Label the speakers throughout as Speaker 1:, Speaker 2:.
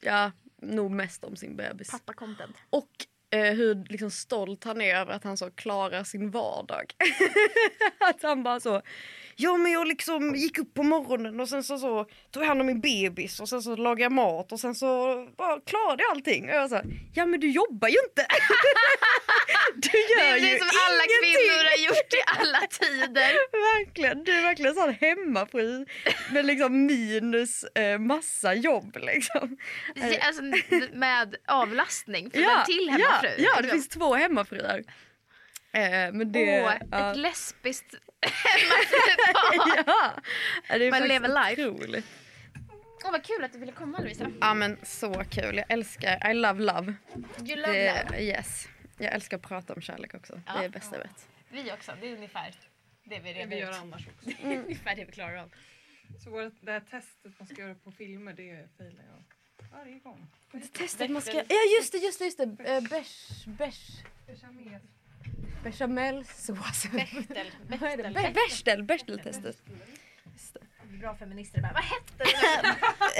Speaker 1: ja, nog mest om sin bebis.
Speaker 2: Pappa-content.
Speaker 1: Och eh, hur liksom, stolt han är över att han så klarar sin vardag. att han bara så, ja men jag liksom gick upp på morgonen och sen så, så tog jag hand om min bebis och sen så lagade jag mat och sen så bara klarade jag allting. Och jag så, här, ja men du jobbar ju inte. du
Speaker 2: Det
Speaker 1: gör
Speaker 2: är
Speaker 1: ju
Speaker 2: det som alla
Speaker 1: ingenting.
Speaker 2: kvinnor har gjort i alla tider.
Speaker 1: Verkligen, du är verkligen sån hemmafru med liksom minus eh, massa jobb liksom.
Speaker 2: Ja, Alltså, med avlastning från en till
Speaker 1: ja,
Speaker 2: hemmafru.
Speaker 1: ja, det
Speaker 2: liksom.
Speaker 1: finns två hemmafruar. Eh, men det...
Speaker 2: Åh,
Speaker 1: ja.
Speaker 2: ett lesbiskt hemmafrupar.
Speaker 1: ja, det är
Speaker 2: Man
Speaker 1: faktiskt
Speaker 2: lever life.
Speaker 1: otroligt.
Speaker 2: Åh vad kul att du ville komma Lovisa.
Speaker 1: Ja men så kul, jag älskar, I love love.
Speaker 2: You love
Speaker 1: Det,
Speaker 2: love.
Speaker 1: yes. Jag älskar att prata om kärlek också,
Speaker 2: Ja.
Speaker 1: det är bästa jag vet.
Speaker 2: Vi också, det är ungefär det vi
Speaker 3: Det
Speaker 2: redan
Speaker 3: vi gör
Speaker 2: ut.
Speaker 3: annars också.
Speaker 2: Det är ungefär det vi klarar av.
Speaker 3: Så vårt, det här testet man ska göra på filmer det failar jag varje gång.
Speaker 1: Testet
Speaker 2: man ska-
Speaker 1: Ja just det, just det, just det. Eh, Bärs, bärs, bechamelsås.
Speaker 2: Bechtel.
Speaker 1: Vad är det? Be- Bechdel, Bechdel-testet.
Speaker 2: Bra feminister bara, vad hette det?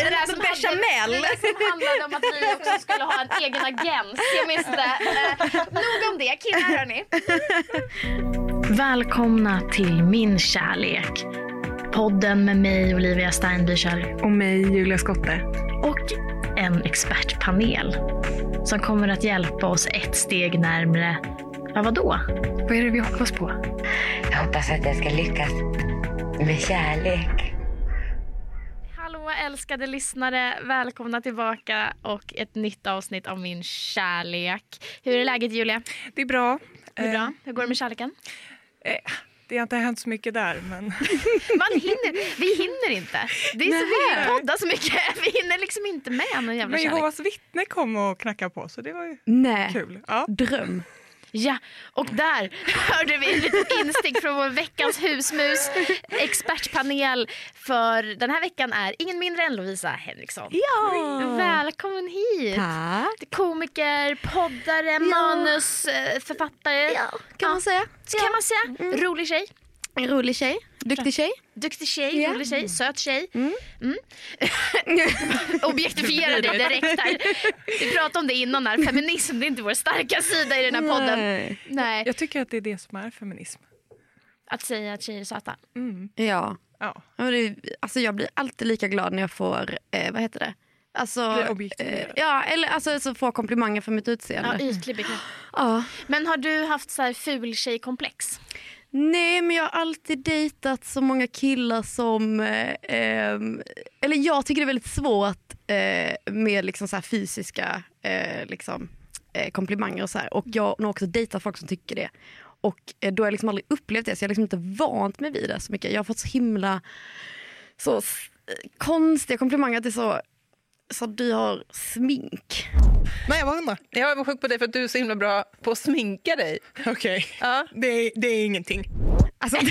Speaker 1: Är
Speaker 2: där
Speaker 1: det där
Speaker 2: som
Speaker 1: som
Speaker 2: hade- Det
Speaker 1: bechamel?
Speaker 2: där som handlade om att vi också skulle ha en egen agens. Jag minns det. Eh, nog om det killar hörni.
Speaker 4: Välkomna till Min kärlek. Podden med mig, Olivia Steinbücher.
Speaker 5: Och mig, Julia Skotte.
Speaker 4: Och en expertpanel. Som kommer att hjälpa oss ett steg närmre, ja vadå?
Speaker 5: Vad är det vi hoppas på?
Speaker 6: Jag hoppas att jag ska lyckas med kärlek.
Speaker 4: Hallå älskade lyssnare, välkomna tillbaka och ett nytt avsnitt av Min kärlek. Hur är läget Julia?
Speaker 5: Det är bra.
Speaker 4: Hur,
Speaker 5: Eh,
Speaker 4: bra? Hur går det med kärleken?
Speaker 5: det har inte hänt så mycket där, men
Speaker 4: Man hinner, vi hinner inte. Det är så, vi hinner podda så mycket, vi hinner liksom inte med någon jävla
Speaker 5: Men
Speaker 4: kärlek.
Speaker 5: Jehovas vittne kom och knackade på så det var ju
Speaker 1: Nej.
Speaker 5: kul. Ja.
Speaker 1: Dröm.
Speaker 4: Ja, och där hörde vi ett litet instick från vår veckans husmus. Expertpanel för den här veckan är ingen mindre än Lovisa Henriksson.
Speaker 1: Ja!
Speaker 4: Välkommen hit!
Speaker 1: Tack.
Speaker 4: Komiker, poddare, eh, manusförfattare.
Speaker 1: Kan man säga.
Speaker 4: Så kan man säga.
Speaker 1: Mm.
Speaker 4: Rolig tjej,
Speaker 1: En rolig tjej. Duktig tjej.
Speaker 4: duktig tjej,
Speaker 1: Ja.
Speaker 4: rolig tjej, söt tjej. Mm. Objektifiera dig direkt här. Vi pratade om det innan här, feminism det är inte vår starka sida i den här podden.
Speaker 1: Nej.
Speaker 4: Nej.
Speaker 5: Jag tycker att det är det som är feminism.
Speaker 4: Att säga att tjejer är söta.
Speaker 5: Mm.
Speaker 1: Ja.
Speaker 5: Ja.
Speaker 1: Men det- Alltså jag blir alltid lika glad när jag får, eh, vad heter det? Alltså,
Speaker 5: Blir objektiverad.
Speaker 1: eh, ja, eller alltså så får jag komplimanger för mitt
Speaker 4: Ja,
Speaker 1: utseende.
Speaker 4: ytlig bekräftelse.
Speaker 1: Ja.
Speaker 4: Men har du haft så här ful tjejkomplex?
Speaker 1: Nej men jag har alltid dejtat så många killar som, eh, eh, eller jag tycker det är väldigt svårt eh, med liksom så här fysiska eh, liksom, eh, komplimanger och så här. Och jag har också dejtat folk som tycker det. Och eh, då har jag liksom aldrig upplevt det så jag har liksom inte vant mig vid det så mycket. Jag har fått så himla så, s- eh, konstiga komplimanger att det är så, så du har smink.
Speaker 7: Nej, jag var hundra. Jag är sjuk på dig för att du är så himla bra på att sminka dig.
Speaker 5: Okej,
Speaker 7: Ja.
Speaker 5: det, det är ingenting.
Speaker 1: Alltså, det,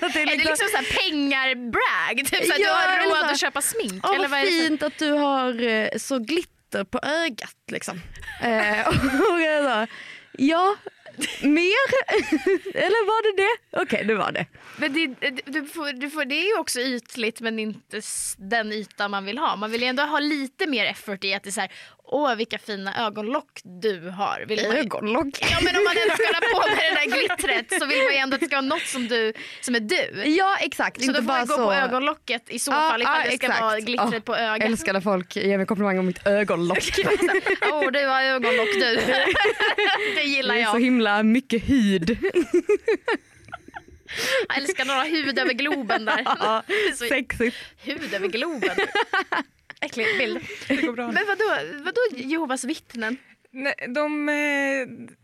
Speaker 1: det
Speaker 4: Är det liksom så här pengar-brag? Typ så att
Speaker 1: Ja,
Speaker 4: du
Speaker 1: eller
Speaker 4: har
Speaker 1: så
Speaker 4: råd
Speaker 1: här-
Speaker 4: att köpa smink?
Speaker 1: Ja,
Speaker 4: eller
Speaker 1: vad
Speaker 4: vad är det för...
Speaker 1: fint att du har eh, så glitter på ögat. Liksom. Eh, och jag sa, ja, mer? Eller var det det? Okej, det var det.
Speaker 4: Men det, du får, du får, det är ju också ytligt men inte s- den yta man vill ha. Man vill ju ändå ha lite mer effort i att det är så här, åh vilka fina ögonlock du har. Vill man ju-
Speaker 1: Ögonlock.
Speaker 4: Ja men om man ändå ska hålla på med det där glittret så vill man ju ändå att det ska vara något som, du, som är du.
Speaker 1: Ja, exakt.
Speaker 4: Så
Speaker 1: inte
Speaker 4: då får
Speaker 1: bara
Speaker 4: jag gå
Speaker 1: så.
Speaker 4: på ögonlocket i så
Speaker 1: Ja,
Speaker 4: fall ifall
Speaker 1: ja,
Speaker 4: det ska
Speaker 1: exakt.
Speaker 4: vara glittret
Speaker 1: Ja,
Speaker 4: på ögat.
Speaker 1: Älskar när folk ger mig komplimanger om mitt ögonlock.
Speaker 4: Åh, du har ögonlock du. det gillar
Speaker 1: Det är så
Speaker 4: jag.
Speaker 1: himla mycket hud.
Speaker 4: Jag älskar några hud över Globen där.
Speaker 1: Ja,
Speaker 4: Så-
Speaker 1: Sexigt.
Speaker 4: hud över Globen. Äcklig bild.
Speaker 5: Det går bra.
Speaker 4: Men vadå, vadå Jehovas vittnen?
Speaker 5: Nej, de, eh,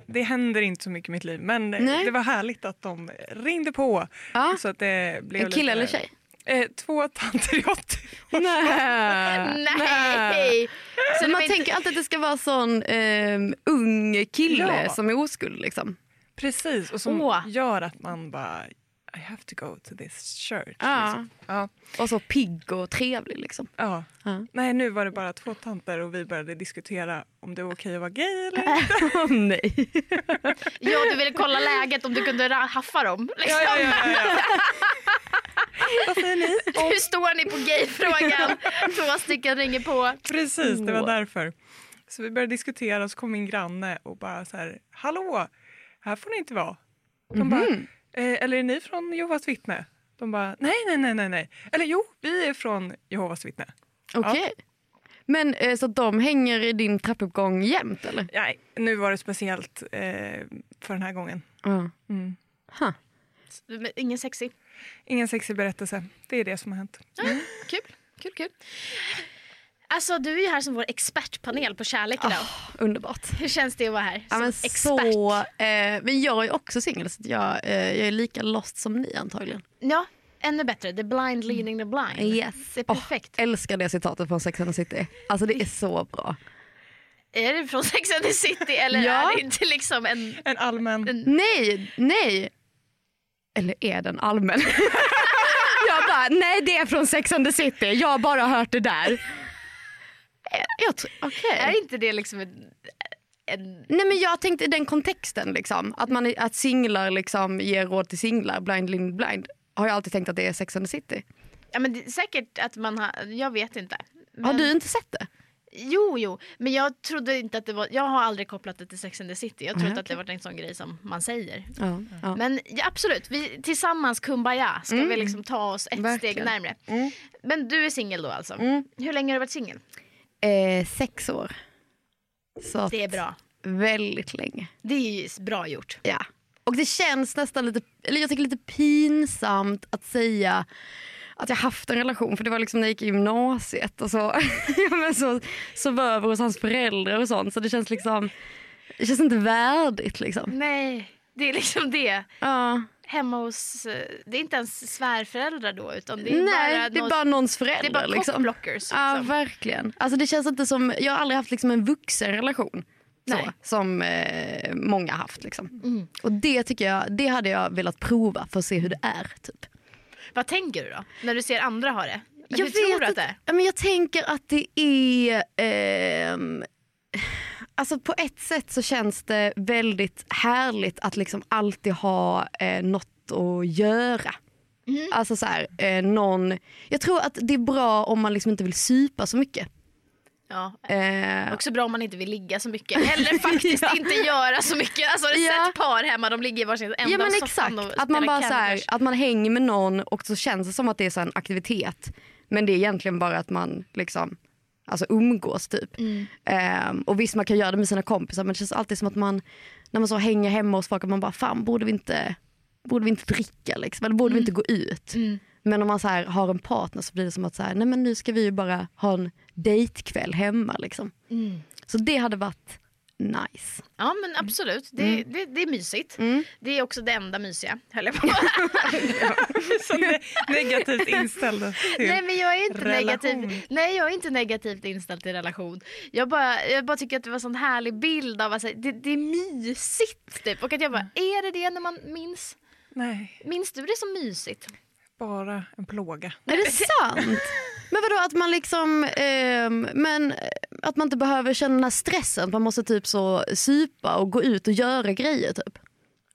Speaker 5: det händer inte så mycket i mitt liv, men eh,
Speaker 1: Nej.
Speaker 5: det var härligt att de ringde på.
Speaker 1: Ja.
Speaker 5: Så att det blev
Speaker 1: En kille
Speaker 5: lite-
Speaker 1: eller tjej?
Speaker 5: Eh, två tanter i 80
Speaker 1: Nej.
Speaker 4: Äh, Nej! Så
Speaker 1: Men man
Speaker 4: man inte...
Speaker 1: tänker alltid att det ska vara sån ehm, ung kille
Speaker 5: Ja.
Speaker 1: som är oskuld. Liksom.
Speaker 5: Precis, och som
Speaker 4: Åh.
Speaker 5: gör att man bara I have to go to this church.
Speaker 1: Ja.
Speaker 5: Liksom. Ja,
Speaker 1: Och så pigg och trevlig. Liksom.
Speaker 5: ja.
Speaker 1: Ja.
Speaker 5: Nej, nu var det bara två tanter och vi började diskutera om det var okej att vara gay eller inte.
Speaker 1: Åh nej.
Speaker 4: Ja, du ville kolla läget om du kunde ra- haffa dem. Liksom.
Speaker 5: Ja, ja, ja, ja, ja. Vad säger ni?
Speaker 4: Hur står ni på gayfrågan? Två stycken ringer på.
Speaker 5: Precis, det
Speaker 4: Åh.
Speaker 5: var därför. Så vi började diskutera och så kom min granne och bara så här, hallå, här får ni inte vara. De bara, eh, eller är ni från Jehovas vittne? De bara, nej, nej, nej, nej, nej. Eller jo, vi är från Jehovas vittne.
Speaker 1: Okej. Men eh, så att de hänger i din trappuppgång jämt eller?
Speaker 5: Nej, nu var det speciellt eh, för den här gången.
Speaker 1: Ja.
Speaker 5: Mm.
Speaker 4: Men Ingen sexig.
Speaker 5: Ingen sexig berättelse, det är det som har hänt.
Speaker 4: Kul, kul, kul. Alltså du är ju här som vår expertpanel på kärlek idag.
Speaker 1: Underbart.
Speaker 4: Hur känns det att vara här
Speaker 1: Ja,
Speaker 4: som
Speaker 1: men,
Speaker 4: expert?
Speaker 1: så, eh, men jag är också singel så att jag, eh, jag är lika lost som ni antagligen.
Speaker 4: Ja, ännu bättre. The blind leading the blind.
Speaker 1: Yes.
Speaker 4: Det är perfekt.
Speaker 1: Älskar det citatet från Sex and the City. Alltså det är så bra.
Speaker 4: Är det från Sex and the City eller
Speaker 1: Ja.
Speaker 4: är det inte liksom en...
Speaker 5: En allmän...
Speaker 1: Nej, nej! Eller är den allmän? jag bara, nej det är från Sex and the City, jag har bara hört det där. Eh, Jag tror, okej.
Speaker 4: Är inte det liksom en... en
Speaker 1: Nej men jag tänkte i den kontexten liksom, att, man, att singlar liksom ger råd till singlar, blind leading blind. Har jag alltid tänkt att det är Sex and the City.
Speaker 4: ja, men det, säkert att man har... Jag vet inte. Men,
Speaker 1: Har du inte sett det?
Speaker 4: Jo, jo. Men jag trodde inte att det var... Jag har aldrig kopplat det till Sex and the City. Jag trodde
Speaker 1: Nej,
Speaker 4: att det var en sån grej som man säger.
Speaker 1: Ja. ja. Mm.
Speaker 4: Men ja, absolut, vi, tillsammans kumbaya ska vi liksom ta oss ett steg
Speaker 1: Verkligen. Mm.
Speaker 4: närmre. Men du är singel då alltså? Hur länge har du varit singel?
Speaker 1: Eh, sex år. Så att
Speaker 4: Det är bra.
Speaker 1: väldigt länge.
Speaker 4: Det är ju bra gjort.
Speaker 1: Ja. Och det känns nästan lite, eller jag tycker lite pinsamt att säga att jag haft en relation för det var liksom när jag gick i gymnasiet och så, ja, men så, så var jag över hos hans föräldrar och sånt så det känns liksom, det känns inte värdigt liksom.
Speaker 4: Nej, det är liksom det.
Speaker 1: Ja.
Speaker 4: Hemma hos, eh, det är inte ens svärföräldrar då utan det är
Speaker 1: Nej,
Speaker 4: bara
Speaker 1: det är
Speaker 4: någon-
Speaker 1: bara någons föräldrar
Speaker 4: det är bara
Speaker 1: liksom.
Speaker 4: cockblockers. Liksom.
Speaker 1: Ja, verkligen. Alltså det känns inte som, jag har aldrig haft liksom en vuxen relation. Så,
Speaker 4: Nej. Mm.
Speaker 1: som eh, många har haft. Liksom. Och det tycker jag, det hade jag velat prova för att se hur det är. Typ.
Speaker 4: Vad tänker du då? När du ser andra ha det?
Speaker 1: Jag
Speaker 4: Hur
Speaker 1: vet
Speaker 4: tror du att det är?
Speaker 1: inte. Ja, men jag tänker att det är... ehm, alltså på ett sätt så känns det väldigt härligt att liksom alltid ha eh, något att göra.
Speaker 4: Mm.
Speaker 1: Alltså så här, eh, någon, jag tror att det är bra om man liksom inte vill supa så mycket.
Speaker 4: Ja.
Speaker 1: Eh,
Speaker 4: Också bra om man inte vill ligga så mycket eller faktiskt
Speaker 1: Ja.
Speaker 4: inte göra så mycket. Alltså har du
Speaker 1: Ja.
Speaker 4: sett par hemma, de ligger i varsin ända
Speaker 1: Ja men
Speaker 4: av
Speaker 1: exakt,
Speaker 4: soffan och
Speaker 1: att man
Speaker 4: spelar
Speaker 1: bara
Speaker 4: Candy
Speaker 1: så här,
Speaker 4: Crush.
Speaker 1: att man hänger med någon och så känns det som att det är så här en aktivitet. Men det är egentligen bara att man liksom, alltså umgås typ.
Speaker 4: Mm.
Speaker 1: Ehm, och visst man kan göra det med sina kompisar men det känns alltid som att man, när man så hänger hemma hos folk, att man bara fan borde vi inte, borde vi inte dricka liksom, eller borde vi inte
Speaker 4: Mm.
Speaker 1: gå ut? Men om man så här, har en partner så blir det som att så här, nej men nu ska vi ju bara ha en dejtkväll hemma liksom.
Speaker 4: Mm.
Speaker 1: Så det hade varit nice.
Speaker 4: Ja men absolut, det, det, det är mysigt. Det är också det enda mysiga höll jag på att
Speaker 5: Så ne- negativt inställd till.
Speaker 4: Nej men jag är inte
Speaker 5: relation.
Speaker 4: negativ. Nej jag är inte negativt inställd till relation. Jag bara, jag bara tycker att det var en sån härlig bild av att så här, det, det är mysigt typ. Och att jag bara, är det det när man minns?
Speaker 5: Nej,
Speaker 4: Minns du det som mysigt?
Speaker 5: bara en plåga.
Speaker 1: Är det sant? Men vadå att man liksom, ehm, men eh, att man inte behöver känna den här stressen, att man måste typ så supa och gå ut och göra grejer typ?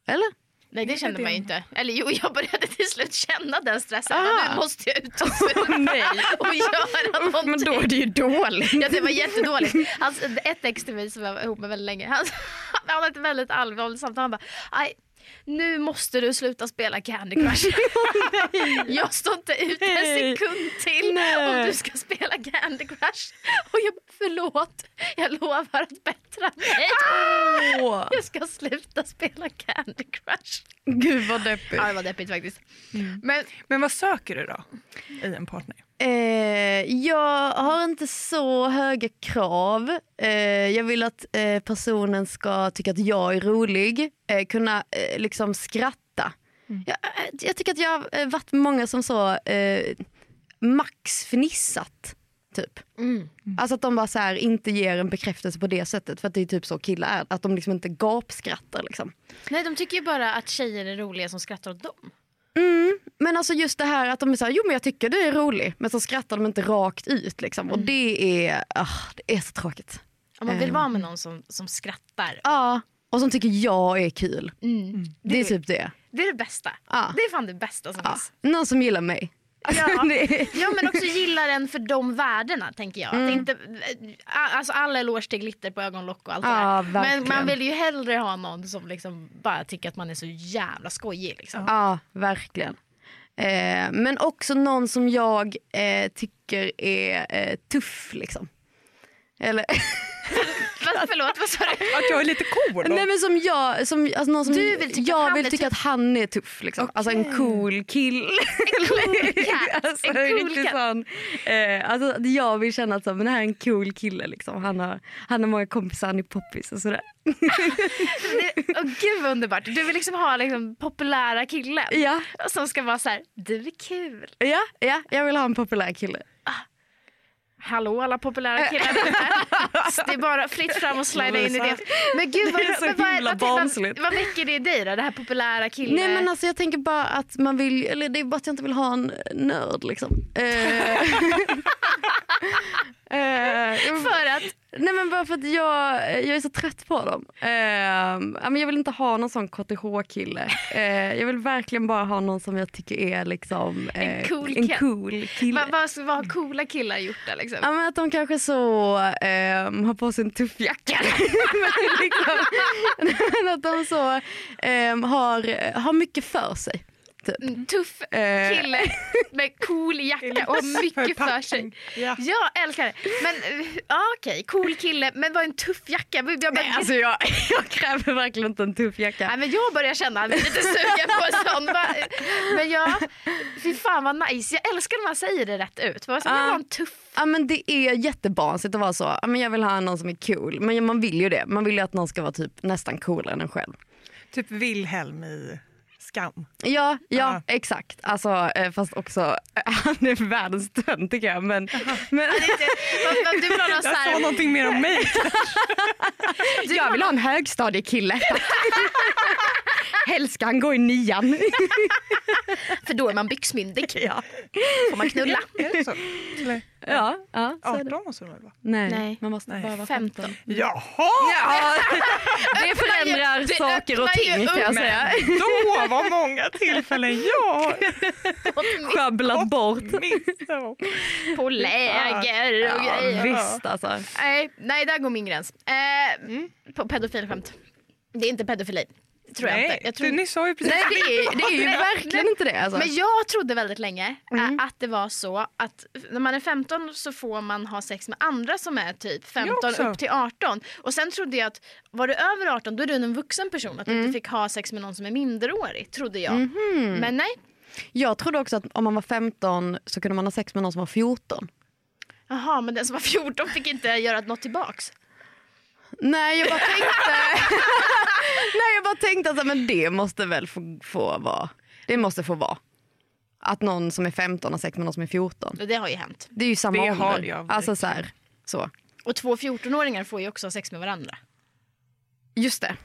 Speaker 1: Eller?
Speaker 4: Nej det kände man ju inte. Eller jo jag började till slut känna den stressen.
Speaker 1: Aha.
Speaker 4: Bara, Nu måste jag ut och, och göra någonting.
Speaker 1: är det ju dåligt.
Speaker 4: Ja, det var jättedåligt. Hans, ett ex till mig som jag var ihop med väldigt länge, han, han hade ett väldigt allvarligt samtal. Han bara, "Aj, nu måste du sluta spela Candy Crush. jag står inte ut en sekund till om du ska spela Candy Crush. Och jag bara, förlåt, jag lovar att bättra mig. Jag ska sluta spela Candy Crush.
Speaker 1: Gud vad deppigt. Mm.
Speaker 4: Ja, det var deppigt faktiskt.
Speaker 5: Men, men vad söker du då i en partner?
Speaker 1: Eh, jag har inte så höga krav. Eh, jag vill att eh, personen ska tycka att jag är rolig, eh, kunna eh, liksom skratta. Jag, eh, jag tycker att jag har eh, varit med många som så eh, max fnissat. Typ. Alltså att de bara så här, inte ger en bekräftelse på det sättet för att det är typ så killar är. Att de liksom inte gapskrattar liksom.
Speaker 4: Nej, de tycker ju bara att tjejer är roliga som skrattar åt dem.
Speaker 1: Mm, men alltså just det här att de är så här, jo men jag tycker du är rolig. Men så skrattar de inte rakt ut liksom.
Speaker 4: Mm.
Speaker 1: Och det är, ah, det är så tråkigt.
Speaker 4: Om man vill
Speaker 1: Ehm.
Speaker 4: vara med någon som, som skrattar.
Speaker 1: Ja, och som tycker jag är kul. Det är
Speaker 4: Det-
Speaker 1: typ det.
Speaker 4: Det är det bästa.
Speaker 1: Mm. Ja.
Speaker 4: Det är fan det bästa som
Speaker 1: Ja,
Speaker 4: finns.
Speaker 1: någon som gillar mig.
Speaker 4: Ja.
Speaker 1: Det är-
Speaker 4: Ja men också gillar den för de värdena tänker jag.
Speaker 1: Mm.
Speaker 4: Att inte, alltså alla eloge till glitter på ögonlock och allt det
Speaker 1: Ja,
Speaker 4: där. Men
Speaker 1: verkligen.
Speaker 4: man vill ju hellre ha någon som liksom bara tycker att man är så jävla skojig. Liksom.
Speaker 1: Ja, verkligen. Eh, men också någon som jag eh, tycker är eh, tuff liksom. Eller,
Speaker 4: Fast, förlåt vad sa du?
Speaker 5: Att jag är lite cool. då.
Speaker 1: nej men som jag, som, alltså någon som
Speaker 4: Du vill tycka att
Speaker 1: jag
Speaker 4: han
Speaker 1: vill
Speaker 4: är
Speaker 1: tycka att han är tuff liksom. Alltså en cool kille.
Speaker 4: Cool cat.
Speaker 1: alltså,
Speaker 4: en cool
Speaker 1: riktigt
Speaker 4: cat.
Speaker 1: sån, eh, alltså, att jag vill känna att så, men det här är en cool kille liksom. Han har, han har många kompisar, han är poppis och sådär.
Speaker 4: Åh, gud vad underbart. Du vill liksom ha liksom, populära killen
Speaker 1: Ja,
Speaker 4: som ska vara så här, du är kul.
Speaker 1: ja, ja, jag vill ha en populär kille.
Speaker 4: Hallå alla populära killar där ute. Det är bara fritt fram och slida in i det. Men gud vad,
Speaker 5: Det är så
Speaker 4: men vad,
Speaker 5: himla
Speaker 4: vad, vad,
Speaker 5: barnsligt.
Speaker 4: vad väcker det i dig då? Det här populära killen?
Speaker 1: Nej men alltså jag tänker bara att man vill, eller det är bara att jag inte vill ha en nörd liksom. Eh, eh, jag-
Speaker 4: För att
Speaker 1: nej men bara för att jag, jag är så trött på dem. Eh, ja, men jag vill inte ha någon sån KTH-kille. Eh, jag vill verkligen bara ha någon som jag tycker är liksom eh,
Speaker 4: En cool
Speaker 1: en
Speaker 4: kille.
Speaker 1: cool kille.
Speaker 4: Vad, vad, vad har coola killar gjort då? Liksom?
Speaker 1: Ja, men att de kanske så ehm, har på sig en tuff jacka. men liksom, men att de så ehm, har, har mycket för sig.
Speaker 4: En Tuff
Speaker 1: Eh,
Speaker 4: kille med cool jacka och har mycket för sig.
Speaker 5: Ja.
Speaker 4: Jag älskar det. Men eh, ja, okej, cool kille, men vad är en tuff jacka? Jag, börjar-
Speaker 1: Nej, alltså jag, jag kräver verkligen inte en tuff jacka.
Speaker 4: Nej, men jag börjar känna mig lite sugen på en sån. Va? Men ja, fy fan vad nice. Jag älskar när man säger det rätt ut. Man
Speaker 1: Ja.
Speaker 4: jag vill ha en tuff.
Speaker 1: Ja, men det är jättebarnsligt att vara så. Ja, men jag vill ha någon som är cool. Men man vill ju det. Man vill ju att någon ska vara typ nästan coolare än en själv.
Speaker 5: Typ Wilhelm i Skam.
Speaker 1: Ja, ja
Speaker 5: Ja.
Speaker 1: exakt. Alltså, eh, fast också, han är världens tönt tycker jag. Men, men
Speaker 4: Vad- vad- Du vill ha någon så
Speaker 5: Jag sa
Speaker 4: här,
Speaker 5: någonting mer om mig.
Speaker 1: jag vill ha en högstadiekille. Helst ska han gå i nian.
Speaker 4: för då är man byxmyndig.
Speaker 1: ja.
Speaker 4: Får man knulla?
Speaker 5: Är det så? Eller,
Speaker 1: Ja, ja, så är det.
Speaker 5: 18 måste det väl vara?
Speaker 1: Nej,
Speaker 4: Nej.
Speaker 1: man måste
Speaker 5: Nej.
Speaker 1: bara vara
Speaker 4: 15.
Speaker 5: Jaha!
Speaker 1: Ja, det förändrar
Speaker 4: det
Speaker 1: saker och
Speaker 4: öppnar ju
Speaker 1: ting kan jag
Speaker 4: upp.
Speaker 1: säga.
Speaker 5: Då var många tillfällen jag
Speaker 1: Sjabblat bort.
Speaker 5: missade. om.
Speaker 4: På läger och grejer.
Speaker 1: Ja, visst alltså.
Speaker 4: Nej, nej där går min gräns. Eh, På pedofilskämt. Det är inte pedofili. Tror jag
Speaker 5: Nej,
Speaker 4: inte. Jag tror...
Speaker 5: du, ni sa ju precis
Speaker 1: Nej, det är, det är ju verkligen inte det. Alltså.
Speaker 4: Men jag trodde väldigt länge eh,
Speaker 5: Mm.
Speaker 4: att det var så att när man är 15 så får man ha sex med andra som är typ 15
Speaker 5: också.
Speaker 4: upp till 18. Och sen trodde jag att var du över 18 då är du en vuxen person. Att du
Speaker 5: Mm.
Speaker 4: inte fick ha sex med någon som är minderårig. Trodde jag.
Speaker 5: Mhm.
Speaker 4: Men nej.
Speaker 1: Jag trodde också att om man var 15 så kunde man ha sex med någon som var 14.
Speaker 4: Jaha, men den som var 14 fick inte göra något tillbaks.
Speaker 1: Nej, jag bara tänkte, Nej, jag bara tänkte att så här, men det måste väl få, få vara. Det måste få vara. Att någon som är 15 har sex med någon som är 14.
Speaker 4: Det har ju hänt.
Speaker 1: Det är ju samma
Speaker 5: Det
Speaker 1: ålder.
Speaker 5: har jag
Speaker 1: alltså så här, så.
Speaker 4: Och två 14-åringar får ju också ha sex med varandra.
Speaker 1: Just det.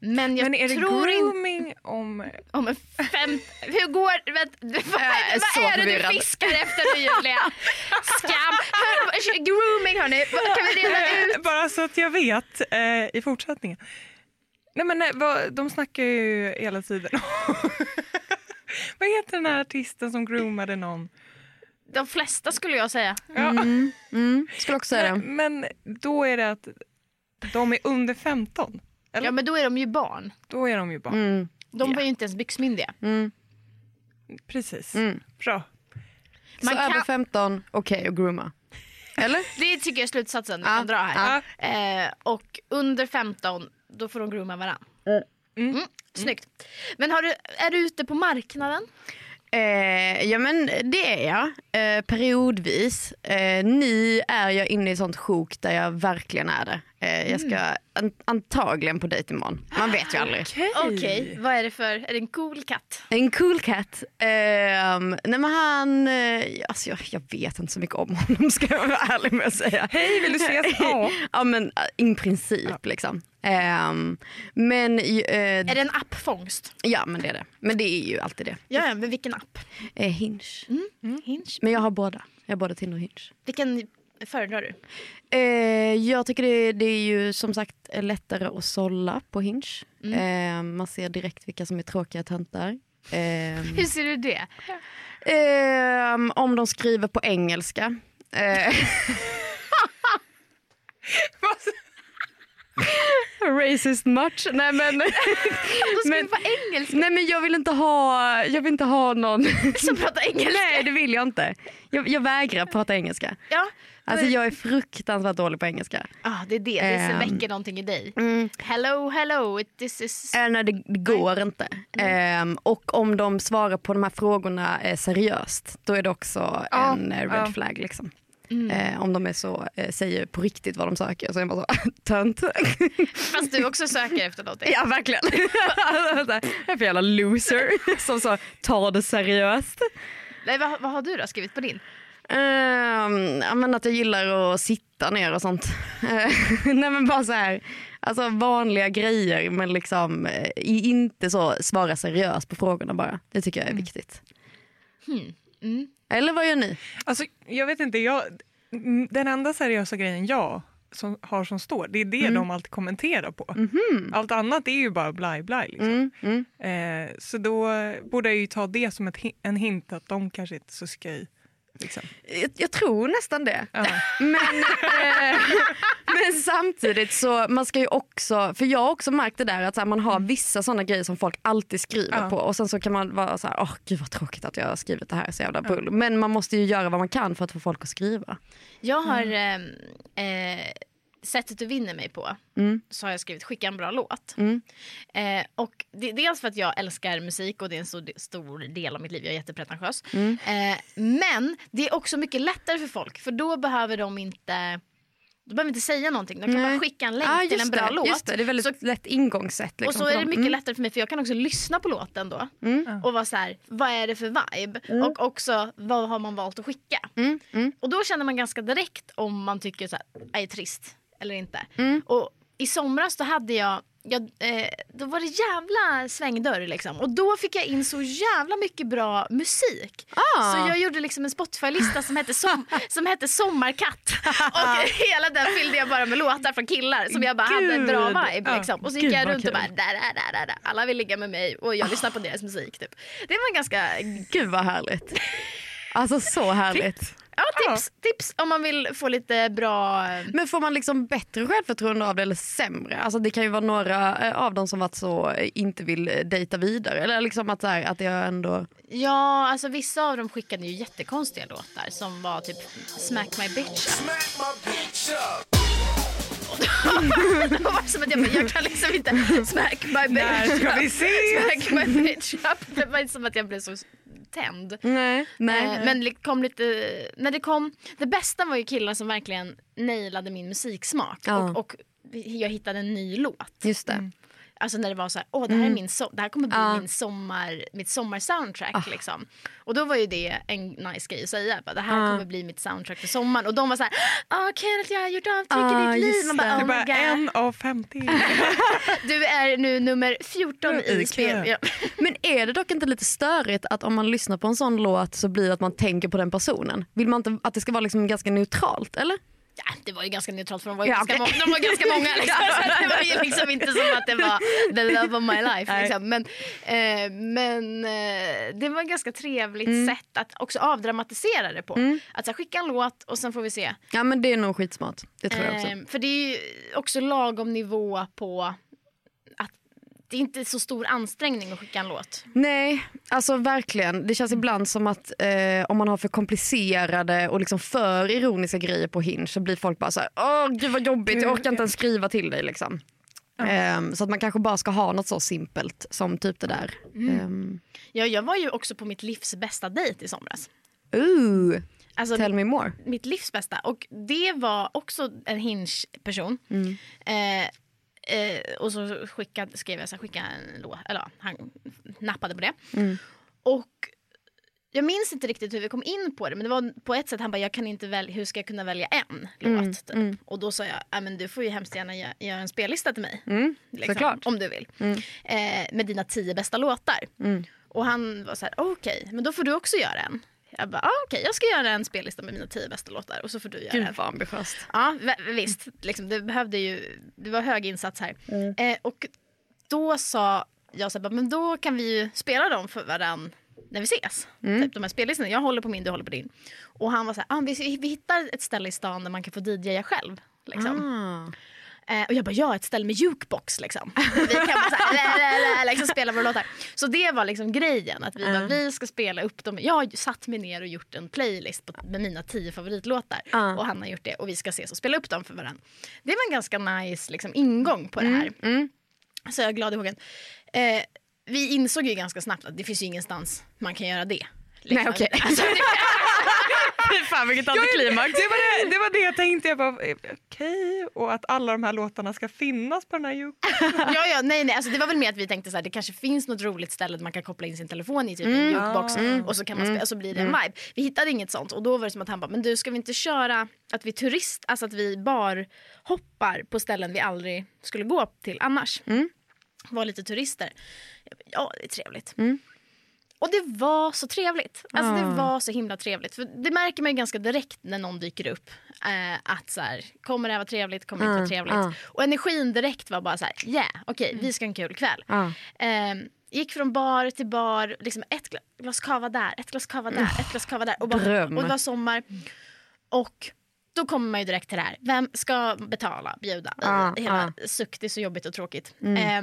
Speaker 4: Men jag
Speaker 5: Men är det
Speaker 4: tror inte...
Speaker 5: grooming om...
Speaker 4: Om en fem... Hur går... Vänt, vad
Speaker 1: är så
Speaker 4: vad är det
Speaker 1: förvirrad.
Speaker 4: du fiskar efter nu Julia? Skam! Hör, grooming hörni, Vad- kan vi reda ut?
Speaker 5: Bara så att jag vet eh, i fortsättningen. Nej men nej, vad, de snackar ju hela tiden Vad heter den här artisten som groomade någon?
Speaker 4: De flesta skulle jag säga.
Speaker 5: Ja.
Speaker 1: Mm, skulle också säga det.
Speaker 5: Men då är det att de är under 15. Eller?
Speaker 4: Ja men då är de ju barn.
Speaker 5: Då är de ju barn.
Speaker 1: Mm.
Speaker 4: De var ju inte ens byxmyndiga.
Speaker 5: Precis.
Speaker 1: Mm.
Speaker 5: Bra.
Speaker 1: Så
Speaker 4: Man kan-
Speaker 1: över 15, okej och grooma. Eller?
Speaker 4: Det tycker jag är slutsatsen vi
Speaker 1: Ja,
Speaker 4: kan dra här.
Speaker 5: ja.
Speaker 4: Eh, och under 15, då får de grooma varann.
Speaker 5: Mm.
Speaker 4: Mm, snyggt. Men har du, är du ute på marknaden?
Speaker 1: Eh, ja men det är jag, eh, periodvis. Eh, nu är jag inne i sånt sjok där jag verkligen är det. Eh, jag ska an- antagligen på dejt imorgon. Man vet ju aldrig.
Speaker 4: Okej, vad är det för... Är det en cool katt?
Speaker 1: En cool cat. Ehm, nej men han, eh, alltså jag, jag vet inte så mycket om honom ska jag vara ärlig med att säga.
Speaker 5: Hej, vill du ses? Ja.
Speaker 1: Ja men eh, i princip liksom. Ehm, men, eh,
Speaker 4: Är det en appfångst?
Speaker 1: ja men det är det. Men det är ju alltid det.
Speaker 4: Ja, ja, men vilken app?
Speaker 1: Eh, Hinge.
Speaker 4: Hinge.
Speaker 1: Men jag har båda. Jag har både Tinder och Hinge.
Speaker 4: Vilken Föredrar du?
Speaker 1: Eh, jag tycker det, det är ju som sagt lättare att sålla på Hinge. Eh, man ser direkt vilka som är tråkiga töntar. Ehm,
Speaker 4: Hur ser du det?
Speaker 1: ehm, om de skriver på engelska. Eh, racist much. Nej men, men,
Speaker 4: På engelska
Speaker 1: nej men jag vill inte ha, jag vill inte ha någon.
Speaker 4: som pratar engelska.
Speaker 1: nej det vill jag inte. Jag, jag vägrar prata engelska.
Speaker 4: Ja,
Speaker 1: Alltså jag är fruktansvärt dålig på engelska.
Speaker 4: ah, det är det. Det
Speaker 1: Ehm. Mm.
Speaker 4: väcker någonting i dig. Hello, hello, it- this is...
Speaker 1: Eh, nej, det, det går inte. Ehm, och om de svarar på de här frågorna eh, seriöst, då är det också
Speaker 5: Ja,
Speaker 1: en eh, red
Speaker 5: ja.
Speaker 1: flag. Liksom. Eh, om de är så, eh, säger på riktigt vad de söker så är man bara så, tönt.
Speaker 4: Fast du också söker efter någonting.
Speaker 1: ja, verkligen. Så här, en för jävla loser som så, tar det seriöst.
Speaker 4: Nej, vad, vad har du då skrivit på din?
Speaker 1: Ehm, ja, men att jag gillar att sitta ner och sånt. Eh, Nej men bara så här, alltså vanliga grejer men liksom eh, i- inte så svara seriöst på frågorna bara. Det tycker jag är viktigt. Eller vad gör ni?
Speaker 5: Alltså, jag vet inte, jag, m- den enda seriösa grejen jag som, har som står, det är
Speaker 1: Mm.
Speaker 5: det de alltid kommenterar på.
Speaker 1: Mhm.
Speaker 5: Allt annat är ju bara blaj blaj. Liksom.
Speaker 1: Mm,
Speaker 5: Eh, så då borde jag ju ta det som ett, hi- en hint att de kanske inte är så sköj. Liksom.
Speaker 1: Jag, jag tror nästan det.
Speaker 5: Ja.
Speaker 1: Men, eh, men samtidigt så man ska ju också, för jag har också märkt det där att så här, man har vissa sådana grejer som folk alltid skriver
Speaker 5: Mm. Ja.
Speaker 1: på och sen så kan man vara så här, åh gud vad tråkigt att jag har skrivit det här, så jävla bull. Men man måste ju göra vad man kan för att få folk att skriva.
Speaker 4: Jag har... Eh, eh, sättet du vinner mig på
Speaker 1: Mm.
Speaker 4: så har jag skrivit skicka en bra låt.
Speaker 1: Mm.
Speaker 4: Eh, och det, dels för att jag älskar musik och det är en stor, stor del av mitt liv. Jag är jättepretentiös.
Speaker 1: Mm.
Speaker 4: Eh, men det är också mycket lättare för folk för då behöver de inte de behöver inte säga någonting. De kan
Speaker 1: Nej.
Speaker 4: bara skicka en länk till en bra
Speaker 1: det,
Speaker 4: låt.
Speaker 1: Just det, det är väldigt
Speaker 4: Så-
Speaker 1: lätt ingångssätt. Liksom,
Speaker 4: och så
Speaker 1: för
Speaker 4: är det
Speaker 1: dem.
Speaker 4: mycket
Speaker 1: Mm.
Speaker 4: lättare för mig för jag kan också lyssna på låten då
Speaker 1: Mm.
Speaker 4: och vara så här, vad är det för vibe? Och också vad har man valt att skicka?
Speaker 1: Mm, mm.
Speaker 4: Och då känner man ganska direkt om man tycker så här, "Aj, är trist eller inte.
Speaker 1: Mm.
Speaker 4: Och i somras då hade jag, jag eh, då var det jävla svängdörr liksom. Och då fick jag in så jävla mycket bra musik.
Speaker 1: Ah.
Speaker 4: Så jag gjorde liksom en Spotify-lista som hette, som, som hette Sommarkatt. Och hela den fyllde jag bara med låtar från killar som jag bara hade en bra
Speaker 1: Gud.
Speaker 4: vibe.
Speaker 5: Ja.
Speaker 4: Liksom. Och så
Speaker 1: Gud,
Speaker 4: gick jag
Speaker 1: vad
Speaker 4: runt och
Speaker 1: kul.
Speaker 4: bara där, där, där, där, där. alla vill ligga med mig och jag lyssnar på deras musik. Typ. Det var en ganska
Speaker 1: Gud vad härligt. Alltså så härligt.
Speaker 4: ja, tips, tips om man vill få lite bra
Speaker 1: Men får man liksom bättre självförtroende av det eller sämre? Alltså det kan ju vara några eh, av dem som varit så eh, inte vill eh, dejta vidare. Eller liksom att, så här, att jag ändå...
Speaker 4: Ja, alltså vissa av dem skickade ju jättekonstiga låtar som var typ Smack my bitch up. det var som att jag, bara, jag kan liksom inte smack my
Speaker 5: Här
Speaker 4: bitch
Speaker 5: ska vi
Speaker 4: up.
Speaker 1: Oh
Speaker 5: se!
Speaker 4: Smack my bitch up. Det var som att jag blev så tänd.
Speaker 1: Mm. Nej.
Speaker 4: Eh, Men det kom lite, när det kom, det bästa var ju killar som verkligen nailade min musiksmak
Speaker 1: Ja.
Speaker 4: och, och jag hittade en ny låt.
Speaker 1: Just det.
Speaker 4: Alltså när det var så här, åh det här, är min so- det här kommer bli
Speaker 1: Mm. Ja. Ah.
Speaker 4: min sommar, mitt sommarsoundtrack. Liksom. Och då var ju det en nice grej att säga. Bara, det här
Speaker 1: Ja.
Speaker 4: kommer bli mitt soundtrack för sommaren. Och de var så här, åh kul att jag har gjort avtryck
Speaker 1: Ah,
Speaker 4: i ditt liv.
Speaker 1: just
Speaker 4: Man
Speaker 1: det.
Speaker 4: bara,
Speaker 5: Det
Speaker 4: oh
Speaker 5: är bara
Speaker 4: my god.
Speaker 5: en av 50.
Speaker 4: Du är nu nummer 14
Speaker 5: I
Speaker 4: i spel.
Speaker 5: kö.
Speaker 4: Ja.
Speaker 1: Men är det dock inte lite störigt att om man lyssnar på en sån låt så blir det att man tänker på den personen? Vill man inte att det ska vara liksom ganska neutralt eller?
Speaker 4: Ja, det var ju ganska neutralt för de var, ju
Speaker 1: Ja,
Speaker 4: ganska,
Speaker 1: okej.
Speaker 4: må- de var ganska många. Liksom. Så det var ju liksom inte som att det var the love of my life. Liksom. Men, eh, men eh, det var ett ganska trevligt
Speaker 1: Mm.
Speaker 4: sätt att också avdramatisera det på. Att så här, skicka en låt och sen får vi se.
Speaker 1: Ja men det är nog skitsmart. Det tror jag också.
Speaker 4: Ehm, för det är ju också lagom nivå på att det är inte så stor ansträngning att skicka en låt.
Speaker 1: Nej, alltså verkligen. Det känns
Speaker 4: Mm.
Speaker 1: ibland som att eh, om man har för komplicerade och liksom för ironiska grejer på Hinge så blir folk bara så här, åh gud vad jobbigt, jag orkar inte ens skriva till dig liksom. Ehm, så att man kanske bara ska ha något så simpelt som typ det där.
Speaker 4: Mm.
Speaker 1: Ehm,
Speaker 4: Ja, jag var ju också på mitt livs bästa dejt i somras.
Speaker 1: ooh,
Speaker 4: Alltså,
Speaker 1: tell me more.
Speaker 4: mitt livs bästa. Och det var också en Hinge-person. Eh, eh, och så skickade, skrev jag så här, skicka en låt. Eller ja, han nappade på det. Och jag minns inte riktigt hur vi kom in på det. Men det var på ett sätt han bara, jag kan inte välja, hur ska jag kunna välja en låt? Typ. Och då sa jag, "Ja, men du får ju hemskt gärna gö- göra en spellista till mig. liksom,
Speaker 1: såklart.
Speaker 4: Om du vill.
Speaker 1: Mm.
Speaker 4: Eh, med dina tio bästa låtar. Och han var så här, okej, men då får du också göra en. Jag bara, ah, okej jag ska göra en spellista med mina tio bästa låtar och så får du göra en.
Speaker 1: Gud Äh, vad ambitiöst.
Speaker 4: Ja, v- visst. Liksom, det, behövde ju, det var hög insats här.
Speaker 1: Mm.
Speaker 4: Eh, och då sa jag så här, bara, men då kan vi ju spela dem för varann när vi ses.
Speaker 1: Mm.
Speaker 4: Typ de här spellistorna. Jag håller på min, du håller på din. Och han var så här, ah, vi, vi hittar ett ställe i stan där man kan få DJa själv. Liksom.
Speaker 1: Ah.
Speaker 4: Eh, och jag bara, ja ett ställe med jukebox liksom. Vi kan bara så här, la, la, la, liksom spela våra låtar. Så det var liksom grejen, att vi, bara, vi ska spela upp dem. Jag har ju satt mig ner och gjort en playlist på, med mina tio favoritlåtar. Och han har gjort det och vi ska ses och spela upp dem för varandra. Det var en ganska nice liksom, ingång på det här. Så jag är glad i hågen. Eh, vi insåg ju ganska snabbt att det finns ju ingenstans man kan göra det. Liksom.
Speaker 1: Nej, okej.
Speaker 4: Alltså, det-
Speaker 1: Fan vilket antiklimax.
Speaker 5: Det var det, det var det jag tänkte. Jag bara, eh, okej, och att alla de här låtarna ska finnas på den här juken.
Speaker 4: ja, ja, nej, nej. Alltså, det var väl mer att vi tänkte så här, det kanske finns något roligt ställe där man kan koppla in sin telefon i typ en jukebox och så kan man spela, och så blir det en vibe. Vi hittade inget sånt och då var det som att han bara, men du ska vi inte köra att vi turist, alltså att vi bar hoppar på ställen vi aldrig skulle gå till annars. Var lite turister. Jag bara, Ja, det är trevligt. Och det var så trevligt. Alltså Det var så himla trevligt. För det märker man ju ganska direkt när någon dyker upp. Eh, att så här, Kommer det här vara trevligt? Kommer det inte vara trevligt? Och energin direkt var bara så här, yeah, okej, vi ska ha en kul kväll. Eh, gick från bar till bar, liksom ett gla- glas kava där, ett glas kava där, ett glas kava där. Och, bara,
Speaker 1: Dröm.
Speaker 4: och det var sommar. Och då kommer man ju direkt till det här. Vem ska betala, bjuda?
Speaker 1: Ah,
Speaker 4: Hela suck, det är så jobbigt och tråkigt. Eh,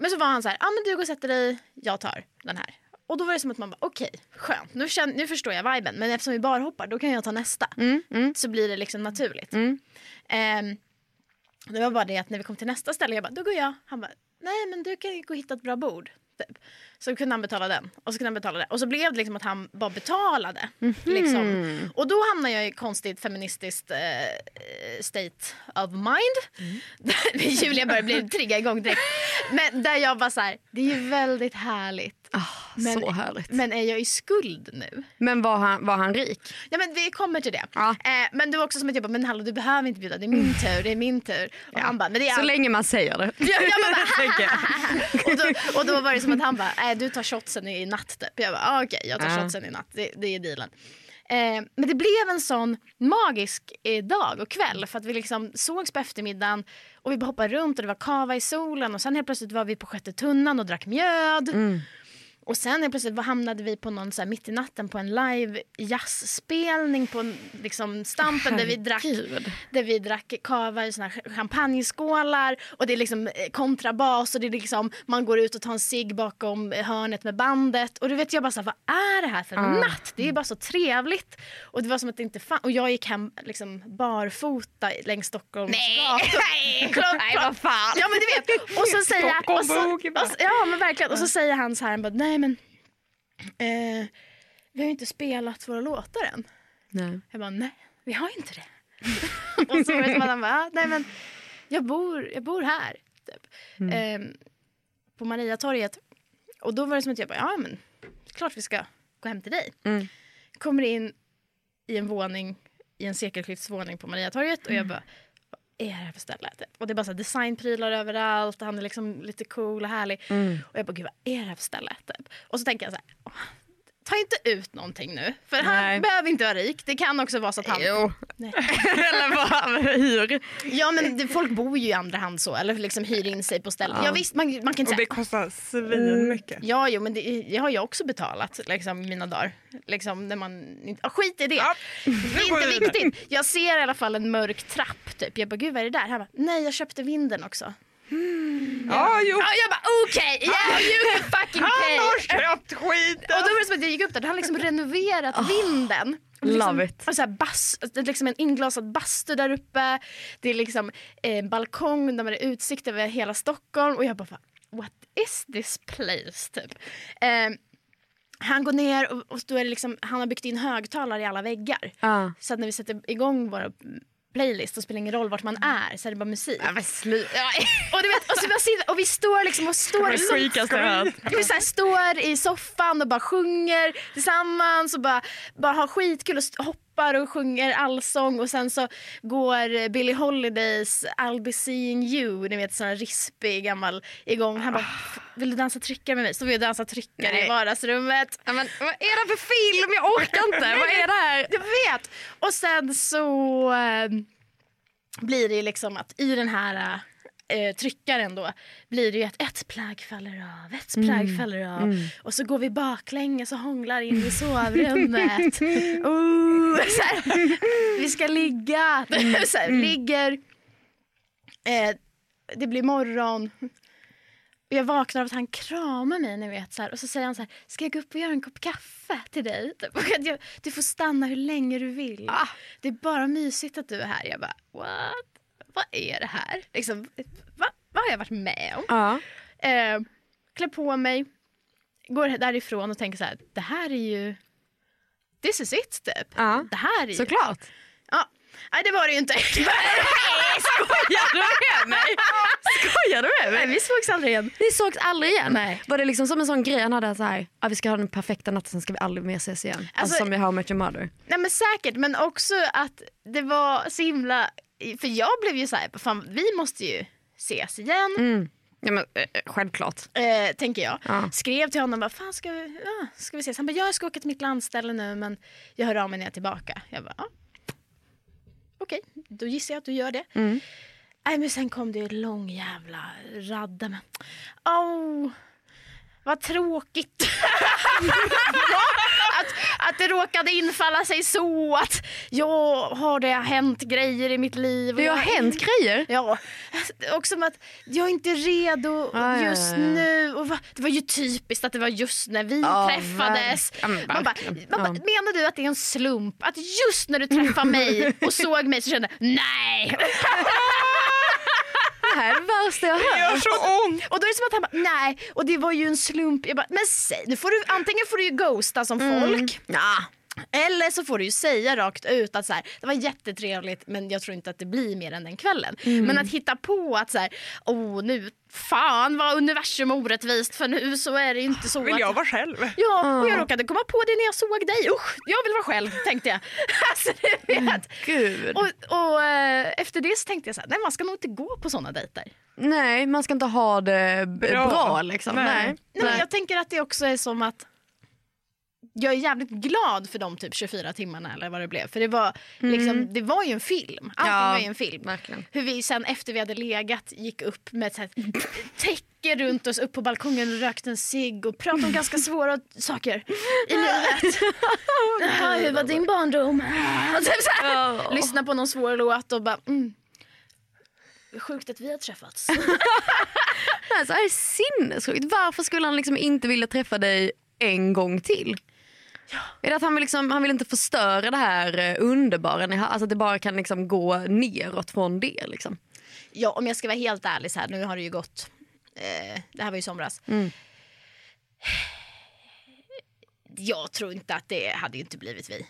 Speaker 4: men så var han så här, ah, men du går och sätter dig, jag tar den här. Och då var det som att man bara, okej, skönt, nu, känner, nu förstår jag viben. Men eftersom vi bara hoppar, då kan jag ta nästa.
Speaker 1: Mm,
Speaker 4: Så blir det liksom naturligt. Ehm, det var bara det att när vi kom till nästa ställe, jag bara, då går jag. Han bara, nej men du kan ju gå och hitta ett bra bord. Typ. Så kunde han betala den och så kunde han betala den. Och så blev det liksom att han bara betalade. Liksom. Och då hamnar jag i konstigt feministiskt eh, eh, state of mind. Julia börjar bli trigga igång direkt. Men där jag bara så här, det är ju väldigt härligt.
Speaker 1: Ah,
Speaker 4: Men-
Speaker 1: så härligt.
Speaker 4: Men är jag i skuld nu?
Speaker 1: Men var han, var han rik?
Speaker 4: Ja, men vi kommer till det.
Speaker 1: Ja.
Speaker 4: Eh, men det var också som att jag bara, men hallå du behöver inte bjuda, det är min tur, det är min tur. Och han bara, men det är
Speaker 1: Så
Speaker 4: all-
Speaker 1: länge man säger det.
Speaker 4: Ja, ja, men och, då, och då var det som att han bara, äh, du tar shotsen i natt typ. Jag bara, ah, okej jag tar
Speaker 1: Ja.
Speaker 4: shotsen i natt, det, det är dealen. Eh, men det blev en sån magisk eh, dag och kväll för att vi liksom sågs på eftermiddagen och vi bara hoppade runt och det var kava i solen och sen helt plötsligt var vi på sjätte tunnan och drack mjöd. Och sen helt plötsligt var- hamnade vi på någon så här mitt i natten på en live jazzspelning på en, liksom Stampen där vi drack där vi drack kava i såna här champagneskålar och det är liksom eh, kontrabas och det är liksom man går ut och tar en cigg bakom eh, hörnet med bandet och du vet jag bara så här, vad är det här för natt? Det är bara så trevligt och det var som att det inte fanns och jag gick hem liksom barfota längs Stockholms gator. Klockan-
Speaker 1: vad fan.
Speaker 4: Ja men du vet. Och så säger han, och så,
Speaker 5: Stockholm
Speaker 4: och
Speaker 5: boogie, va?
Speaker 4: så, ja men verkligen. Och så säger han så här, han bara, nej men eh, vi har ju inte spelat våra låtar än.
Speaker 1: Nej.
Speaker 4: Jag bara, nej, vi har ju inte det. och så var det som att han bara, "Ah, nej men jag bor, jag bor här. Typ.
Speaker 1: Mm.
Speaker 4: Ehm, på Mariatorget. Och då var det som att jag bara, ja men klart vi ska gå hem till dig.
Speaker 1: Mm.
Speaker 4: Kommer in i en våning, i en sekelskiftsvåning på Mariatorget och
Speaker 1: Mm.
Speaker 4: jag bara, vad är det här för ställe? Typ. Och det är bara så här designprylar överallt och han är liksom lite cool och härlig.
Speaker 1: Mm.
Speaker 4: Och jag bara, gud vad är det här för ställe? Typ. Och så tänker jag så här, "Åh, ta inte ut någonting nu. För
Speaker 1: Nej.
Speaker 4: han behöver inte vara rik. Det kan också vara så att han...
Speaker 1: Jo.
Speaker 4: Nej.
Speaker 1: Eller vad, hur?
Speaker 4: Ja men det, folk bor ju i andra hand så. Eller liksom hyr in sig på ställen. Ja, visst, man, man kan inte
Speaker 5: Och det
Speaker 4: säga...
Speaker 5: kostar
Speaker 1: Mm.
Speaker 5: svinmycket.
Speaker 4: Ja, jo, men det, det har jag också betalat liksom, i mina dagar. Liksom, när man, inte- ah, skit i det.
Speaker 5: Ja,
Speaker 4: det
Speaker 5: går
Speaker 4: är
Speaker 5: vi
Speaker 4: inte
Speaker 5: vidare.
Speaker 4: viktigt. Jag ser i alla fall en mörk trapp. Typ. Jag bara, gud vad är det där? Han bara, nej jag köpte vinden också.
Speaker 5: Ja, jo.
Speaker 4: Ja, jag bara, okej! yeah, you can fucking
Speaker 5: Han
Speaker 4: pay!
Speaker 5: har köpt skiten!
Speaker 4: Och då var det som att jag gick upp där, då har han liksom renoverat vinden. Och
Speaker 1: Ah, love
Speaker 4: liksom,
Speaker 1: it.
Speaker 4: Och så här bas, det är liksom en inglasad bastu där uppe. Det är liksom eh, en balkong där man har utsikt över hela Stockholm. Och jag bara, what is this place? Typ. Eh, han går ner och, och då är det liksom, han har byggt in högtalare i alla väggar.
Speaker 1: Ja.
Speaker 4: Så att när vi sätter igång våra playlist så spelar det ingen roll vart man är, så är det bara musik. Och, du vet, och, så bara sitter, och vi står liksom och står
Speaker 1: Det sjukaste jag har hört.
Speaker 4: vi så här står i soffan och bara sjunger tillsammans och bara, bara har skitkul och st- hoppar och sjunger allsång och sen så går eh, Billie Holidays I'll be seeing you, ni vet sån här rispig gammal igång. Han bara, "F- vill du dansa tryckare med mig? Så vill jag dansa tryckare
Speaker 1: Nej.
Speaker 4: i vardagsrummet.
Speaker 1: Ja, men, vad är det för film? Jag orkar inte. Vad är det här?
Speaker 4: Jag vet! Och sen så eh, blir det ju liksom att i den här eh, tryckaren då blir det ju att ett plagg faller av, ett
Speaker 1: Mm.
Speaker 4: plagg faller av och så går vi baklänges och hånglar in i sovrummet. oh, så här, vi ska ligga.
Speaker 1: Mm.
Speaker 4: så här, ligger. Eh, det blir morgon. Och Jag vaknar av att han kramar mig ni vet, så här, och så säger han så här, ska jag gå upp och göra en kopp kaffe till dig? Typ. Och att jag- Du får stanna hur länge du vill.
Speaker 1: Ah.
Speaker 4: Det är bara mysigt att du är här. Jag bara, what? Vad är det här? Liksom, va? Vad har jag varit med om?
Speaker 1: Ja.
Speaker 4: Eh, klär på mig, går därifrån och tänker så här, det här är ju, this is it typ.
Speaker 1: Ja.
Speaker 4: Det här är ju,
Speaker 1: Ah. Såklart.
Speaker 4: ja. Nej det var det ju inte.
Speaker 1: Skojar du med mig? Skojar du med
Speaker 4: Nej,
Speaker 1: mig?
Speaker 4: vi sågs aldrig igen.
Speaker 1: Ni sågs aldrig igen?
Speaker 4: Nej.
Speaker 1: Var det liksom som en sån grej han hade så här, ja, vi ska ha den perfekta natten sen ska vi aldrig mer ses igen. Alltså,
Speaker 4: Alltså-
Speaker 1: som vi har med Your Mother.
Speaker 4: Nej men säkert, men också att det var så himla... För jag blev ju så här, fan vi måste ju ses igen,
Speaker 1: Ja, men, eh, eh, självklart.
Speaker 4: eh, tänker jag.
Speaker 1: Ja.
Speaker 4: Skrev till honom, bara, fan ska vi, ja, ska vi ses? Han bara, jag ska åka till mitt landställe nu men jag hör av mig när jag är tillbaka. Jag bara, ja. Okej, då gissar jag att du gör det.
Speaker 1: Mm.
Speaker 4: Nej men sen kom det ju en lång jävla radda med, åh, vad tråkigt. att, att det råkade infalla sig så att ja, har det hänt grejer i mitt liv. och
Speaker 1: Det har
Speaker 4: jag-
Speaker 1: hänt grejer.
Speaker 4: Ja, och som att jag är inte redo
Speaker 1: Ah, Ja, ja,
Speaker 4: just
Speaker 1: ja, ja.
Speaker 4: nu. Och va, det var ju typiskt att det var just när vi
Speaker 1: Ja,
Speaker 4: träffades.
Speaker 1: verkligen. Ja, men
Speaker 4: man bara,
Speaker 1: verkligen.
Speaker 4: man bara,
Speaker 1: Ja.
Speaker 4: menar du att det är en slump att just när du träffade mig och såg mig så kände jag, nej.
Speaker 1: Det här är det värsta jag har
Speaker 5: Det
Speaker 1: hört.
Speaker 5: gör så ont!
Speaker 4: Och då är det som att han bara, nej, och det var ju en slump. Jag bara, men säg, nu får du, antingen får du ju ghosta som
Speaker 5: Mm.
Speaker 4: folk. Eller så får du ju säga rakt ut att så här, det var jättetrevligt men jag tror inte att det blir mer än den kvällen.
Speaker 5: Mm.
Speaker 4: Men att hitta på att så här, oh, nu fan vad universum orättvist för nu så är det inte så
Speaker 5: Vill
Speaker 4: att
Speaker 5: jag vara Ah. själv?
Speaker 4: Ja, och jag råkade komma på det när jag såg dig. Usch, jag vill vara själv tänkte jag. Alltså, du
Speaker 5: Mm,
Speaker 4: vet.
Speaker 1: Gud.
Speaker 4: Och, och eh, efter det så tänkte jag så här, nej man ska nog inte gå på sådana dejter.
Speaker 1: Nej, man ska inte ha det b- bra,
Speaker 5: Bra.
Speaker 1: liksom.
Speaker 5: Nej.
Speaker 1: Nej.
Speaker 4: Nej, men jag tänker att det också är som att jag är jävligt glad för de typ 24 timmarna eller vad det blev. För det var, liksom, det var ju en film. Allting
Speaker 1: Mm. Ja.
Speaker 4: var ju en film.
Speaker 1: Verkligen.
Speaker 4: Hur vi sen efter vi hade legat gick upp med ett så här täcke runt oss upp på balkongen och rökte en cigg och pratade om ganska svåra saker i livet. Jaha, hur var din barndom? Och typ så här, Lyssna på någon svår låt och bara mm. Sjukt att vi har träffats.
Speaker 1: Alltså, det här är sinnessjukt. Varför skulle han liksom inte vilja träffa dig en gång till? Är det att han vill, liksom, han vill inte förstöra det här eh, underbara ni har? Alltså att det bara kan liksom gå neråt från det liksom.
Speaker 4: Ja, om jag ska vara helt ärlig så här, nu har det ju gått, eh, det här var ju i somras. Jag tror inte att det hade ju inte blivit vi.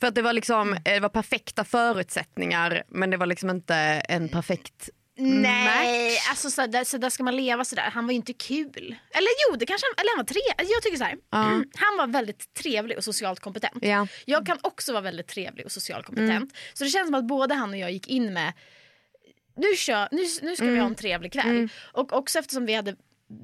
Speaker 1: För att det var, liksom, eh, det var perfekta förutsättningar men det var liksom inte en perfekt...
Speaker 4: Nej, alltså så där, så där ska man leva så där. Han var ju inte kul. Eller jo, det kanske han, eller han var tre. alltså Jag tycker så här. Mm. Han var väldigt trevlig och socialt kompetent.
Speaker 1: Ja.
Speaker 4: Jag kan också vara väldigt trevlig och socialt kompetent. Så det känns som att både han och jag gick in med nu, kör, nu, nu ska vi
Speaker 1: Mm.
Speaker 4: ha en trevlig kväll. Och också eftersom vi hade,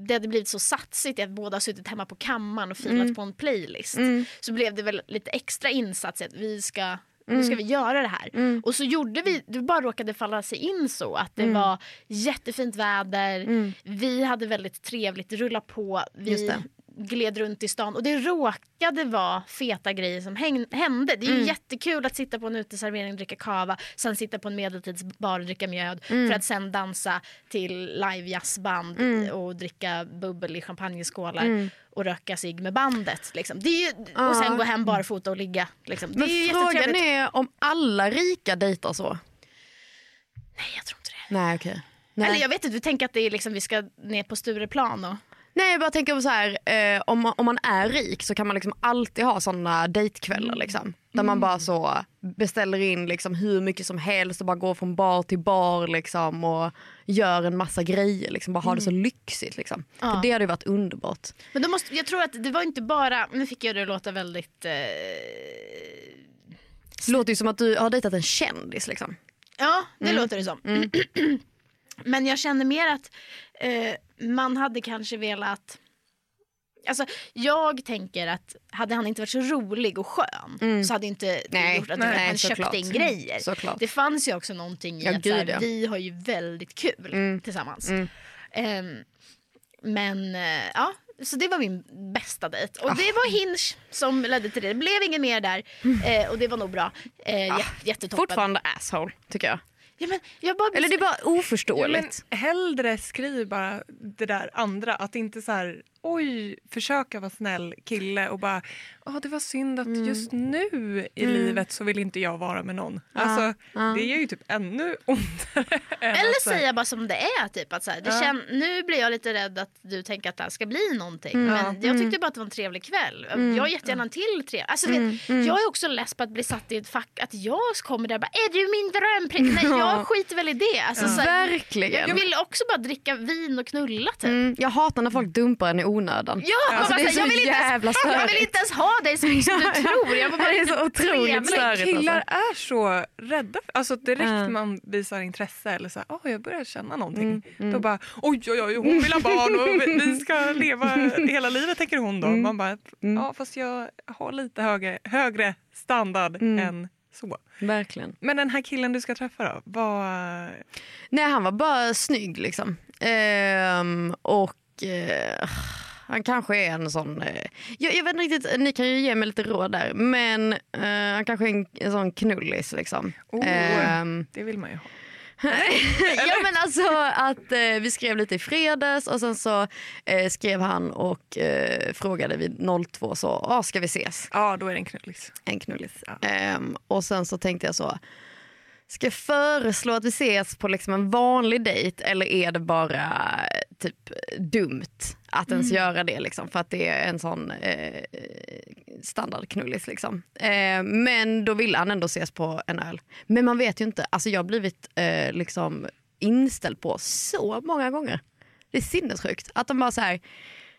Speaker 4: det hade blivit så satsigt i att båda har suttit hemma på kammaren och
Speaker 1: Mm.
Speaker 4: filat på en playlist. Så blev det väl lite extra insats i att vi ska nu ska vi
Speaker 1: Mm.
Speaker 4: göra det här. Och så gjorde vi, det bara råkade falla sig in så att
Speaker 1: Mm.
Speaker 4: det var jättefint väder, vi hade väldigt trevligt, rulla på,
Speaker 1: Just
Speaker 4: vi
Speaker 1: det.
Speaker 4: gled runt i stan och det råkade vara feta grejer som häng- hände. Det är ju
Speaker 1: Mm.
Speaker 4: jättekul att sitta på en uteservering och dricka kava, sen sitta på en medeltidsbar och dricka mjöd
Speaker 1: Mm.
Speaker 4: för att sen dansa till live jazzband
Speaker 1: Mm.
Speaker 4: och dricka bubbel i champagneskålar och röka cigg med bandet. Liksom. Det är ju, och sen gå hem barfota och ligga. Liksom. Det
Speaker 1: Ah. Men
Speaker 4: är ju
Speaker 1: frågan
Speaker 4: jättetrevligt.
Speaker 1: är om alla rika dejtar så?
Speaker 4: Nej, jag tror inte det.
Speaker 1: Nej okej. Nej.
Speaker 4: Eller jag vet inte, du tänker att det är liksom, vi ska ner på Stureplan och...
Speaker 1: Nej jag bara tänker på så här, eh, om, man, om man är rik så kan man liksom alltid ha såna dejtkvällar
Speaker 4: Mm.
Speaker 1: liksom. Där man bara så beställer in liksom hur mycket som helst och bara går från bar till bar liksom och gör en massa grejer. Liksom. Bara har det så
Speaker 4: Mm.
Speaker 1: lyxigt. Liksom. För det hade ju varit underbart.
Speaker 4: Men då måste, jag tror att det var inte bara, nu fick jag det att låta väldigt... Eh,
Speaker 1: Det låter ju som att du har dejtat en kändis. Liksom. Mm.
Speaker 4: ja, det låter det som. Men jag känner mer att eh, man hade kanske velat... Alltså, jag tänker att hade han inte varit så rolig och skön
Speaker 1: Mm.
Speaker 4: så hade ju inte det
Speaker 1: Nej,
Speaker 4: gjort att
Speaker 1: nej,
Speaker 4: han köpte
Speaker 1: såklart.
Speaker 4: in grejer.
Speaker 1: Såklart.
Speaker 4: Det fanns ju också någonting i
Speaker 1: Ja,
Speaker 4: att så här,
Speaker 1: gud, ja.
Speaker 4: vi har ju väldigt kul
Speaker 1: Mm.
Speaker 4: tillsammans.
Speaker 1: Mm.
Speaker 4: Ehm, men eh, ja, så det var min bästa dejt. Och det
Speaker 1: Ah.
Speaker 4: var Hinge som ledde till det. Det blev ingen mer där eh, och det var nog bra. Eh, jä- jättetoppen.
Speaker 1: Mm. Ah, Fortfarande asshole, tycker jag.
Speaker 4: Ja, men jag bara
Speaker 1: Eller det är bara
Speaker 5: Ja, men
Speaker 1: oförståeligt.
Speaker 5: hellre skriv bara det där andra. Att inte så här, oj, försöka vara snäll kille och bara, ja det var synd
Speaker 1: Mm.
Speaker 5: att just nu i livet så vill inte jag vara med någon. Alltså, det gör ju typ ännu ondare. än att
Speaker 4: Eller
Speaker 5: så här-
Speaker 4: säga bara som det är. Typ, att så här, det
Speaker 5: Ja.
Speaker 4: kän- nu blir jag lite rädd att du tänker att det här ska bli någonting.
Speaker 1: Mm.
Speaker 4: Men jag tyckte bara att det var en trevlig kväll. Jag har jättegärna en till trevlig. Alltså,
Speaker 1: Mm.
Speaker 4: du vet, Jag är också less på att bli satt i ett fack. Att jag kommer där och bara är du min drömprins? Nej
Speaker 1: Ja.
Speaker 4: jag skiter väl i det. Alltså, så här, jag
Speaker 1: Verkligen.
Speaker 4: vill också bara dricka vin och knulla typ.
Speaker 1: Mm, jag hatar när folk dumpar en i onödan.
Speaker 4: Ja,
Speaker 1: Alltså,
Speaker 4: bara
Speaker 1: det är
Speaker 4: så här, jag,
Speaker 1: så
Speaker 4: vill inte
Speaker 1: jävla
Speaker 4: ens, jag vill
Speaker 1: störigt.
Speaker 4: inte ens ha dig som, som du tror. Jag var bara
Speaker 1: Det är så otroligt
Speaker 4: trevlig.
Speaker 1: störigt.
Speaker 5: Killar
Speaker 1: Alltså.
Speaker 5: är så rädda. för- Alltså direkt
Speaker 1: Ja. Mm,
Speaker 5: man visar intresse eller så här, "Åh, jag börjar känna någonting. Då bara, oj, oj, oj, hon vill ha barn och vi- vi ska leva hela livet, tänker hon
Speaker 1: Mm.
Speaker 5: då. Man bara, ja fast jag har lite högre, högre standard
Speaker 1: Mm.
Speaker 5: än så.
Speaker 1: Verkligen.
Speaker 5: Men den här killen du ska träffa då, vad...
Speaker 1: Nej, han var bara snygg liksom. Ehm, och eh, han kanske är en sån... Eh, jag, jag vet inte riktigt, ni kan ju ge mig lite råd där. Men eh, han kanske är en, en sån knullis liksom.
Speaker 5: Oh.
Speaker 1: Ehm,
Speaker 5: Det vill man ju ha.
Speaker 1: ja men alltså att eh, vi skrev lite i fredags och sen så eh, skrev han och eh, frågade vid 02 så, ah, ska vi ses?
Speaker 5: Ja, då är det en knullis.
Speaker 1: En knullis.
Speaker 5: Ja.
Speaker 1: Ehm, och sen så tänkte jag så, ska jag föreslå att vi ses på liksom en vanlig dejt eller är det bara eh, typ dumt att ens göra det liksom, för att det är en sån eh, standardknullis. Liksom. Eh, men då ville han ändå ses på en öl. Men man vet ju inte, alltså jag har blivit eh, liksom inställd på så många gånger. Det är sinnessjukt att de bara så här,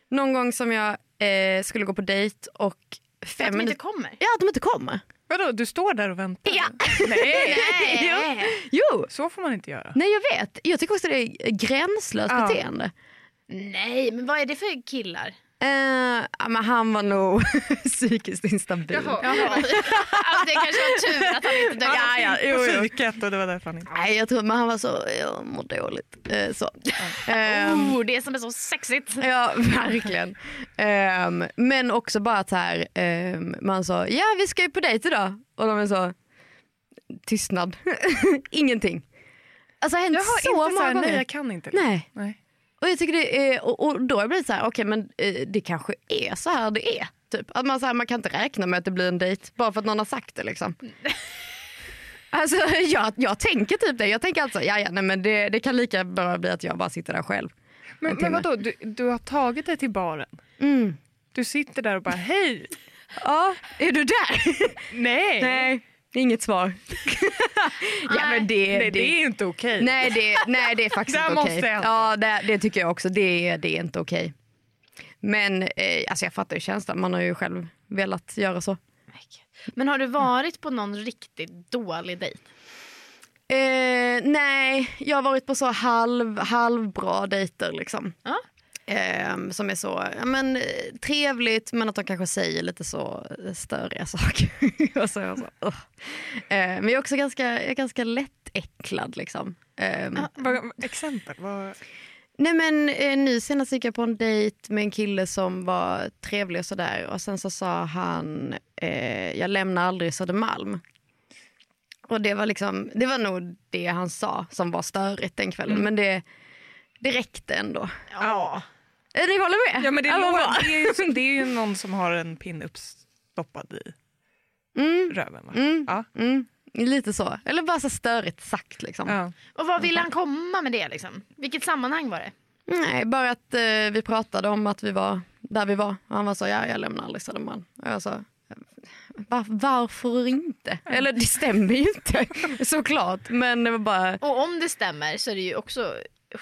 Speaker 1: någon gång som jag eh, skulle gå på dejt och
Speaker 4: Att
Speaker 1: fem
Speaker 4: de inte
Speaker 1: minuter
Speaker 4: kommer.
Speaker 1: Ja, att de inte kommer.
Speaker 5: Vadå, du står där och väntar?
Speaker 1: Ja.
Speaker 5: Nej,
Speaker 1: Jo. jo.
Speaker 5: så får man inte göra.
Speaker 1: Nej, jag vet. Jag tycker också det är gränslöst
Speaker 5: Ja.
Speaker 1: beteende.
Speaker 4: Nej men vad är det för killar?
Speaker 1: Eh, ja, men han var nog psykiskt instabil.
Speaker 4: Alltså, det kanske var tur att han inte dök upp.
Speaker 1: Ja, ja, jo,
Speaker 5: På
Speaker 1: jo.
Speaker 5: psyket och det var därför han inte...
Speaker 1: Nej, jag tror, men han var så, jag mår dåligt. Eh, så. Ehm,
Speaker 4: Oh, det som är så sexigt.
Speaker 1: Ja, verkligen. Ehm, men också bara att så här, ehm, man sa ja vi ska ju på dejt idag och de är så tystnad, ingenting. Alltså det har hänt
Speaker 5: Jag har
Speaker 1: så
Speaker 5: inte så
Speaker 1: många
Speaker 5: här,
Speaker 1: gånger.
Speaker 5: nej jag kan inte.
Speaker 1: Nej.
Speaker 5: Nej.
Speaker 1: Och, jag tycker det är, och, och då har jag blivit så här, okej men eh, det kanske är så här det är. Typ. Att man, så här, man kan inte räkna med att det blir en dejt bara för att någon har sagt det. Liksom. Alltså, jag, jag tänker typ det. Jag tänker alltså, ja, ja, nej, men det, det kan lika bra bli att jag bara sitter där själv.
Speaker 5: Men,
Speaker 1: en
Speaker 5: men
Speaker 1: timme.
Speaker 5: vadå, du, du har tagit dig till baren?
Speaker 1: Mm.
Speaker 5: Du sitter där och bara hej!
Speaker 1: Ja, är du där?
Speaker 5: Nej! Nej,
Speaker 1: Nej, det är inget svar. ja, men det,
Speaker 5: det,
Speaker 1: det,
Speaker 5: är inte okej.
Speaker 1: nej, det, nej, det är faktiskt
Speaker 5: Där
Speaker 1: inte
Speaker 5: måste
Speaker 1: okej.
Speaker 5: jag ändra.
Speaker 1: Ja, det, det tycker jag också. Det, är- det är inte okej. Men eh, alltså jag fattar ju känslan. Man har ju själv velat göra så.
Speaker 4: Men har du varit på någon riktigt dålig dejt?
Speaker 1: Eh, nej, jag har varit på så halv, halvbra dejter liksom.
Speaker 4: Ja.
Speaker 1: Ehm, som är så ja, men, eh, trevligt men att de kanske säger lite så eh, störiga saker. och så, är jag så, "Ugh." eh, men jag är också ganska, jag är ganska lättäcklad liksom. Ehm,
Speaker 5: Vad- exempel, vad...
Speaker 1: Nej men eh, nu senast gick jag på en dejt med en kille som var trevlig och sådär och sen så sa han eh, jag lämnar aldrig Södermalm. Och det var liksom, det var nog det han sa som var störigt den kvällen men det, det räckte ändå.
Speaker 5: Mm. Ja.
Speaker 1: Eh, Ni håller med? Alltså,
Speaker 5: ja men det,
Speaker 1: vad bra.
Speaker 5: låter, det, är ju, som- det är ju någon som har en pin uppstoppad i
Speaker 1: Mm,
Speaker 5: röven va?
Speaker 1: Mm.
Speaker 5: Ja.
Speaker 1: mm, lite så, eller bara så störigt sagt liksom.
Speaker 5: Ja.
Speaker 4: Och vad ville han komma med det? Liksom? Vilket sammanhang var det?
Speaker 1: Nej, bara att eh, vi pratade om att vi var där vi var. Och han var så, ja jag lämnar aldrig Södermalm. Och jag sa, var, varför inte? Eller det stämmer ju inte såklart. Men det var bara, nej,
Speaker 4: Och om det stämmer så är det ju också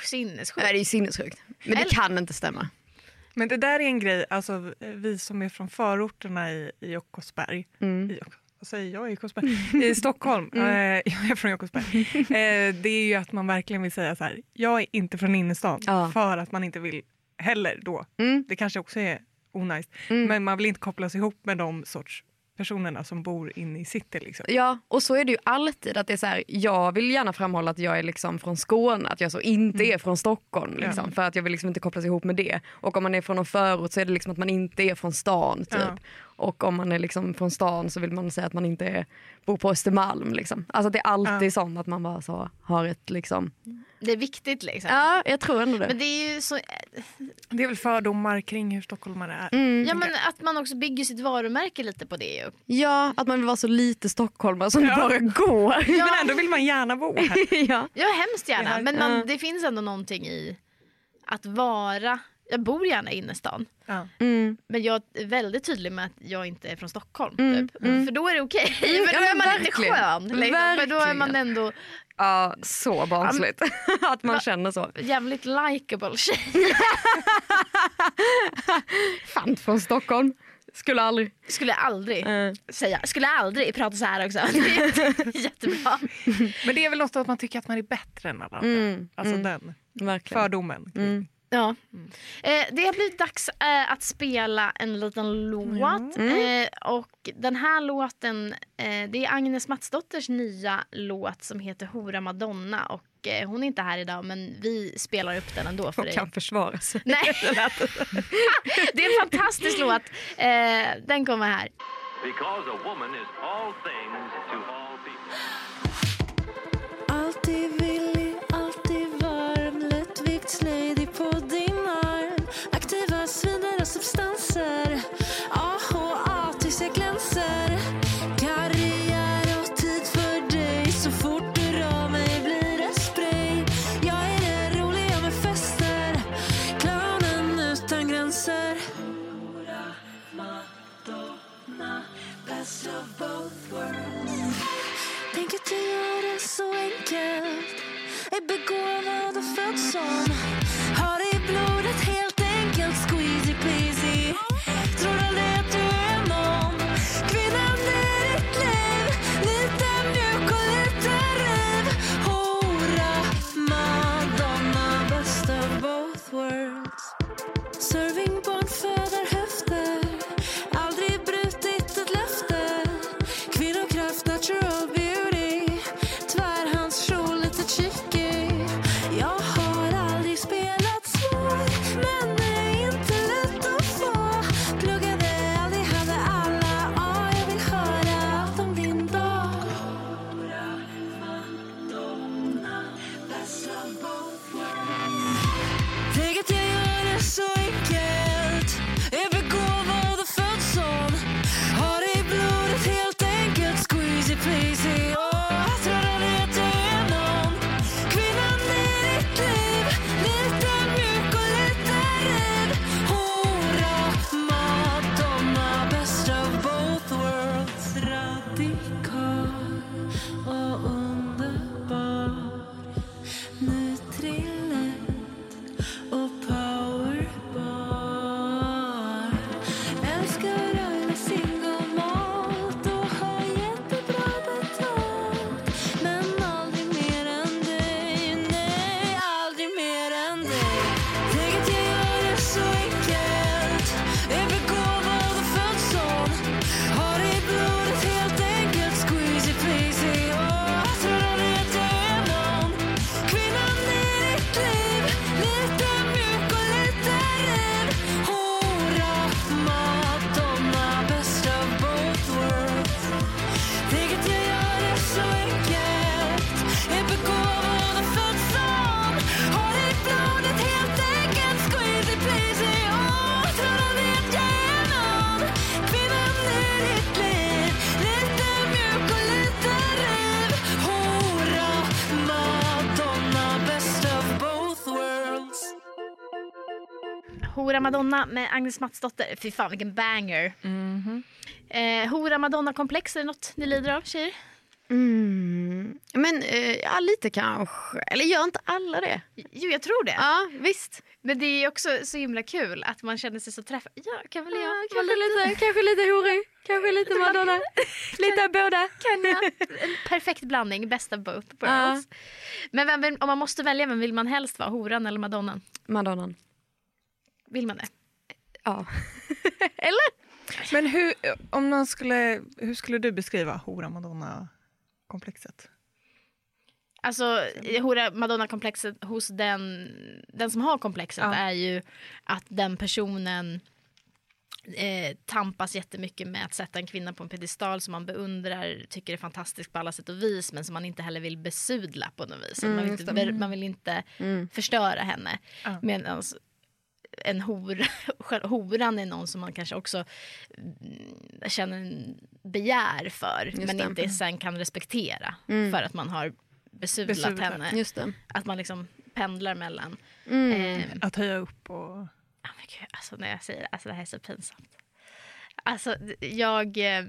Speaker 4: sinnessjukt.
Speaker 1: det är ju sinnessjukt. Men det
Speaker 4: Eller-
Speaker 1: kan inte stämma.
Speaker 5: Men
Speaker 1: Mm.
Speaker 5: det där är en grej, alltså vi som är från förorterna i, i Jokkosberg, i Jok- vad säger jag i Jakobsberg? I Stockholm, eh, jag är från Jakobsberg. Eh, det är ju att man verkligen vill säga så här, jag är inte från innerstan.
Speaker 1: Ja.
Speaker 5: För att man inte vill heller då.
Speaker 1: Mm.
Speaker 5: Det kanske också är onajs. Men man vill inte kopplas ihop med de sorts personerna som bor inne i city. Liksom.
Speaker 1: Ja, och så är det ju alltid. att det är så här, Jag vill gärna framhålla att jag är liksom från Skåne, att jag så inte är från Stockholm. Liksom, För att jag vill liksom inte kopplas ihop med det. Och om man är från någon förort så är det liksom att man inte är från stan. Typ.
Speaker 5: Ja.
Speaker 1: Och om man är liksom från stan så vill man säga att man inte är, bor på Östermalm. Liksom. Alltså att det är alltid sånt att man bara så har ett liksom...
Speaker 4: Det är viktigt liksom.
Speaker 1: Ja, jag tror ändå det.
Speaker 4: Men det är ju så,
Speaker 5: Det är väl fördomar kring hur stockholmare är.
Speaker 1: Mm.
Speaker 4: ja, men att man också bygger sitt varumärke lite på det ju.
Speaker 1: Ja, att man vill vara så lite stockholmare som det bara går.
Speaker 5: Men ändå vill man gärna bo här.
Speaker 1: ja.
Speaker 4: Ja, hemskt gärna.
Speaker 5: Det här-
Speaker 4: men man,
Speaker 1: Ja.
Speaker 4: det finns ändå någonting i att vara... Jag bor gärna i innerstan,
Speaker 5: Ja.
Speaker 1: Mm.
Speaker 4: men jag är väldigt tydlig med att jag inte är från Stockholm.
Speaker 1: Mm,
Speaker 4: Typ. För då är det okej.
Speaker 1: Mm,
Speaker 4: Men
Speaker 1: ja,
Speaker 4: då är
Speaker 1: men
Speaker 4: man
Speaker 1: verkligen.
Speaker 4: inte skön. Liksom. För då är man
Speaker 1: Verkligen.
Speaker 4: ändå
Speaker 1: ja, så barnsligt att man känner så.
Speaker 4: jävligt likeable tjej.
Speaker 1: Fan från Stockholm. Skulle aldrig...
Speaker 4: Skulle jag aldrig
Speaker 1: Eh.
Speaker 4: säga. Skulle jag aldrig prata så här också. Jättebra.
Speaker 5: Men det är väl något att man tycker att man är bättre än alla andra.
Speaker 1: Mm,
Speaker 5: Alltså
Speaker 1: mm.
Speaker 5: den
Speaker 1: Verkligen.
Speaker 5: fördomen.
Speaker 1: Mm.
Speaker 4: Ja. Eh, det har blivit dags eh, att spela en liten låt.
Speaker 1: Mm.
Speaker 4: Eh, och den här låten, eh, det är Agnes Matsdotters nya låt som heter Hora Madonna. Och eh, hon är inte här idag men vi spelar upp den ändå för
Speaker 1: Och
Speaker 4: dig.
Speaker 1: kan försvara sig.
Speaker 4: Nej. det är en fantastisk låt. Eh, den kommer här.
Speaker 8: Because a woman is all things to all people.
Speaker 9: Alltid villig, alltid varm Lättvikt, slidig på din arm Aktiva svinare substanser AHA tills jag glänser Karriär och tid för dig Så fort du rör mig blir det spray Jag är den roliga med fester Clownen utan gränser Madonna, best of both worlds Tänk att jag gör det så enkelt Är begåvad och född som Har det i blodet helt enkelt Squeezy pleasy Tror aldrig att du är någon Kvinnan i ditt liv Lite mjuk och lite riv Hora, Madonna, best of both worlds Serving barn föder höfter Aldrig brutit ett löfte Kvinnokraft, natural beauty Tvärhandskjol, lite cheeky Jag har aldrig spelat svår Men är inte lätt att få Pluggade aldrig, hade alla A Jag vill höra allt om din dag Hora, Madonna, best of both worlds Tänk att jag gör det så enkelt Är begåvad och född sån Har det i blodet helt enkelt Squeezy pleasy Åh, tror aldrig att jag är någon Kvinnan i ditt liv Lite mjuk och lite rädd Hora, Madonna Best of both worlds Radikal och underbar Nutrilett och powerbar. Älskar alla singelmat och har jättebra betalt. Men aldrig mer än dig, nej, aldrig mer än dig. Tänk att jag gör det så enkelt. Är begåvad och född sån. Har det i blodet helt enkelt. Squeezy pleasy. Åh, tror aldrig att jag är någon. Kvinnan i ditt liv. Lite mjuk och lite rädd. Hora, Madonna, best of both worlds. Tänk att jag gör det så enkelt. Är begåvad och född sån. Har det i blodet helt enkelt. Squeezy pleasy. Åh, tror aldrig att jag är någon. Kvinnan i ditt liv. Lite mjuk och lite rädd. Hora, Madonna, best of both worlds.
Speaker 4: Hora Madonna med Agnes Matsdotter. Fy
Speaker 1: Mhm.
Speaker 4: fan vilken banger. Eh, Hora Madonna-komplex, är det något ni lider av tjejer?
Speaker 1: Mm. Men eh, ja, lite kanske. Eller gör inte alla det?
Speaker 4: Jo, jag tror det.
Speaker 1: Ja, visst.
Speaker 4: Men det är också så himla kul att man känner sig så träffad. Ja, kan väl jag?
Speaker 1: Ja, kanske, lite, kanske lite hora, kanske lite madonna, lite av båda.
Speaker 4: Kan jag? En perfekt blandning, best of both worlds. Men vem vill, om man måste välja, vem vill man helst vara? Horan eller madonnan?
Speaker 1: Madonnan.
Speaker 4: Vill man det?
Speaker 1: Ja.
Speaker 5: Men hur, om någon skulle, hur skulle du beskriva hora Madonna-komplexet?
Speaker 4: Alltså, hora Madonna-komplexet hos den, den som har komplexet
Speaker 5: Ja.
Speaker 4: är ju att den personen eh, tampas jättemycket med att sätta en kvinna på en piedestal som man beundrar, tycker är fantastisk på alla sätt och vis men som man inte heller vill besudla på något vis.
Speaker 5: Mm,
Speaker 4: man, vill inte, ber- man vill inte förstöra henne.
Speaker 5: Ja.
Speaker 4: Medan en hora, själva horan är någon som man kanske också mm, känner en begär för men
Speaker 1: det.
Speaker 4: inte sen kan respektera
Speaker 5: Mm.
Speaker 4: för att man har besudlat,
Speaker 5: Besudlat. Mm.
Speaker 4: henne.
Speaker 1: Just det.
Speaker 4: Att man liksom pendlar mellan. Eh,
Speaker 5: Att höja upp och...
Speaker 4: ah, men gud, alltså när jag säger det, alltså det här är så pinsamt. Alltså d- jag eh,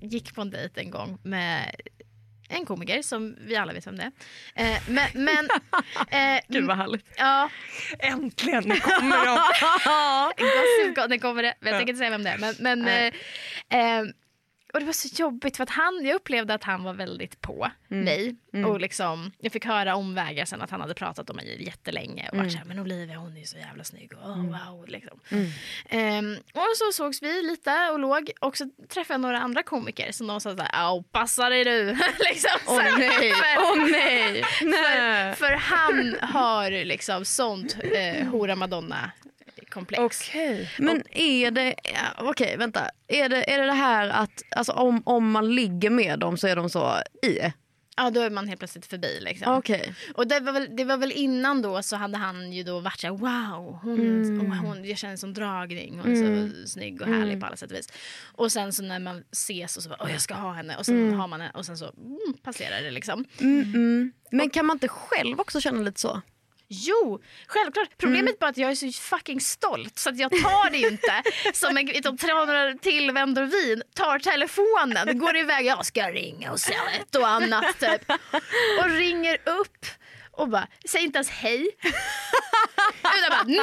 Speaker 4: gick på en dejt en gång med en komiker som vi alla vet vem det är. Eh, men, men, eh,
Speaker 5: Gud vad härligt.
Speaker 4: Ja,
Speaker 5: Äntligen, nu kommer de.
Speaker 4: gossip, Girl, nu kommer det. Men jag
Speaker 5: Ja.
Speaker 4: tänker inte säga vem det är. Men, men, eh, eh, och det var så jobbigt för att han, jag upplevde att han var väldigt på mig. Och liksom, jag fick höra omvägar sen att han hade pratat om mig jättelänge. Och varit såhär, men Olivia hon är ju så jävla snygg. Och, oh, wow, liksom. Ehm, och så sågs vi lite och låg. Och så träffade jag några andra komiker som de sa såhär, "Au, passa dig du. liksom, så här, för-
Speaker 1: nej!
Speaker 4: för, för han har liksom sånt eh, hora madonna komplex.
Speaker 5: Okej.
Speaker 1: Men är det, ja, okej vänta, är det, är det det här att alltså, om, om man ligger med dem så är de så i?
Speaker 4: Ja, då är man helt plötsligt förbi. Liksom.
Speaker 1: Okej.
Speaker 4: Och det var, väl, det var väl innan då så hade han ju då varit så här, wow, hon, och hon, jag känner en sån dragning, hon är så snygg och härlig på alla sätt och vis. Och sen så när man ses och så bara, åh jag ska ha henne och sen har man henne och sen så mm, passerar det liksom.
Speaker 1: Men kan man inte själv också känna lite så?
Speaker 4: Jo, självklart. Problemet bara att jag är så fucking stolt så att jag tar det ju inte. Som en utan tranar till, vänder vin, tar telefonen, går iväg. Jag ska ringa och säga ett och annat typ. Och ringer upp och bara, säger inte ens hej. Utan bara, "Nu,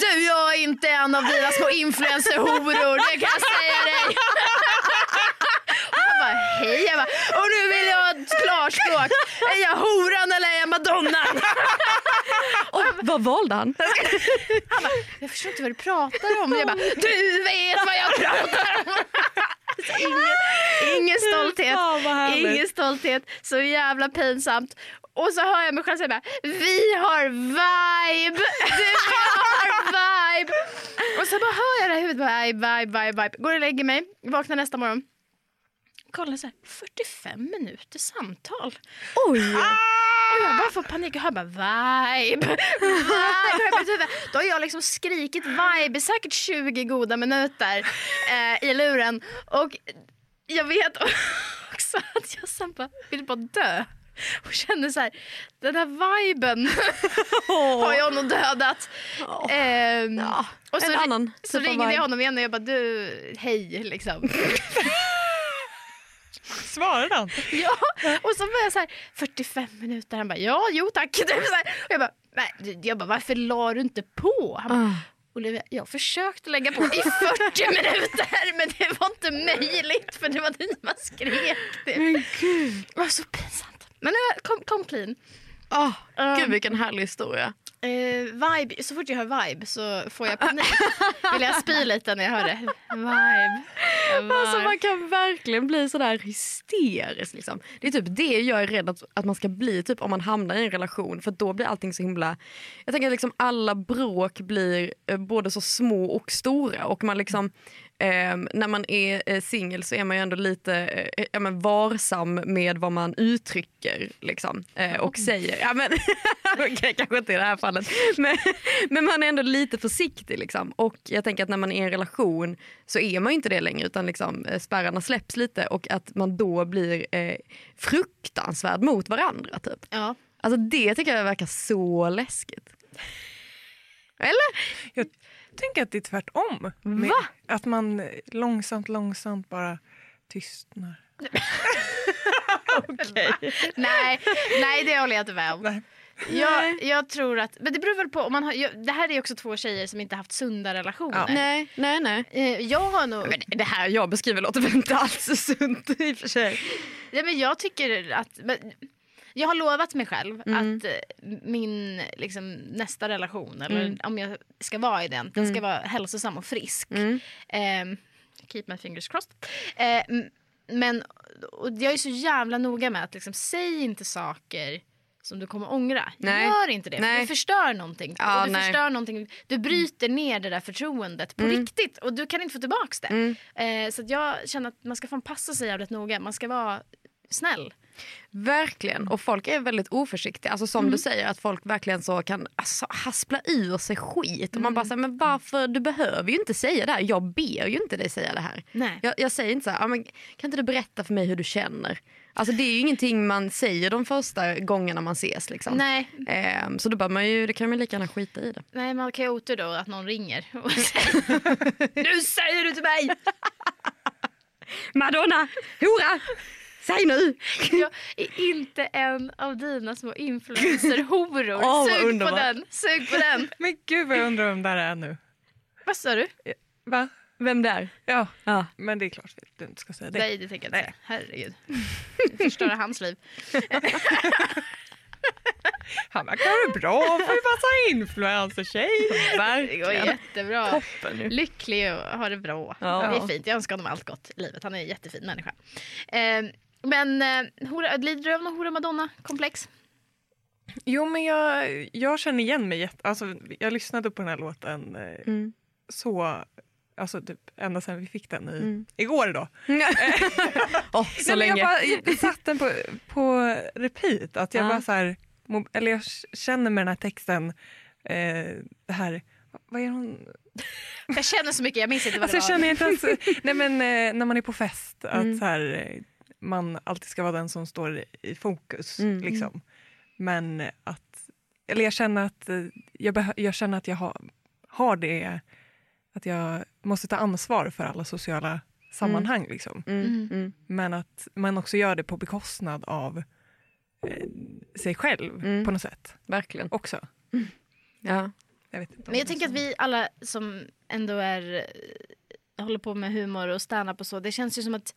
Speaker 4: du jag är inte en av dina små influencerhoror, det kan jag säga dig. Han bara hej, jag bara, och nu vill jag ha ett klarspråk. Är jag horan eller är jag madonnan?
Speaker 1: Och, vad valde han?
Speaker 4: Jag förstår inte vad du pratar om. Jag bara, du vet vad jag pratar om! Så Ingen, ingen stolthet.
Speaker 5: Fan, vad härligt.
Speaker 4: ingen stolthet. Så jävla pinsamt. Och så hör jag mig själv säga bara, vi har vibe! Du och jag har vibe! Och så bara hör jag det här i huvudet, bara, vibe, vibe, vibe, vibe. Går och lägger mig, vaknar nästa morgon. Kollar så här, 45 minuter samtal.
Speaker 1: Oj!
Speaker 4: Och jag bara får panik och hör bara vibe, vibe. Och jag bara, typ, Då har jag liksom skrikit vibe i säkert 20 goda minuter eh, i luren. Och jag vet också att jag sen bara vill bara dö. Och känner så här, den här viben har jag nog dödat. Ehm,
Speaker 1: Ja,
Speaker 4: och så,
Speaker 1: en
Speaker 4: ri-
Speaker 1: annan
Speaker 4: så
Speaker 1: typ av
Speaker 4: ringde jag
Speaker 1: vibe.
Speaker 4: honom igen och jag bara du, hej liksom.
Speaker 5: Svarade han?
Speaker 4: Ja, och så var jag så här 45 minuter. Han bara ja, jo tack. Typ så här. Och jag bara, nej, jag bara varför la du inte på? Han bara,
Speaker 1: Ah.
Speaker 4: Olivia, jag försökte lägga på i 40 minuter men det var inte möjligt för det var du man skrek. Det var så pinsamt. Men jag kom, kom clean.
Speaker 1: Ah,
Speaker 4: Um,
Speaker 1: Gud vilken härlig historia.
Speaker 4: Eh, vibe, så fort jag hör vibe så får jag panik. Vill jag spy lite när jag hör det? Vibe. vibe.
Speaker 1: Alltså man kan verkligen bli sådär hysterisk. Liksom. Det är typ det jag är rädd att, att man ska bli typ om man hamnar i en relation för då blir allting så himla... Jag tänker att liksom alla bråk blir eh, både så små och stora och man liksom... ehm, när man är eh, singel så är man ju ändå lite eh, ja, men varsam med vad man uttrycker liksom, eh, och säger. Ja, men, okej, kanske inte i det här fallet. Men, men man är ändå lite försiktig. Liksom. Och jag tänker att när man är i en relation så är man ju inte det längre utan liksom, eh, spärrarna släpps lite och att man då blir eh, fruktansvärd mot varandra. Typ.
Speaker 4: Ja.
Speaker 1: Alltså det tycker jag verkar så läskigt. Eller?
Speaker 5: Jag tänker att det är tvärtom. Med- Att man långsamt, långsamt bara tystnar.
Speaker 4: Nej, nej, det håller jag inte med om.
Speaker 5: Nej.
Speaker 4: Jag, jag tror att, men det beror väl på om man har, jag, det här är också två tjejer som inte haft sunda relationer.
Speaker 1: Nej, nej, nej.
Speaker 4: Eh, Jag har nog,
Speaker 1: Men det här jag beskriver låter väl inte alls så sunt i och för sig.
Speaker 4: ja, men jag tycker att, men, jag har lovat mig själv
Speaker 1: Mm.
Speaker 4: att eh, min liksom, nästa relation, eller
Speaker 1: Mm.
Speaker 4: om jag ska vara i den, den ska vara hälsosam och frisk.
Speaker 1: Mm.
Speaker 4: Ehm, keep my fingers crossed. Eh, m- men och jag är så jävla noga med att liksom, säg inte saker som du kommer ångra.
Speaker 1: Nej.
Speaker 4: Gör inte det. för
Speaker 1: Nej.
Speaker 4: Du förstör någonting.
Speaker 1: Ja,
Speaker 4: och du,
Speaker 1: nej.
Speaker 4: förstör någonting. du bryter ner det där förtroendet på riktigt och du kan inte få tillbaka det.
Speaker 1: Mm.
Speaker 4: Eh, så att jag känner att man ska fan passa sig jävligt noga. Man ska vara snäll.
Speaker 1: Verkligen. Och folk är väldigt oförsiktiga. Alltså
Speaker 4: Mm.
Speaker 1: som du säger, att folk verkligen så kan alltså, haspla ur sig skit. Och man
Speaker 4: Mm.
Speaker 1: bara säger, men varför? Du behöver ju inte säga det här. Jag ber ju inte dig säga det här.
Speaker 4: Nej.
Speaker 1: Jag, jag säger inte så här, "Ah, men, kan inte du berätta för mig hur du känner? Alltså det är ju ingenting man säger de första gångerna man ses. Liksom.
Speaker 4: Nej,
Speaker 1: Ehm, så då bör man ju, det kan man ju lika gärna skita i det.
Speaker 4: nej, man kan ju ha otur då att någon ringer och säger Nu säger du till mig!
Speaker 1: Madonna! Hora! Säg nu!
Speaker 4: Jag är inte en av dina små influencer-horor.
Speaker 1: Åh, vad
Speaker 4: Sug på
Speaker 1: underbart.
Speaker 4: den! Sug på den!
Speaker 5: Men gud vad jag undrar vem där är nu.
Speaker 4: Vad sa du?
Speaker 5: Va?
Speaker 1: Vem där?
Speaker 5: Ja,
Speaker 1: Ja.
Speaker 5: men det är klart att du inte ska säga det.
Speaker 4: Nej, det tänker jag inte säga. Herregud. Förstöra hans liv.
Speaker 5: Han verkar ha det bra för en massa influencertjejer.
Speaker 4: Det går jättebra.
Speaker 5: Toppen ju.
Speaker 4: Lycklig och har det bra.
Speaker 1: Ja.
Speaker 4: Det är fint. Jag önskar honom allt gott i livet. Han är en jättefin människa. Eh, men eh, hora, lider du av någon hora madonna-komplex?
Speaker 5: Jo, men jag, jag känner igen mig jätte... Alltså, jag lyssnade på den här låten eh,
Speaker 1: Mm.
Speaker 5: så... Alltså, typ, ända sedan vi fick den i, igår då.
Speaker 1: Mm. Åh, så
Speaker 5: Nej, men
Speaker 1: länge.
Speaker 5: Jag bara, satt den på, på repeat. Att jag
Speaker 1: Ja.
Speaker 5: bara så här, mo- eller jag känner med den här texten, eh, det här... Vad är hon?
Speaker 4: Jag känner så mycket, jag minns inte vad
Speaker 5: Alltså, jag
Speaker 4: det var.
Speaker 5: känner inte ens, nej, men, eh, när man är på fest,
Speaker 1: Mm.
Speaker 5: att så här, eh, man alltid ska vara den som står i fokus.
Speaker 1: Mm.
Speaker 5: Liksom. Men att... Eller jag känner att eh, jag, behö- jag, känner att jag har, har det... Att jag måste ta ansvar för alla sociala sammanhang. Liksom.
Speaker 1: Mm, mm,
Speaker 5: Men att man också gör det på bekostnad av eh, sig själv
Speaker 1: Mm.
Speaker 5: på något sätt.
Speaker 1: verkligen.
Speaker 5: också.
Speaker 1: Ja.
Speaker 5: Jag vet inte om
Speaker 4: Men jag
Speaker 5: det är
Speaker 4: tänker att
Speaker 5: så.
Speaker 4: vi alla som ändå är, eh, håller på med humor och stand-up och så, det känns ju som att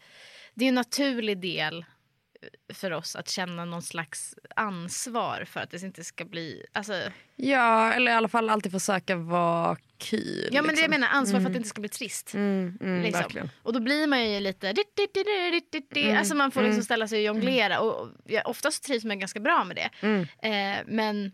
Speaker 4: det är en naturlig del eh, för oss att känna någon slags ansvar för att det inte ska bli... Alltså,
Speaker 1: ja, eller i alla fall alltid försöka vara kul.
Speaker 4: ja, men det
Speaker 1: liksom.
Speaker 4: jag menar ansvar för att det inte ska bli trist.
Speaker 1: Mm, mm,
Speaker 4: liksom.
Speaker 1: Verkligen. Mm,
Speaker 4: Och då blir man ju lite... dit, dit, dit, dit, dit, dit. Alltså man får liksom ställa sig och jonglera. Och och jag, oftast trivs man ganska bra med det.
Speaker 1: Mm.
Speaker 4: Eh, men,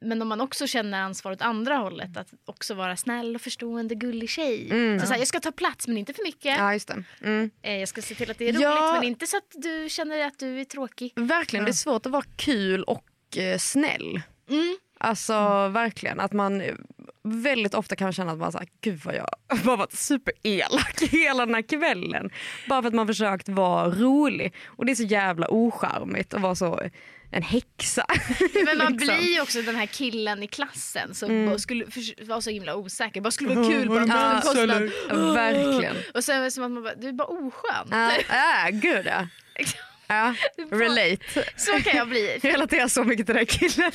Speaker 4: men om man också känner ansvar åt andra hållet, att också vara snäll och förstående, gullig tjej.
Speaker 1: Mm.
Speaker 4: Så, så här, jag ska ta plats men inte för mycket.
Speaker 1: Ja, just det. Mm.
Speaker 4: Eh, jag ska se till att det är roligt
Speaker 1: Ja.
Speaker 4: men inte så att du känner att du är tråkig.
Speaker 1: Verkligen, det är svårt att vara kul och eh, snäll.
Speaker 4: Mm.
Speaker 1: Alltså verkligen, att man eh, väldigt ofta kan känna att man säger gud vad jag har varit superelak hela den här kvällen. Bara för att man försökt vara rolig. Och det är så jävla ocharmigt att vara så eh, en häxa.
Speaker 4: Men man
Speaker 1: Liksom.
Speaker 4: blir ju också den här killen i klassen som
Speaker 1: Mm.
Speaker 4: bara skulle för, var så himla osäker. Bara skulle vara kul på
Speaker 5: var
Speaker 4: någon
Speaker 5: det
Speaker 1: bra
Speaker 4: bekostnad.
Speaker 1: Ja, verkligen.
Speaker 4: Och sen är det som att man bara, du är bara oskön.
Speaker 1: Ja, ja, gud ja. ja. Relate.
Speaker 4: Så kan jag bli.
Speaker 1: Jag relaterar så mycket till den här killen.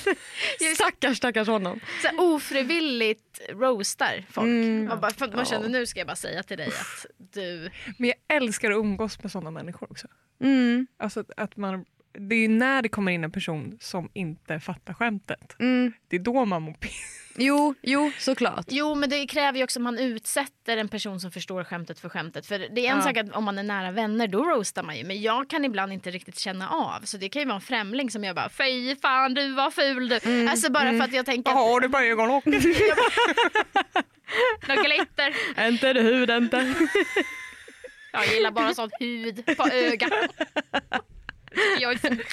Speaker 1: Stackars, stackars honom.
Speaker 4: Så här, ofrivilligt roastar folk.
Speaker 1: Mm.
Speaker 4: Man, bara, för att man
Speaker 1: Ja.
Speaker 4: känner nu ska jag bara säga till dig att du...
Speaker 5: Men jag älskar att umgås med sådana människor också.
Speaker 1: Mm,
Speaker 5: Alltså att, att man, det är ju när det kommer in en person som inte fattar skämtet.
Speaker 1: mm.
Speaker 5: Det är då man mår piss.
Speaker 1: Jo, jo, såklart.
Speaker 4: Jo men det kräver ju också att man utsätter en person som förstår skämtet för skämtet. För det är en
Speaker 1: Ja.
Speaker 4: sak att om man är nära vänner då roastar man ju. Men jag kan ibland inte riktigt känna av. Så det kan ju vara en främling som jag bara fy fan du var ful du.
Speaker 1: Mm.
Speaker 4: Alltså bara för att jag tänker
Speaker 5: Vad
Speaker 4: att
Speaker 5: har du på ögonlocken?
Speaker 4: något glitter.
Speaker 1: Inte är det hud, inte.
Speaker 4: Jag gillar bara sån hud på ögat. Jag är så-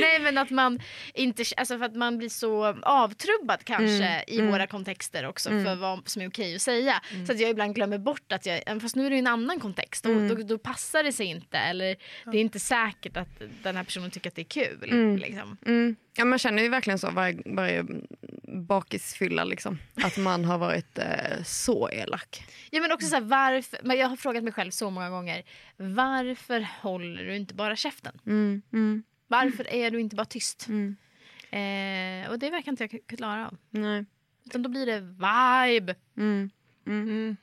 Speaker 4: Nej men att man inte, alltså för att man blir så avtrubbad kanske i våra kontexter också för vad som är okej att säga. Så att jag ibland glömmer bort att jag, även fast nu är det ju en annan kontext, då, då, då passar det sig inte eller det är inte säkert att den här personen tycker att det är kul. Liksom.
Speaker 1: Mm. Ja, man känner ju verkligen så varje, varje bakisfylla liksom. Att man har varit eh, så elak.
Speaker 4: Ja, men också så här, varför, men jag har frågat mig själv så många gånger. Varför håller du inte bara käften?
Speaker 1: Mm, mm,
Speaker 4: Varför är du inte bara tyst?
Speaker 1: mm.
Speaker 4: Eh, och det verkar inte jag k- klara av.
Speaker 1: Nej.
Speaker 4: Utan då blir det vibe. Ah,
Speaker 1: Mm.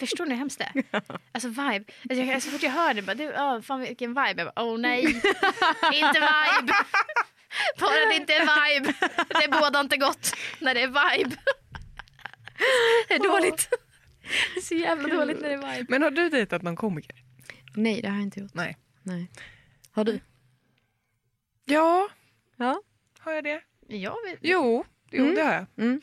Speaker 4: Förstår ni hur hemskt det är? Alltså vibe. Alltså, jag, så fort jag hör det, bara, det oh, fan vilken vibe. Jag bara, oh nej, inte vibe. Bara det inte är vibe. Det är båda inte gott när det är vibe. Det är dåligt. Det är så jävla dåligt när det är vibe.
Speaker 5: Men har du dejtat någon komiker?
Speaker 1: Nej, det har jag inte gjort.
Speaker 5: Nej.
Speaker 1: Nej. Har du?
Speaker 5: Ja.
Speaker 1: Ja.
Speaker 5: Har jag det?
Speaker 4: Jag vet.
Speaker 5: Jo, Mm. jo det har jag.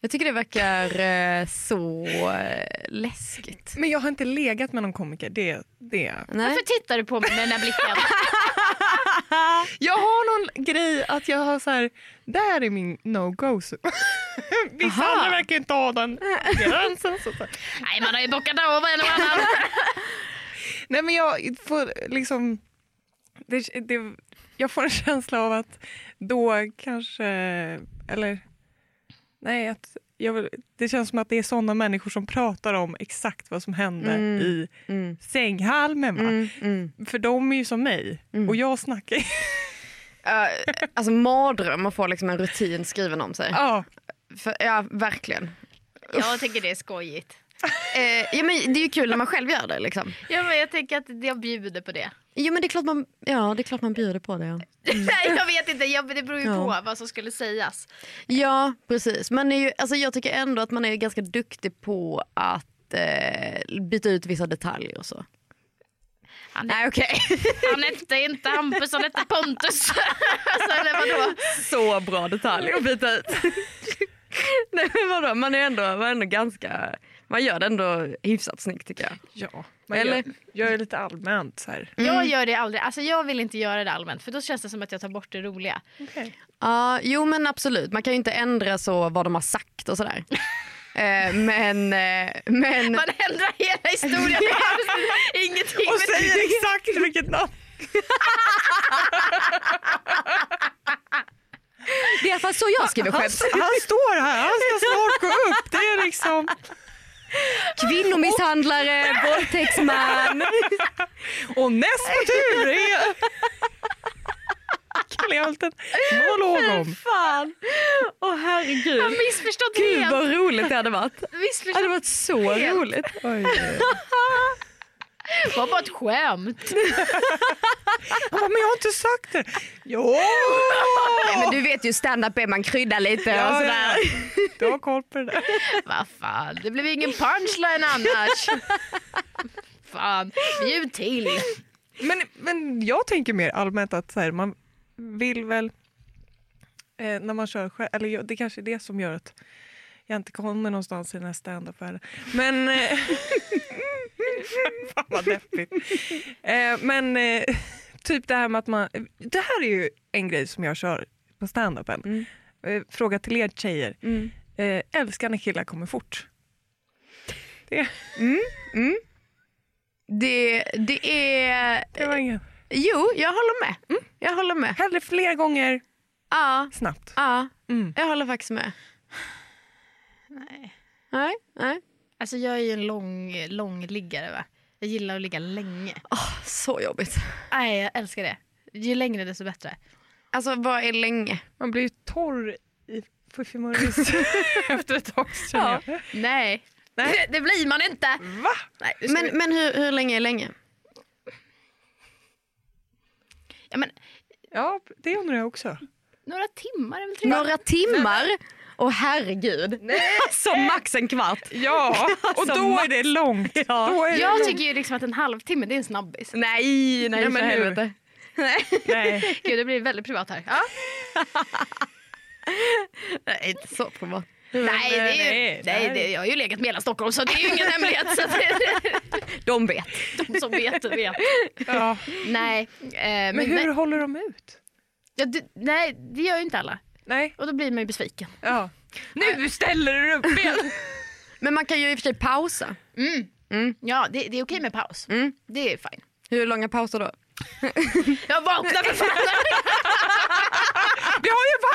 Speaker 1: Jag tycker det verkar eh, så eh, läskigt.
Speaker 5: Men jag har inte legat med någon komiker. Det, det.
Speaker 1: Nej.
Speaker 4: Varför tittar du på mig med den här blicken?
Speaker 5: Jag har någon grej att jag har så här, där är min no-go zone. Vissa
Speaker 1: Aha.
Speaker 5: andra verkar inte ha den gränsen. Så att säga.
Speaker 4: Nej, man har ju bockat av en och annan.
Speaker 5: Nej men jag får liksom, det, det, jag får en känsla av att då kanske, eller nej, att jag, vill- det känns som att det är sådana människor som pratar om exakt vad som hände
Speaker 1: Mm.
Speaker 5: i
Speaker 1: Mm.
Speaker 5: sänghalmen. Va?
Speaker 1: Mm, mm.
Speaker 5: För de är ju som mig
Speaker 1: Mm.
Speaker 5: och jag snackar ju.
Speaker 1: Eh, alltså mardröm att få liksom en rutin skriven om sig.
Speaker 5: ja.
Speaker 1: För, ja, verkligen.
Speaker 4: Jag tycker det är skojigt.
Speaker 1: Eh, ja, men det är ju kul när man själv gör det. Liksom.
Speaker 4: Ja, men jag tänker att jag bjuder på det.
Speaker 1: Jo, men det är klart man, ja, det är klart man bjuder på det. Ja.
Speaker 4: Nej, jag vet inte, jag, det beror ju
Speaker 1: Ja.
Speaker 4: på vad som skulle sägas.
Speaker 1: Ja, precis. Man är ju, alltså jag tycker ändå att man är ganska duktig på att eh, byta ut vissa detaljer och så.
Speaker 4: Han-
Speaker 1: Nej, okej.
Speaker 4: Han hette inte Hampus, han hette Pontus. alltså, eller vadå?
Speaker 1: Mm. så bra detalj att byta ut. Nej, men vadå? Man är ändå, man är ändå ganska... Man gör det ändå hyfsat snyggt tycker jag.
Speaker 5: ja. Men
Speaker 1: Eller-
Speaker 5: Jag, jag är lite allmänt så här.
Speaker 4: Jag gör det aldrig, alltså jag vill inte göra det allmänt för då känns det som att jag tar bort det roliga.
Speaker 1: Ja, jo men absolut. Man kan ju inte ändra så vad de har sagt och sådär. Eh, men... eh, men...
Speaker 4: Man ändrar hela historien, Det är ingenting.
Speaker 5: Och säger exakt vilket namn.
Speaker 1: Det är i alla fall så jag skriver
Speaker 5: Han,
Speaker 1: skämt.
Speaker 5: s- han står här, han ska snart gå upp. Det är liksom...
Speaker 1: Kvinnomisshandlare, våldtäktsman.
Speaker 5: Och näst på tur är Kalle har haft en monolog om.
Speaker 1: Fan! Åh herregud.
Speaker 4: Jag har missförstått
Speaker 1: Gud Alltså,
Speaker 4: helt.
Speaker 1: vad roligt det hade varit. Det
Speaker 4: Missförstått.
Speaker 1: hade varit så roligt.
Speaker 5: Oj.
Speaker 4: Det var bara ett skämt.
Speaker 5: Han bara, men jag har inte sagt det. Jo!
Speaker 1: Nej, men du vet ju stand-up är man kryddar lite
Speaker 5: Ja,
Speaker 1: och
Speaker 5: ja,
Speaker 1: sådär.
Speaker 5: ja. Du har koll på det där.
Speaker 4: Vad fan, det blev ingen punchline annars. fan, bjud till.
Speaker 5: Men, men jag tänker mer allmänt att så här, man vill väl eh, när man kör själv, eller jag, det kanske är det som gör att jag inte kommer någonstans i den här standup-världen. Men... Eh, fan vad deppigt. Eh, men eh, typ det här med att man... Det här är ju en grej som jag kör på standupen. Eh, fråga till er tjejer. Eh, älskar när killar kommer fort?
Speaker 1: Det, det är...
Speaker 5: Det var ingen.
Speaker 1: Jo, jag håller med. Mm, Jag håller med.
Speaker 5: Hellre fler gånger
Speaker 1: Ja,
Speaker 5: snabbt.
Speaker 1: ja.
Speaker 5: Mm.
Speaker 1: Jag håller faktiskt med.
Speaker 4: Nej.
Speaker 1: Nej, nej.
Speaker 4: Alltså jag är ju en lång, lång liggare va. Jag gillar att ligga länge.
Speaker 1: Så jobbigt.
Speaker 4: Nej, jag älskar det. Ju längre desto bättre.
Speaker 1: Alltså vad är länge?
Speaker 5: Man blir ju torr i fuffimurris efter ett tag. känner
Speaker 4: Ja.
Speaker 5: jag.
Speaker 4: Nej. Det, det blir man inte.
Speaker 5: Va?
Speaker 4: Nej, nu ska
Speaker 1: Men,
Speaker 4: vi-
Speaker 1: men hur, hur länge är länge?
Speaker 4: ja, men,
Speaker 5: Ja, det undrar jag också.
Speaker 4: några timmar är väl trevligt?
Speaker 1: Några timmar? Åh herregud. Alltså max en kvart.
Speaker 5: Ja, och då är det långt. Då är
Speaker 4: Jag tycker ju liksom att en halvtimme det är en snabbis.
Speaker 1: Nej, nej
Speaker 5: Ja, men
Speaker 1: för
Speaker 5: hur?
Speaker 1: helvete. Nej,
Speaker 5: det... Nej.
Speaker 4: Gud, det blir väldigt privat här. Ja.
Speaker 1: nej, inte så privat.
Speaker 4: Nej, det är ju,
Speaker 5: nej,
Speaker 4: nej,
Speaker 5: nej.
Speaker 4: Det, jag har ju legat med hela Stockholm så det är ju ingen hemlighet. Så att det,
Speaker 1: De vet.
Speaker 4: de som vet, vet.
Speaker 5: Ja.
Speaker 4: Nej, eh, men,
Speaker 5: Men hur
Speaker 4: Nej,
Speaker 5: håller de ut?
Speaker 4: ja, det, nej, det gör ju inte alla.
Speaker 5: Nej.
Speaker 4: Och då blir man ju besviken.
Speaker 5: Ja. Nu ställer du dig upp igen!
Speaker 1: Men man kan ju i och för sig pausa.
Speaker 4: Ja, det, det är okej med paus.
Speaker 5: Mm.
Speaker 4: Det är fine.
Speaker 1: Hur långa pauser då?
Speaker 4: Jag vaknar för fan!
Speaker 5: Vi har ju på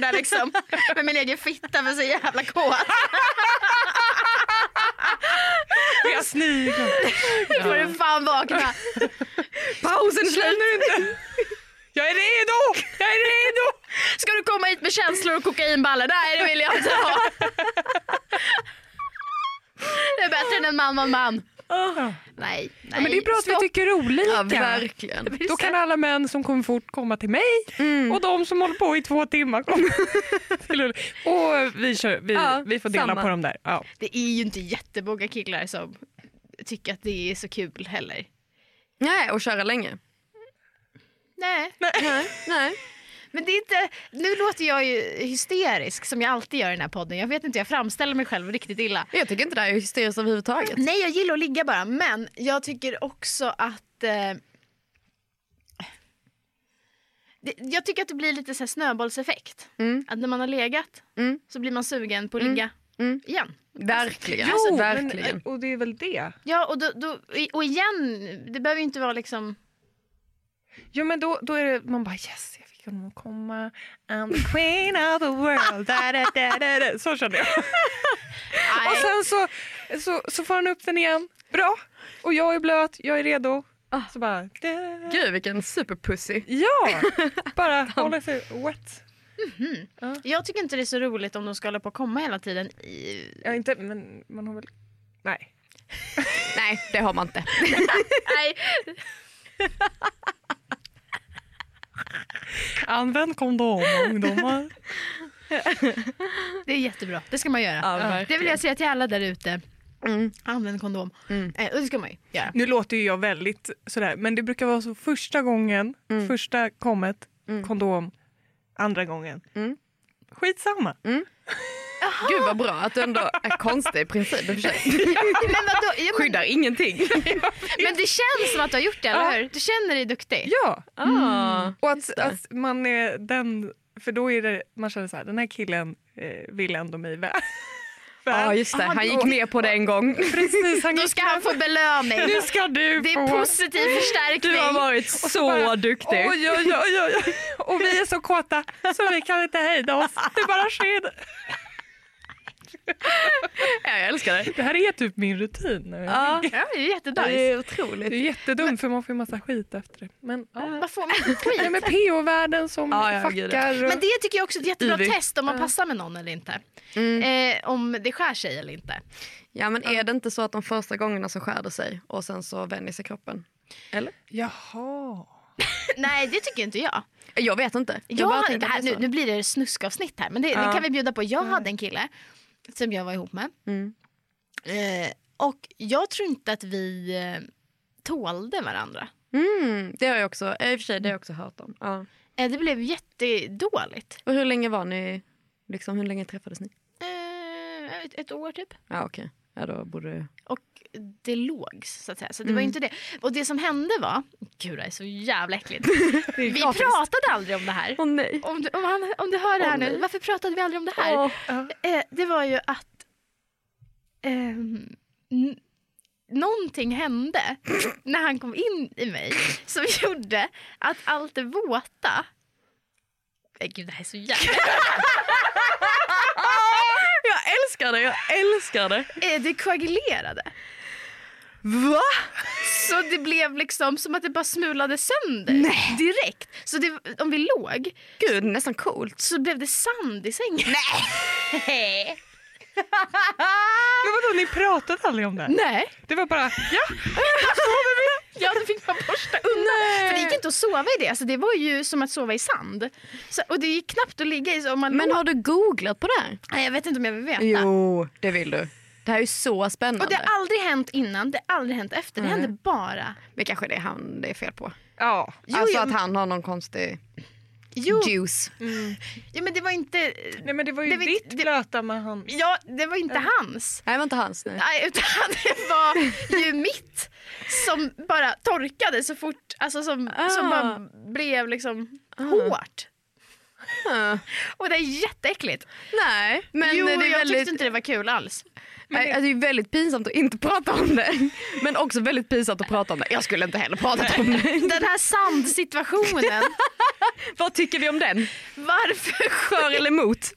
Speaker 4: där liksom. Med min egen fitta för så jävla kåt.
Speaker 5: Jag sniglar.
Speaker 4: Nu får du fan vakna.
Speaker 1: Pausen är slut.
Speaker 5: Känner du inte? Jag är redo! Jag är redo!
Speaker 4: Ska du komma hit med känslor och kokainballer? Nej, det vill jag inte ha. Det är bättre än en man, man, man. Nej, nej.
Speaker 5: Ja, men det är bra att vi
Speaker 4: stopp.
Speaker 5: tycker
Speaker 1: Ja,
Speaker 5: olika.
Speaker 1: verkligen.
Speaker 5: Då kan alla män som kommer fort komma till mig och de som håller på i två timmar kommer till Ulla. Och vi, kör, vi,
Speaker 1: Ja,
Speaker 5: vi får dela
Speaker 1: samma.
Speaker 5: på dem där. Ja.
Speaker 4: Det är ju inte jättemånga killar som tycker att det är så kul heller.
Speaker 1: Nej, och köra länge.
Speaker 4: Nej,
Speaker 1: Nej, nej.
Speaker 4: men det är inte... Nu låter jag ju hysterisk som jag alltid gör i den här podden. Jag vet inte, jag framställer mig själv riktigt illa.
Speaker 1: Jag tycker inte det här är hysteriskt överhuvudtaget.
Speaker 4: Nej, jag gillar att ligga bara. Men jag tycker också att... Eh, det, jag tycker att det blir lite så här snöbollseffekt.
Speaker 1: Mm.
Speaker 4: Att när man har legat
Speaker 1: Mm.
Speaker 4: så blir man sugen på att ligga
Speaker 1: Mm.
Speaker 4: igen.
Speaker 1: Verkligen.
Speaker 5: Jo,
Speaker 1: verkligen.
Speaker 5: Men, och det är väl det.
Speaker 4: Ja, och, då, då, och igen, det behöver ju inte vara liksom...
Speaker 5: Jo, men då, då är det, man bara yes, jag fick honom att komma. I'm the queen of the world. Da, da, da, da, da. Så kände jag. Och
Speaker 4: Nej.
Speaker 5: sen så, så, så får han upp den igen. Bra! Och jag är blöt, jag är redo. Så bara... da.
Speaker 1: Gud vilken superpussy.
Speaker 5: Ah. Ja! Bara hålla sig wet.
Speaker 4: Jag tycker inte det är så roligt om de ska hålla på och komma hela tiden. I...
Speaker 5: Ja, inte, men man har väl... Nej.
Speaker 1: Nej det har man inte.
Speaker 4: Nej,
Speaker 5: Använd kondom, ungdomar.
Speaker 4: det är jättebra. Det ska man göra.
Speaker 1: Ja,
Speaker 4: det vill jag säga till alla där ute.
Speaker 1: Mm.
Speaker 4: Använd kondom.
Speaker 1: Mm.
Speaker 4: Eh, och det ska man ju göra.
Speaker 5: Nu låter ju jag väldigt sådär, men det brukar vara så första gången,
Speaker 1: Mm.
Speaker 5: första kommet, kondom, andra gången.
Speaker 1: Mm.
Speaker 5: Skitsamma.
Speaker 1: Gud vad bra att du ändå är konstig i princip. i och för sig.
Speaker 4: Men, vadå, ja, men,
Speaker 1: Skyddar ingenting.
Speaker 4: men det känns som att du har gjort det, eller hur? Du känner dig duktig.
Speaker 5: Ja,
Speaker 1: Ah,
Speaker 5: och
Speaker 1: just
Speaker 5: att,
Speaker 1: det.
Speaker 5: att man är den, för då är det, man känner såhär, den här killen eh, vill ändå mig väl.
Speaker 1: Ja just det, han gick med på det en gång.
Speaker 5: Precis, han
Speaker 4: Då ska han få belöning.
Speaker 5: Nu ska du
Speaker 4: Det
Speaker 5: få.
Speaker 4: är positiv förstärkning.
Speaker 1: Du har varit så
Speaker 5: bara,
Speaker 1: duktig.
Speaker 5: Oj, oj, oj, oj, oj. Och vi är så kåta så vi kan inte hejda oss. Det bara sker.
Speaker 1: Ja, jag älskar det.
Speaker 5: Det här är typ min rutin nu.
Speaker 1: Ja,
Speaker 4: Ja, det är
Speaker 1: det
Speaker 4: jättenice.
Speaker 1: är
Speaker 5: Det är
Speaker 1: otroligt.
Speaker 5: jättedum för man får ju massa skit efter det. Men, ja.
Speaker 4: Vad får man för
Speaker 5: Nej,
Speaker 4: skit?
Speaker 5: men PO-världen som
Speaker 1: Ja, ja, gud, ja.
Speaker 5: fuckar. Och...
Speaker 4: Men det tycker jag också är ett jättebra
Speaker 1: Ivy.
Speaker 4: test om man passar med någon eller inte.
Speaker 1: Mm.
Speaker 4: Eh, om det skär sig eller inte.
Speaker 1: Ja, men är det inte så att de första gångerna så skär det sig och sen så vänjer sig kroppen? Eller?
Speaker 5: Jaha.
Speaker 4: Nej, det tycker inte jag.
Speaker 1: Jag vet inte. Jag
Speaker 4: Jag
Speaker 1: bara
Speaker 4: hade-
Speaker 1: tänker att
Speaker 4: här,
Speaker 1: det är
Speaker 4: nu,
Speaker 1: så.
Speaker 4: nu blir det snuskavsnitt här, men det, det
Speaker 1: Ja.
Speaker 4: kan vi bjuda på. Jag hade en kille som jag var ihop med.
Speaker 1: Mm.
Speaker 4: Eh, och jag tror inte att vi eh, tålde varandra.
Speaker 1: Mm, det har jag också, eh, i och för sig, det har jag också hört om. Ja.
Speaker 4: Eh, det blev jättedåligt.
Speaker 1: Och hur länge var ni, liksom, hur länge träffades ni?
Speaker 4: Eh, ett, ett år typ.
Speaker 1: Ja okej, ja, då borde...
Speaker 4: Och det lågs så att säga. Så det var ju inte det. Och det som hände var, gud det är så jävla äckligt. vi pratade aldrig om det här.
Speaker 1: Åh nej.
Speaker 4: Om du, om, han, om du hör det här
Speaker 1: Åh,
Speaker 4: nu,
Speaker 1: nej.
Speaker 4: varför pratade vi aldrig om det här?
Speaker 1: Åh.
Speaker 4: Eh, det var ju att ehm, n- någonting hände när han kom in i mig som gjorde att allt det våta... Eh, gud, det här är så jävla...
Speaker 1: Jag älskar det, jag älskar det.
Speaker 4: Eh, det koagulerade.
Speaker 1: Va?
Speaker 4: Så det blev liksom som att det bara smulade sönder direkt. Så det, om vi låg
Speaker 1: Gud, nästan coolt.
Speaker 4: så blev det sand i sängen. Nej!
Speaker 5: Men vadå, ni pratade aldrig om det?
Speaker 4: Nej.
Speaker 5: Det var bara, ja,
Speaker 4: Ja, då fick man borsta undan. För det gick inte att sova i det. Alltså, det var ju som att sova i sand. Så, och det gick knappt att ligga i. Så om man
Speaker 1: Men
Speaker 4: låg-
Speaker 1: har du googlat på det här?
Speaker 4: Nej, jag vet inte om jag vill veta.
Speaker 1: Jo, det vill du. Det här är ju så spännande.
Speaker 4: Och det har aldrig hänt innan, det har aldrig hänt efter. Det hände bara.
Speaker 1: Men kanske det är han det är fel på.
Speaker 5: ja.
Speaker 4: Jo,
Speaker 1: alltså
Speaker 4: jo,
Speaker 1: att han har någon konstig
Speaker 4: Jo,
Speaker 1: juice.
Speaker 4: ja, men det var inte...
Speaker 5: Nej men det var ju
Speaker 4: Det var-
Speaker 5: ditt blöta med han.
Speaker 4: Ja, det var inte hans.
Speaker 1: Nej, det var inte hans. Nej.
Speaker 4: Nej, utan det var ju mitt som bara torkade så fort, alltså som, som
Speaker 1: Ah.
Speaker 4: bara blev liksom hårt. Och det är jätteäckligt.
Speaker 1: Nej, Ah. men
Speaker 4: jo,
Speaker 1: det
Speaker 4: jag
Speaker 1: är väldigt,
Speaker 4: tyckte inte det var kul alls.
Speaker 1: alltså, det är väldigt pinsamt att inte prata om det. Men också väldigt pinsamt att prata om det. Jag skulle inte heller prata om det.
Speaker 4: Den här sandsituationen.
Speaker 1: Vad tycker vi om den?
Speaker 4: Varför?
Speaker 1: För eller emot?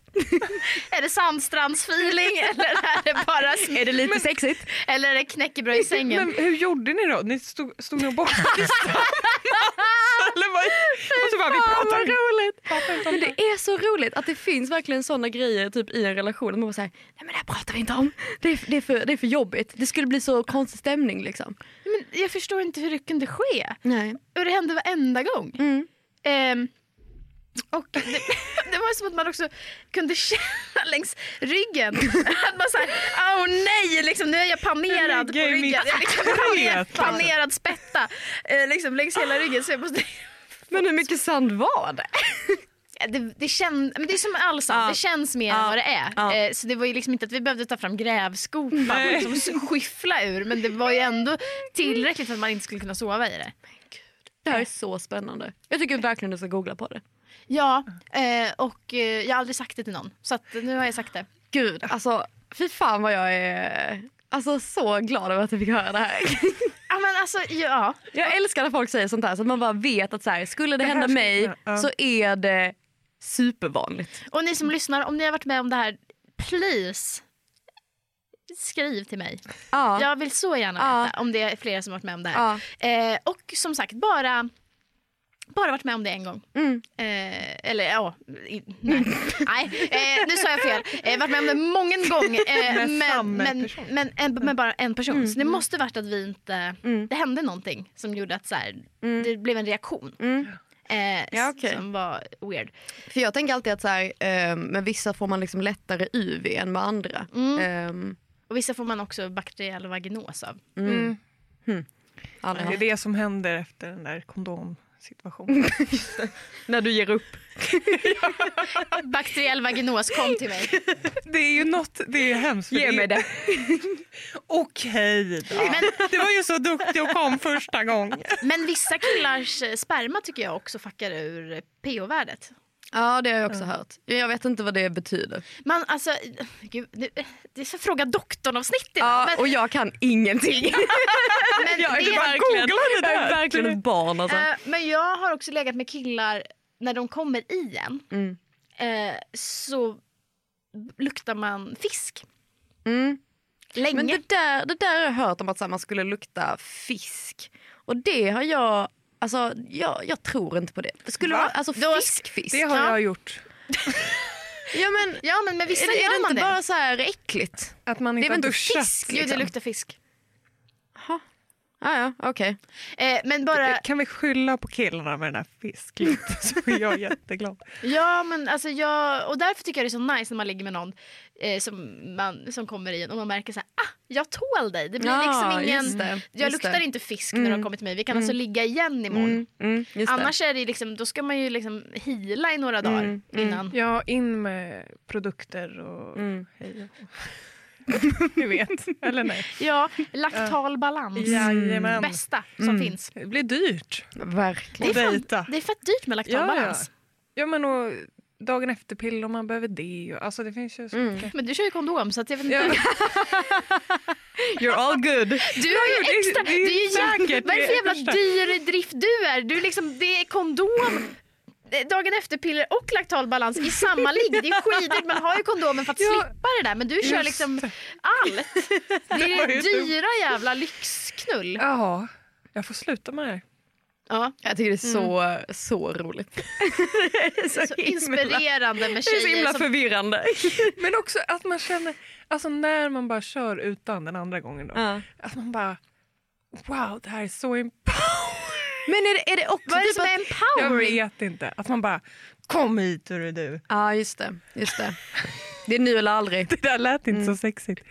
Speaker 4: Är det sandstrandsfeeling eller är det bara sm-
Speaker 1: Är det lite sexigt?
Speaker 4: eller är det knäckebröd i sängen?
Speaker 5: Men hur gjorde ni då? Ni stod, stod ni och bakade tillsammans? Eller vad? Och så bara, vi pratar inte. Pratar inte om
Speaker 1: Men det är så roligt att det finns verkligen sådana grejer typ i en relation. Att man bara säger nej men det här pratar vi inte om. Det är, det, är för, det är för jobbigt. Det skulle bli så konstig stämning liksom.
Speaker 4: Men jag förstår inte hur det kunde ske.
Speaker 1: Nej.
Speaker 4: Och det hände varenda gång.
Speaker 1: Mm.
Speaker 4: Ehm, och det, det var som att man också kunde känna längs ryggen att man såhär, åh nej, liksom, nu är jag panerad på
Speaker 5: ligger i
Speaker 4: ryggen.
Speaker 5: mitt
Speaker 4: Jag är liksom paner,
Speaker 5: träd.
Speaker 4: panerad spätta eh, liksom, längs hela ryggen. Så jag måste,
Speaker 1: Men hur mycket sand var det?
Speaker 4: det, det, känd, men det är som all sand,
Speaker 1: Ja.
Speaker 4: det känns mer
Speaker 1: Ja.
Speaker 4: än vad det är.
Speaker 1: Ja.
Speaker 4: Eh, så det var ju liksom inte att vi behövde ta fram grävskopan och liksom, skyffla ur men det var ju ändå tillräckligt för att man inte skulle kunna sova i det.
Speaker 1: Det här är så spännande. Jag tycker verkligen du ska googla på det.
Speaker 4: Ja, eh, och eh, jag har aldrig sagt det till någon. Så att nu har jag sagt det.
Speaker 1: Gud, alltså fy fan vad jag är alltså, så glad över att jag fick höra det här.
Speaker 4: Ja, men alltså, ja.
Speaker 1: Jag älskar när folk säger sånt här så att man bara vet att så här, skulle det,
Speaker 5: här
Speaker 1: hända
Speaker 5: skulle
Speaker 1: mig
Speaker 5: kunna- ja.
Speaker 1: så är det supervanligt.
Speaker 4: Och ni som lyssnar, om ni har varit med om det här, please skriv till mig.
Speaker 1: Ja.
Speaker 4: Jag vill så gärna
Speaker 1: Ja.
Speaker 4: veta om det är flera som har varit med om det här.
Speaker 1: Ja.
Speaker 4: Eh, och som sagt, bara, bara varit med om det en gång.
Speaker 1: Mm.
Speaker 4: Eh, eller ja, i, nej. nej eh, nu sa jag fel. Eh, varit med om det många gånger. Eh,
Speaker 5: Med samma
Speaker 4: men, men,
Speaker 5: person.
Speaker 4: men, en, men bara en person.
Speaker 1: Mm.
Speaker 4: Så det måste varit att vi inte, det hände någonting som gjorde att så här, det blev en reaktion.
Speaker 1: Mm.
Speaker 4: Eh,
Speaker 1: Ja, okej.
Speaker 4: Som var weird.
Speaker 1: För jag tänker alltid att så här, eh, med vissa får man liksom lättare UV än med andra.
Speaker 4: Mm.
Speaker 1: Ehm,
Speaker 4: Och vissa får man också bakteriell vaginos av.
Speaker 5: Mm.
Speaker 1: aldrig
Speaker 5: Det är
Speaker 1: haft.
Speaker 5: det som händer efter den där kondomsituationen.
Speaker 1: När du ger upp.
Speaker 4: Bakteriell vaginos, kom till mig.
Speaker 5: Det är ju något, det är hemskt. för är-
Speaker 1: det.
Speaker 5: Okej då. Du var ju så duktig och kom första gången.
Speaker 4: Men vissa killars eh, sperma tycker jag också fuckar ur eh, pH-värdet.
Speaker 1: Ja, det har jag också hört. Jag vet inte vad det betyder.
Speaker 4: Man, alltså, eh, gud, det, det är så fråga doktorn-avsnitt idag.
Speaker 1: Ja,
Speaker 4: men,
Speaker 1: och jag kan ingenting.
Speaker 4: men,
Speaker 1: jag
Speaker 4: det,
Speaker 1: är verkligen-
Speaker 5: Googlade det
Speaker 1: Jag
Speaker 5: där.
Speaker 1: är verkligen ett barn alltså.
Speaker 4: eh, men jag har också legat med killar när de kommer i en
Speaker 1: Mm.
Speaker 4: eh, så luktar man fisk
Speaker 1: Mm.
Speaker 4: länge.
Speaker 1: Men det där, det där har jag hört om att så här, man skulle lukta fisk. Och det har jag, alltså jag, jag tror inte på det. Det skulle
Speaker 5: Va?
Speaker 1: vara, alltså
Speaker 4: Då-
Speaker 1: fisk, fisk.
Speaker 5: Det har jag gjort.
Speaker 1: Ja men,
Speaker 4: ja men med vissa
Speaker 1: är det,
Speaker 4: gör
Speaker 1: är det
Speaker 4: man
Speaker 1: inte
Speaker 4: det.
Speaker 1: bara så här äckligt?
Speaker 5: Att man
Speaker 1: Det är
Speaker 5: inte
Speaker 1: väl
Speaker 5: har
Speaker 1: inte
Speaker 5: duschat.
Speaker 1: fisk?
Speaker 4: Gud, det
Speaker 1: liksom.
Speaker 4: luktar fisk.
Speaker 1: Ah, ja, okej.
Speaker 4: Eh, men bara,
Speaker 5: Kan vi skylla på killarna med den här fisklukten så är jag jätteglad.
Speaker 4: Ja, men alltså jag, och därför tycker jag det är så nice när man ligger med någon eh, som, man, som kommer i en och man märker så här, ah, jag tål dig. Det blir
Speaker 1: Ja,
Speaker 4: liksom
Speaker 1: just
Speaker 4: ingen,
Speaker 1: det,
Speaker 4: jag
Speaker 1: just
Speaker 4: luktar
Speaker 1: det.
Speaker 4: inte fisk när
Speaker 1: Mm.
Speaker 4: de kommer till mig. Vi kan alltså ligga igen imorgon.
Speaker 1: Mm, mm, just det.
Speaker 4: Annars är det liksom, då ska man ju liksom hila i några dagar
Speaker 1: Mm,
Speaker 4: innan.
Speaker 5: Ja, in med produkter och
Speaker 1: Mm.
Speaker 5: hej och- Ni vet, eller nej?
Speaker 4: Ja, laktal balans.
Speaker 5: Mm. Jajamän.
Speaker 4: Bästa som
Speaker 1: Mm.
Speaker 4: finns.
Speaker 5: Det blir dyrt
Speaker 1: Verkligen.
Speaker 4: Det är
Speaker 5: att
Speaker 4: fan-
Speaker 5: dejta.
Speaker 4: Det är fett dyrt med laktal
Speaker 5: Ja, ja.
Speaker 4: balans.
Speaker 5: Ja, men och dagen efter-pill om man behöver det. och- Alltså det finns ju så
Speaker 1: Mm.
Speaker 5: mycket.
Speaker 4: Men du kör ju kondom så att jag vet inte.
Speaker 5: Ja.
Speaker 1: You're all good.
Speaker 4: Du har
Speaker 5: Ja,
Speaker 4: ju
Speaker 5: det är-
Speaker 4: extra...
Speaker 5: det
Speaker 4: Det
Speaker 5: är
Speaker 4: är ju
Speaker 5: säkert,
Speaker 4: säkert,
Speaker 5: det
Speaker 4: vad är det för
Speaker 5: är
Speaker 4: jävla
Speaker 5: första.
Speaker 4: dyr drift du är? Du är liksom, det är kondom, eh, dagen efter-piller och laktalbalans i samma ligg. Det är skitdyrt. Man har ju kondomen för att
Speaker 5: Ja.
Speaker 4: slippa det där men du kör
Speaker 5: Just
Speaker 4: liksom allt. Det
Speaker 5: var ju
Speaker 4: är
Speaker 5: dumt.
Speaker 4: dyra jävla lyxknull.
Speaker 5: Ja, jag får sluta med det här.
Speaker 4: Ja,
Speaker 1: Jag tycker det är så, så roligt. det är
Speaker 4: så inspirerande med
Speaker 1: det är så
Speaker 4: tjejer
Speaker 1: himla
Speaker 4: som...
Speaker 1: förvirrande.
Speaker 5: Men också att man känner, alltså när man bara kör utan den andra gången då.
Speaker 1: Ja.
Speaker 5: Att man bara, wow det här är så empowering.
Speaker 1: Men är det, är det också
Speaker 4: Vad är det
Speaker 1: typ
Speaker 4: som
Speaker 1: att...
Speaker 4: är
Speaker 5: Jag
Speaker 4: empowering?
Speaker 5: vet inte. Att man bara, kom hit hörru du.
Speaker 1: Ja, just det. Just det. det är nu eller aldrig.
Speaker 5: Det där lät inte så sexigt.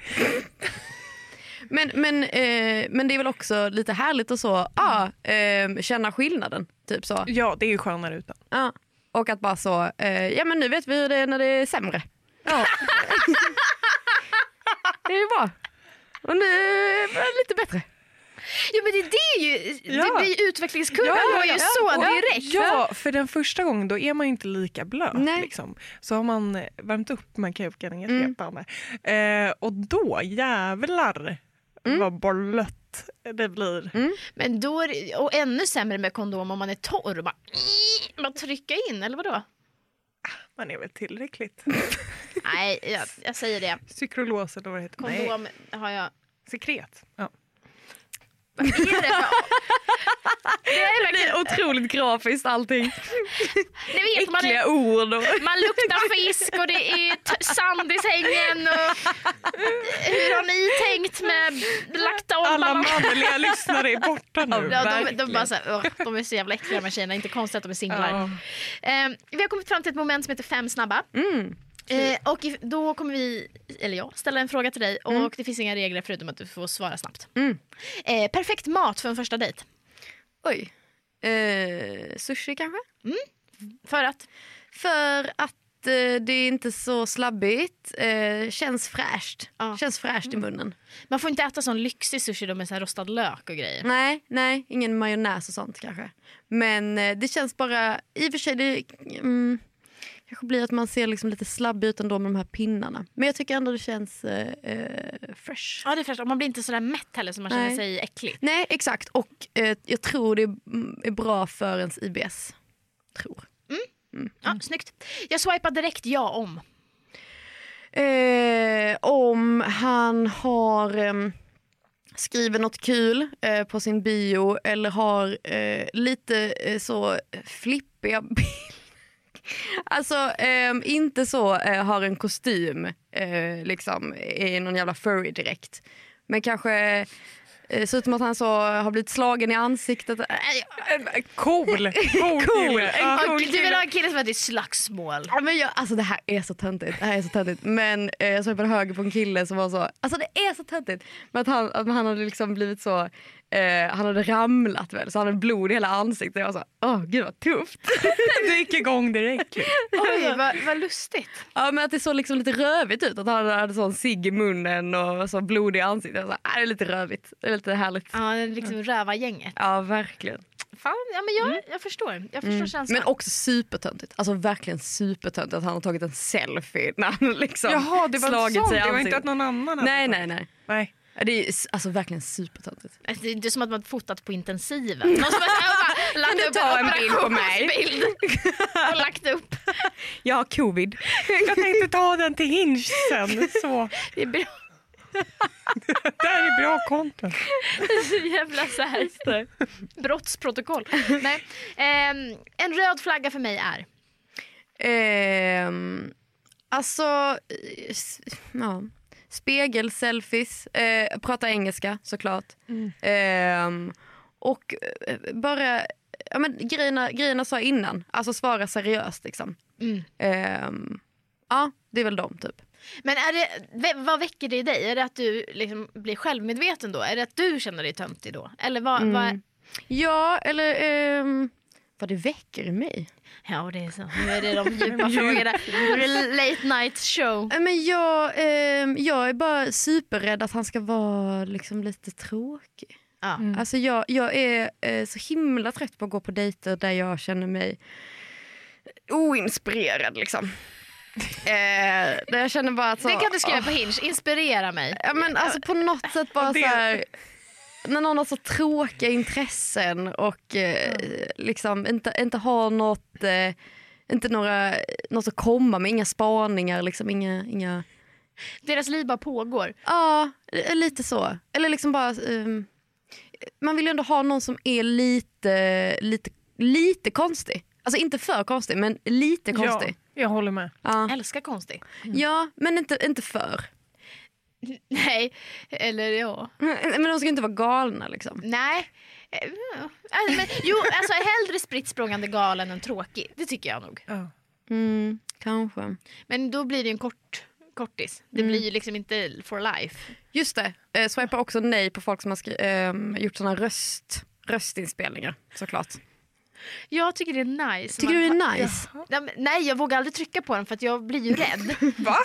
Speaker 1: Men, men, eh, men det är väl också lite härligt att så, ah, eh, känna skillnaden. Typ så.
Speaker 5: Ja det är ju skönare utan.
Speaker 1: Ja. Och att bara så, eh, ja men nu vet vi hur det är när det är sämre. Ja. det är ju bra. Och nu är det Eh, lite bättre.
Speaker 4: Ja men det, det är ju,
Speaker 5: Ja.
Speaker 4: det blir ju utvecklingskurvan
Speaker 5: Ja, ja,
Speaker 4: var ju
Speaker 5: ja.
Speaker 4: så direkt.
Speaker 5: Ja för den första gången då är man ju inte lika blöt.
Speaker 1: Nej.
Speaker 5: Liksom. Så har man eh, värmt upp med kuken inget repande. Eh, och då jävlar vad bollött det blir.
Speaker 4: Men då är det, och ännu sämre med kondom om man är torr och bara, bara trycka in eller vadå?
Speaker 5: Man är väl tillräckligt.
Speaker 4: Nej, jag, jag säger det.
Speaker 5: Psykrolos eller vad det heter. Nej.
Speaker 4: Kondom har jag.
Speaker 5: Sekret. Ja.
Speaker 4: Vad är det för
Speaker 1: Det blir otroligt grafiskt allting.
Speaker 4: Det vet man
Speaker 1: Äckliga
Speaker 4: inte.
Speaker 1: ord. Och...
Speaker 4: Man luktar fisk och det är t- sand i sängen. Och hur har ni tänkt med
Speaker 5: Alla
Speaker 4: laktan?
Speaker 5: manliga lyssnare är borta nu.
Speaker 4: Ja, de, de, bara så här, "Åh, de är så jävla äckliga de här tjejerna, inte konstigt att de är singlar. Eh, vi har kommit fram till ett moment som heter fem snabba.
Speaker 1: Mm.
Speaker 4: Eh, och if- då kommer vi, eller jag, ställa en fråga till dig och det finns inga regler förutom att du får svara snabbt.
Speaker 1: Mm.
Speaker 4: Eh, perfekt mat för en första dejt?
Speaker 1: Oj. Eh, sushi kanske?
Speaker 4: För att?
Speaker 1: För att eh, det är inte så slabbigt. Eh, känns fräscht.
Speaker 4: Ja.
Speaker 1: Känns fräscht i munnen.
Speaker 4: Man får inte äta sån lyxig sushi då med så här rostad lök och grejer.
Speaker 1: Nej, nej, ingen majonnäs och sånt kanske. Men eh, det känns bara... I och för sig, det mm, kanske blir att man ser liksom lite slabbig ut ändå med de här pinnarna. Men jag tycker ändå det känns eh, eh, fresh.
Speaker 4: Ja det är fräscht, och man blir inte sådär mätt heller som man
Speaker 1: Nej.
Speaker 4: känner sig äcklig.
Speaker 1: Nej, exakt. Och eh, jag tror det är, mm, är bra för ens IBS. Tror.
Speaker 4: Ja, snyggt. Jag swipar direkt ja om.
Speaker 1: Eh, om han har eh, skrivit något kul eh, på sin bio eller har eh, lite eh, så flippiga bilder. Alltså eh, inte så eh, har en kostym, eh, liksom är i någon jävla furry direkt. Men kanske eh, ser ut som att han så har blivit slagen i ansiktet. Eh,
Speaker 5: En cool, cool, kille. Ja.
Speaker 4: Ja, du vill ha en kille som heter slagsmål.
Speaker 1: Ja, men jag, alltså det här är så töntigt. Det här är så töntigt. Men eh, jag såg på höger på en kille som var så, alltså det är så töntigt. Men att han, att han hade liksom blivit så, eh, han hade ramlat väl så han hade blod i hela ansiktet. Jag var så, åh gud vad tufft.
Speaker 5: Det gick igång direkt.
Speaker 4: Oj, vad, vad lustigt.
Speaker 1: Ja men att det såg liksom lite rövigt ut. Att han hade sån cigg i munnen och så blod i ansiktet. Jag var så, ah, det är lite rövigt. Det är lite härligt. Alltså-
Speaker 4: Ja, det är liksom rövargänget. Mm.
Speaker 1: Ja verkligen.
Speaker 4: Fan, ja, men jag, jag förstår. Jag förstår känslan.
Speaker 1: Men också supertöntigt. Alltså verkligen supertöntigt att han har tagit en selfie när han liksom
Speaker 5: Jaha, det var en
Speaker 1: slagit
Speaker 5: sån.
Speaker 1: sig i
Speaker 5: Det var
Speaker 1: ansiktet.
Speaker 5: inte att någon annan hade
Speaker 1: Nej
Speaker 5: tagit.
Speaker 1: nej nej.
Speaker 5: nej.
Speaker 1: Ja, Det är ju s- alltså verkligen supertöntigt.
Speaker 4: Alltså, Det är inte som att man fotat på intensiven. Man ska bara lagt upp
Speaker 1: Mm. ta
Speaker 4: en
Speaker 1: en bild på mig?
Speaker 4: operationsbild och lagt upp.
Speaker 1: Jag har covid.
Speaker 5: Jag tänkte ta den till Hinge sen. Så.
Speaker 4: Det är bra.
Speaker 5: Det här är bra content.
Speaker 4: Så jävla så här. Brottsprotokoll. Nej. Ehm, en röd flagga för mig är...
Speaker 1: Ehm, alltså, eh, s- ja. Spegelselfies. Eh, prata engelska såklart. Ehm, och eh, bara, ja, men grejerna, grejerna sa jag innan. Alltså svara seriöst liksom.
Speaker 4: Mm.
Speaker 1: Ehm, ja, det är väl de typ.
Speaker 4: Men är det, vä- vad väcker det i dig? Är det att du liksom blir självmedveten då? Är det att du känner dig töntig då? Eller vad...
Speaker 1: Mm.
Speaker 4: vad
Speaker 1: Ja, eller ehm, vad det väcker i mig.
Speaker 4: ja, det är så. Nu är det de djupa frågorna. Det är Late night show.
Speaker 1: Nej, Men jag, ehm, jag är bara superrädd att han ska vara liksom lite tråkig.
Speaker 4: Ja.
Speaker 1: Alltså jag, jag är eh, så himla trött på att gå på dejter där jag känner mig oinspirerad. Liksom. eh, där jag känner bara att... Så,
Speaker 4: Det kan du skriva
Speaker 1: åh,
Speaker 4: på Hinge. Inspirera mig.
Speaker 1: ja, men alltså på något sätt bara
Speaker 5: det-
Speaker 1: så här, När någon har så tråkiga intressen och eh, liksom inte, inte har något, eh, inte några, något att komma med, inga spaningar, liksom, inga, inga
Speaker 4: Deras liv bara pågår.
Speaker 1: Ja, eh, lite så. Eller liksom bara... ehm, man vill ju ändå ha någon som är lite, lite, lite konstig. Alltså inte för konstig, men lite konstig.
Speaker 5: Ja, jag håller med.
Speaker 1: Ja,
Speaker 4: Älskar konstig.
Speaker 1: ja men inte, inte för.
Speaker 4: Nej, eller ja.
Speaker 1: Men de ska inte vara galna liksom.
Speaker 4: Nej. Eh, ja. Alltså, men, jo, alltså hellre spritt språngande galen än tråkig. Det tycker jag nog.
Speaker 5: Ja.
Speaker 1: Mm, kanske.
Speaker 4: Men då blir det ju en kort kortis. Det
Speaker 1: Mm.
Speaker 4: blir ju liksom inte for life.
Speaker 1: Just det, eh, swipar också nej på folk som har skri- ehm, gjort såna röst, röstinspelningar såklart.
Speaker 4: Jag tycker det är nice.
Speaker 1: Tycker
Speaker 4: Man-
Speaker 1: du det är nice?
Speaker 4: Ja, men- Nej, jag vågar aldrig trycka på den för att jag blir ju rädd.
Speaker 5: Va?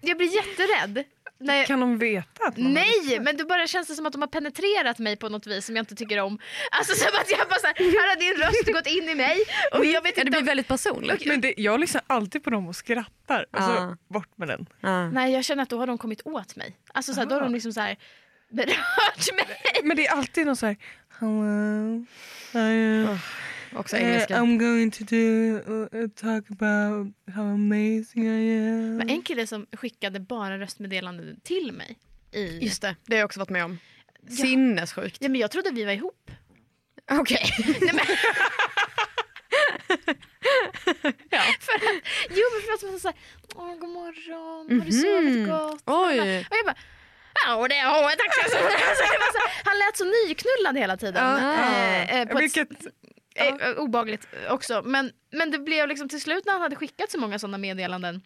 Speaker 4: Jag blir jätterädd. När jag...
Speaker 5: Kan de veta att man
Speaker 4: Nej, men det bara känns det som att de har penetrerat mig på något vis som jag inte tycker om. Alltså som att jag bara så här, här har din röst gått in i mig och jag vet
Speaker 1: Ja, det
Speaker 4: inte
Speaker 1: blir
Speaker 4: om...
Speaker 1: väldigt personligt.
Speaker 5: Men det, jag lyssnar alltid på dem och skrattar. Och
Speaker 1: Ah.
Speaker 5: så bort med den.
Speaker 1: Ja.
Speaker 4: Nej, jag känner att då har de kommit åt mig. Alltså så här, då har de liksom så här berört mig.
Speaker 5: Men det är alltid någon så här... Hello. I am
Speaker 1: Också engelska.
Speaker 5: I'm going to do, uh, talk about how amazing I am.
Speaker 4: Men en kille som skickade bara röstmeddelanden till mig. I...
Speaker 1: Just det, det har jag också varit med om. Sinnessjukt.
Speaker 4: Ja, men jag trodde vi var ihop.
Speaker 1: Okej.
Speaker 4: Jo, men för att man såhär, åh god morgon, har du sovit
Speaker 1: Mhm.
Speaker 4: gott?
Speaker 1: Oj.
Speaker 4: Och jag bara, ja det har jag, tack så mycket." Så det var så här- Han lät så nyknullad hela tiden. Eh, eh, på ett
Speaker 5: Vilket,
Speaker 4: Eh, obagligt också. Men, men det blev liksom till slut när han hade skickat så många sådana meddelanden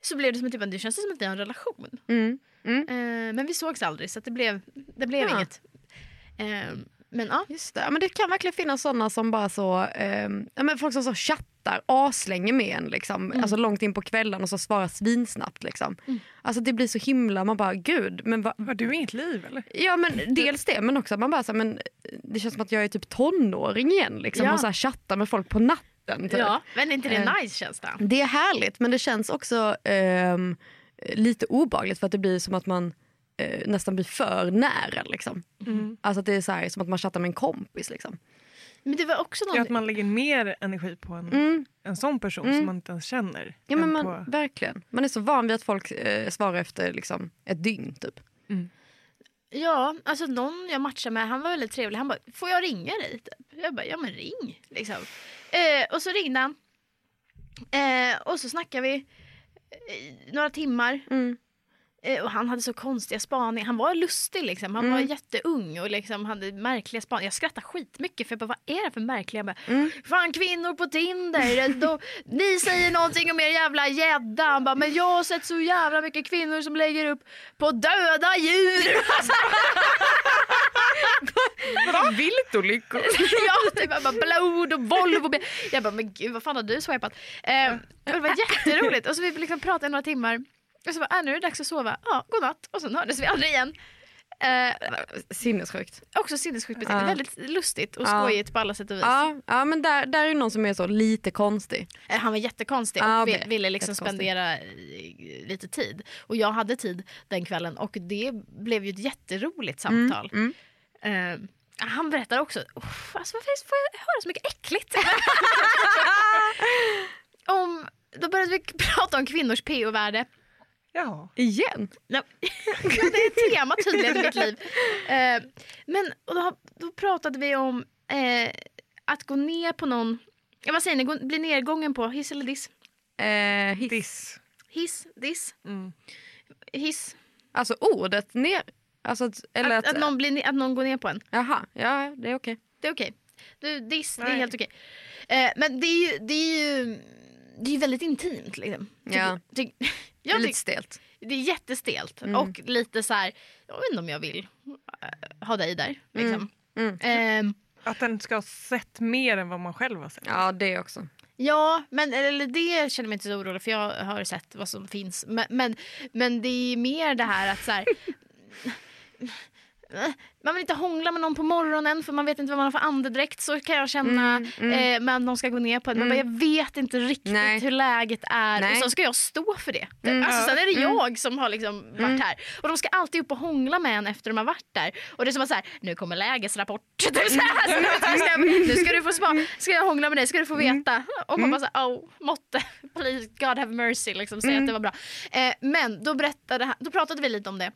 Speaker 4: så blev det som att typ, det känns som att vi har en relation.
Speaker 1: Mm.
Speaker 4: Eh, men vi sågs aldrig så att det blev, det blev
Speaker 1: Ja.
Speaker 4: inget. Eh, men ja,
Speaker 1: Just det. Ja, men det kan verkligen finnas sådana som bara så, ehm, ja, men folk som så chattar aslänge med en liksom, alltså långt in på kvällen och så svarar svinsnabbt. Liksom. Alltså det blir så himla, man bara gud. Men va?
Speaker 5: har du inget liv eller?
Speaker 1: Ja men dels det men också att man bara så, här, men eh, det känns som att jag är typ tonåring igen liksom,
Speaker 4: Ja.
Speaker 1: och så här, chattar med folk på natten. Typ.
Speaker 4: ja. men är inte det
Speaker 1: Eh.
Speaker 4: nice känns det?
Speaker 1: Det är härligt men det känns också ehm, lite obagligt för att det blir som att man eh, nästan blir för nära. Liksom.
Speaker 4: Mm.
Speaker 1: Alltså att det är så här, som att man chattar med en kompis. Liksom.
Speaker 4: Men det var också
Speaker 5: Ja,
Speaker 4: någon,
Speaker 5: att man lägger mer energi på en,
Speaker 1: Mm.
Speaker 5: en sån person som man inte ens känner.
Speaker 1: Ja, men
Speaker 5: än
Speaker 1: man,
Speaker 5: på,
Speaker 1: Verkligen. Man är så van vid att folk eh, svarar efter liksom, ett dygn. Typ.
Speaker 4: ja, alltså någon jag matchade med han var väldigt trevlig. Han bara, får jag ringa dig? Typ. Jag bara, ja men ring. Liksom. Eh, och så ringde han. Eh, och så snackade vi eh, några timmar. Eh, Och han hade så konstiga spaningar. Han var lustig liksom. Han var jätteung och liksom hade märkliga spaningar. Jag skrattade skitmycket för jag bara, vad är det för märkliga? Jag bara, Fan kvinnor på Tinder. De, ni säger någonting om er jävla gädda. Han bara, men jag har sett så jävla mycket kvinnor som lägger upp på döda djur. Alltså,
Speaker 5: Vadå? Viltolyckor?
Speaker 4: jag typ, han bara, blod och Volvo. bil." Jag bara, men gud vad fan har du swipat? Eh, och det var jätteroligt. Och så vi liksom pratade i några timmar. Och så bara, äh, nu är det dags att sova. Ja, godnatt. Och sen hördes vi aldrig igen. Eh,
Speaker 1: Sinnessjukt.
Speaker 4: Också sinnessjukt beteende.
Speaker 1: Ja.
Speaker 4: Väldigt lustigt och
Speaker 1: Ja.
Speaker 4: skojigt på alla sätt och vis.
Speaker 1: Ja, ja, men där, där är ju någon som är så lite konstig.
Speaker 4: Eh, Han var jättekonstig och
Speaker 1: Ja,
Speaker 4: vi-
Speaker 1: Ah, okej.
Speaker 4: ville liksom
Speaker 1: Jättekonstig.
Speaker 4: spendera eh, lite tid. Och jag hade tid den kvällen och det blev ju ett jätteroligt
Speaker 1: Mm,
Speaker 4: samtal. Eh, han berättar också, "Uff, alltså varför får jag höra så mycket äckligt? om, då började vi k- prata om kvinnors PO-värde.
Speaker 5: Ja.
Speaker 1: Igen?
Speaker 4: Ja, det är ett tema tydligen i mitt liv. Eh, men och då, då pratade vi om eh, att gå ner på någon, ja, vad säger ni, gå, bli nedgången på hiss eller diss?
Speaker 1: Eh, hiss.
Speaker 5: Diss.
Speaker 4: Hiss, diss,
Speaker 5: Mm.
Speaker 4: hiss.
Speaker 1: Alltså ordet ner. Alltså, att- eller
Speaker 4: Att, att, någon blir, ne- att någon går ner på en.
Speaker 1: Jaha, ja, det är okej.
Speaker 4: Det är okej. Du, diss, det är
Speaker 5: Nej.
Speaker 4: helt okej. Eh, men det är ju, det är ju, det är ju väldigt intimt. Liksom. Tycker-
Speaker 1: Ja.
Speaker 4: tyck-
Speaker 1: Det är
Speaker 4: jag
Speaker 1: lite Mm.
Speaker 4: tycker
Speaker 1: stelt.
Speaker 4: det är jättestelt och lite så här, jag vet inte om jag vill eh, ha dig där. Liksom.
Speaker 1: Mm.
Speaker 4: Ehm,
Speaker 5: Att den ska ha sett mer än vad man själv har sett.
Speaker 1: Ja, det också.
Speaker 4: Ja, men eller det känner jag mig inte så orolig för jag har sett vad som finns. Men, men, men det är mer det här att så här, Man vill inte hångla med någon på morgonen för man vet inte vad man har för andedräkt. Så kan jag känna eh, med att någon ska gå ner på en. Man bara, jag vet inte riktigt
Speaker 1: Nej.
Speaker 4: hur läget är.
Speaker 1: Nej.
Speaker 4: Och så ska jag stå för det. Alltså, sen är det jag som har liksom varit här. Och de ska alltid upp och hångla med en efter de har varit där. Och det är som att så här, nu kommer lägesrapport. Det är så här, så nu, ska, nu ska du få svar. Ska jag hångla med dig? Ska du få veta? Och man bara så här, oh, måtte, please, God have mercy. Liksom, säga att det var bra. Eh, men då, berättade, han- då pratade vi lite om det.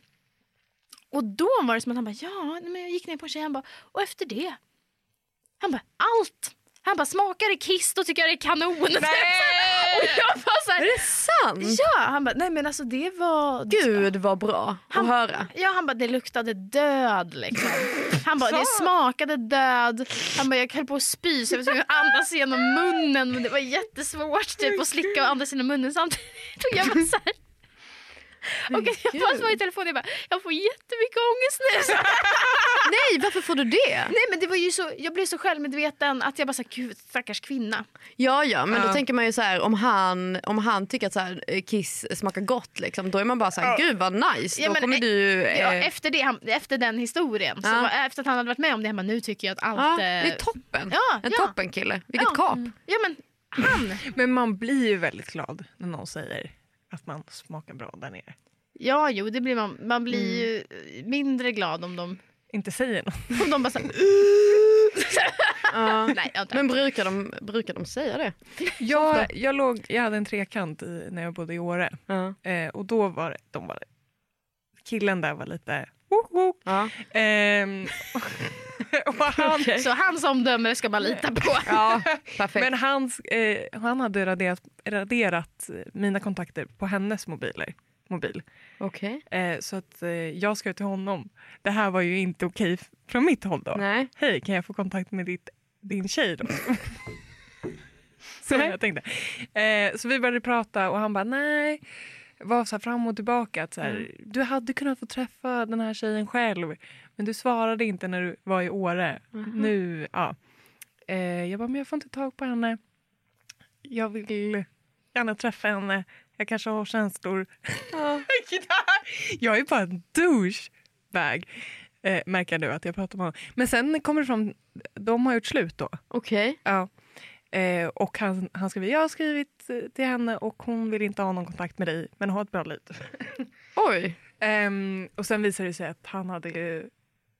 Speaker 4: Och då var det som att han bara, ja, nej, men jag gick ner på en tjej. Han bara, och efter det? Han bara, allt! Han bara, smakar det kiss då tycker jag det är kanon. och jag bara så här,
Speaker 1: Är det sant?
Speaker 4: ja! Han bara, nej men alltså det var...
Speaker 1: Mm. Gud vad bra
Speaker 4: Han-
Speaker 1: att höra.
Speaker 4: Ja, han bara, det luktade död liksom. Han bara, det smakade död. Han bara, jag höll på att spy så jag var tvungen att andas genom munnen. Men det var jättesvårt typ att slicka och andas genom munnen samtidigt. Och jag bara så här. Och jag bara var i telefonen jag bara, jag får jättemycket ångest nu. Så
Speaker 1: Nej, varför får du det?
Speaker 4: Nej men det var ju så, jag blev så självmedveten att jag bara sa gud stackars kvinna.
Speaker 1: Ja, ja, men då
Speaker 5: Ja.
Speaker 1: tänker man ju så här om han, om han tycker att så här, eh, kiss smakar gott liksom, då är man bara så här, gud vad nice.
Speaker 4: Ja,
Speaker 1: då
Speaker 4: men,
Speaker 1: kommer
Speaker 4: eh,
Speaker 1: du... Eh,
Speaker 4: Ja,
Speaker 1: ja,
Speaker 4: efter, det, han, efter den historien, så
Speaker 1: Ja.
Speaker 4: var, efter att han hade varit med om det, han bara, nu tycker jag att allt...
Speaker 1: det är
Speaker 4: eh,
Speaker 1: toppen.
Speaker 4: Ja,
Speaker 1: en
Speaker 4: ja.
Speaker 1: toppen kille. Vilket
Speaker 4: Ja.
Speaker 1: kap.
Speaker 4: ja men han!
Speaker 5: Men man blir ju väldigt glad när någon säger att man smakar bra där nere.
Speaker 4: Ja jo, det blir man, man blir
Speaker 1: Mm.
Speaker 4: ju mindre glad om de,
Speaker 5: Inte säger något.
Speaker 4: om de bara så här,
Speaker 1: Ja.
Speaker 4: "Uh, Nej, jag har inte.
Speaker 1: Men brukar de, brukar de säga det?
Speaker 5: Jag, jag, låg, jag hade en trekant i, när jag bodde i Åre.
Speaker 1: Ja.
Speaker 5: Eh, och då var det, de var, killen där var lite... Wok, wok.
Speaker 1: Ja.
Speaker 5: Ehm, och han,
Speaker 4: Så hans omdöme ska man lita på.
Speaker 5: ja,
Speaker 7: Perfekt.
Speaker 5: men hans, eh, han hade raderat, raderat eh, mina kontakter på hennes mobiler, mobil.
Speaker 1: Okej.
Speaker 5: Eh, så att eh, jag skrev till honom. Det här var ju inte okej f- från mitt håll då.
Speaker 1: Nej.
Speaker 5: Hej, kan jag få kontakt med ditt, din tjej då? så jag tänkte. Eh, så vi började prata och han bara nej. Var så här fram och tillbaka. Att så här, Du hade kunnat få träffa den här tjejen själv. Men du svarade inte när du var i Åre. Nu, ja. Eh, jag bara, men jag får inte tag på henne. Jag vill gärna träffa henne. Jag kanske har känslor. Vilket är- jag är bara en douchebag. Eh, märker du att jag pratar med honom. Men sen kommer det fram, de har gjort slut då.
Speaker 1: Okej.
Speaker 5: Ja. Eh, och han, han skriver, jag har skrivit eh, till henne och hon vill inte ha någon kontakt med dig, men ha ett bra liv.
Speaker 1: Oj.
Speaker 5: Ehm, och sen visade det sig att han hade ju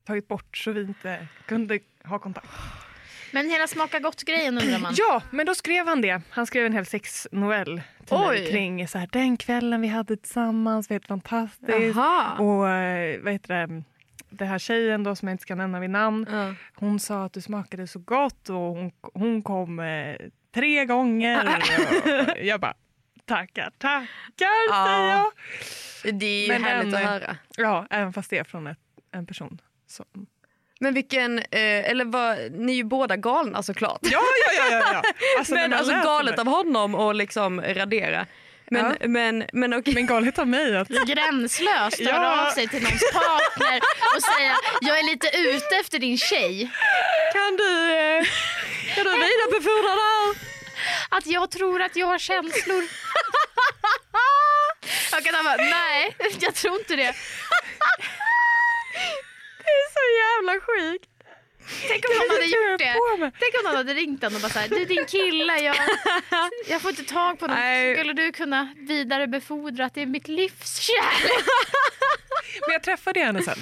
Speaker 5: tagit bort så vi inte kunde ha kontakt.
Speaker 4: Men hela smaka gott-grejen undrar man.
Speaker 5: Ja, men då skrev han det. Han skrev en hel sexnovell till
Speaker 1: Oj.
Speaker 5: mig kring så här, den kvällen vi hade tillsammans, vi hade fantastiskt.
Speaker 1: Jaha.
Speaker 5: Och eh, vad heter det? Det här tjejen då som jag inte ska nämna vid namn.
Speaker 1: Ja.
Speaker 5: Hon sa att du smakade så gott och hon, hon kom eh, tre gånger. Och jag bara tackar, tackar
Speaker 1: Ja.
Speaker 5: säger jag.
Speaker 1: Det är ju
Speaker 5: Men
Speaker 1: härligt
Speaker 5: den-
Speaker 1: att höra.
Speaker 5: Ja, även fast det är från ett, en person. Som...
Speaker 1: Men vilken, eh, eller vad, ni är ju båda galna såklart.
Speaker 5: Ja, ja, ja, ja, ja. Alltså, när
Speaker 1: men
Speaker 5: man
Speaker 1: alltså
Speaker 5: läser
Speaker 1: galet
Speaker 5: det-
Speaker 1: av honom att liksom radera. Men, men, men okej.
Speaker 5: Men galet av mig att
Speaker 4: Gränslöst höra
Speaker 5: Ja.
Speaker 4: av sig till någons partner och säga jag är lite ute efter din tjej.
Speaker 1: Kan du, eh, kan du vidarebefordra det här?
Speaker 4: Att jag tror att jag har känslor. Jag kan bara, nej jag tror inte det.
Speaker 1: Så jävla sjukt.
Speaker 4: Tänk om någon hade gjort det.
Speaker 5: på mig.
Speaker 4: Tänk om någon hade ringt honom och bara såhär, du din kille, jag, jag får inte tag på honom.
Speaker 5: Nej.
Speaker 4: Skulle du kunna vidarebefordra att det är mitt livs kärlek?
Speaker 5: Men jag träffade henne sen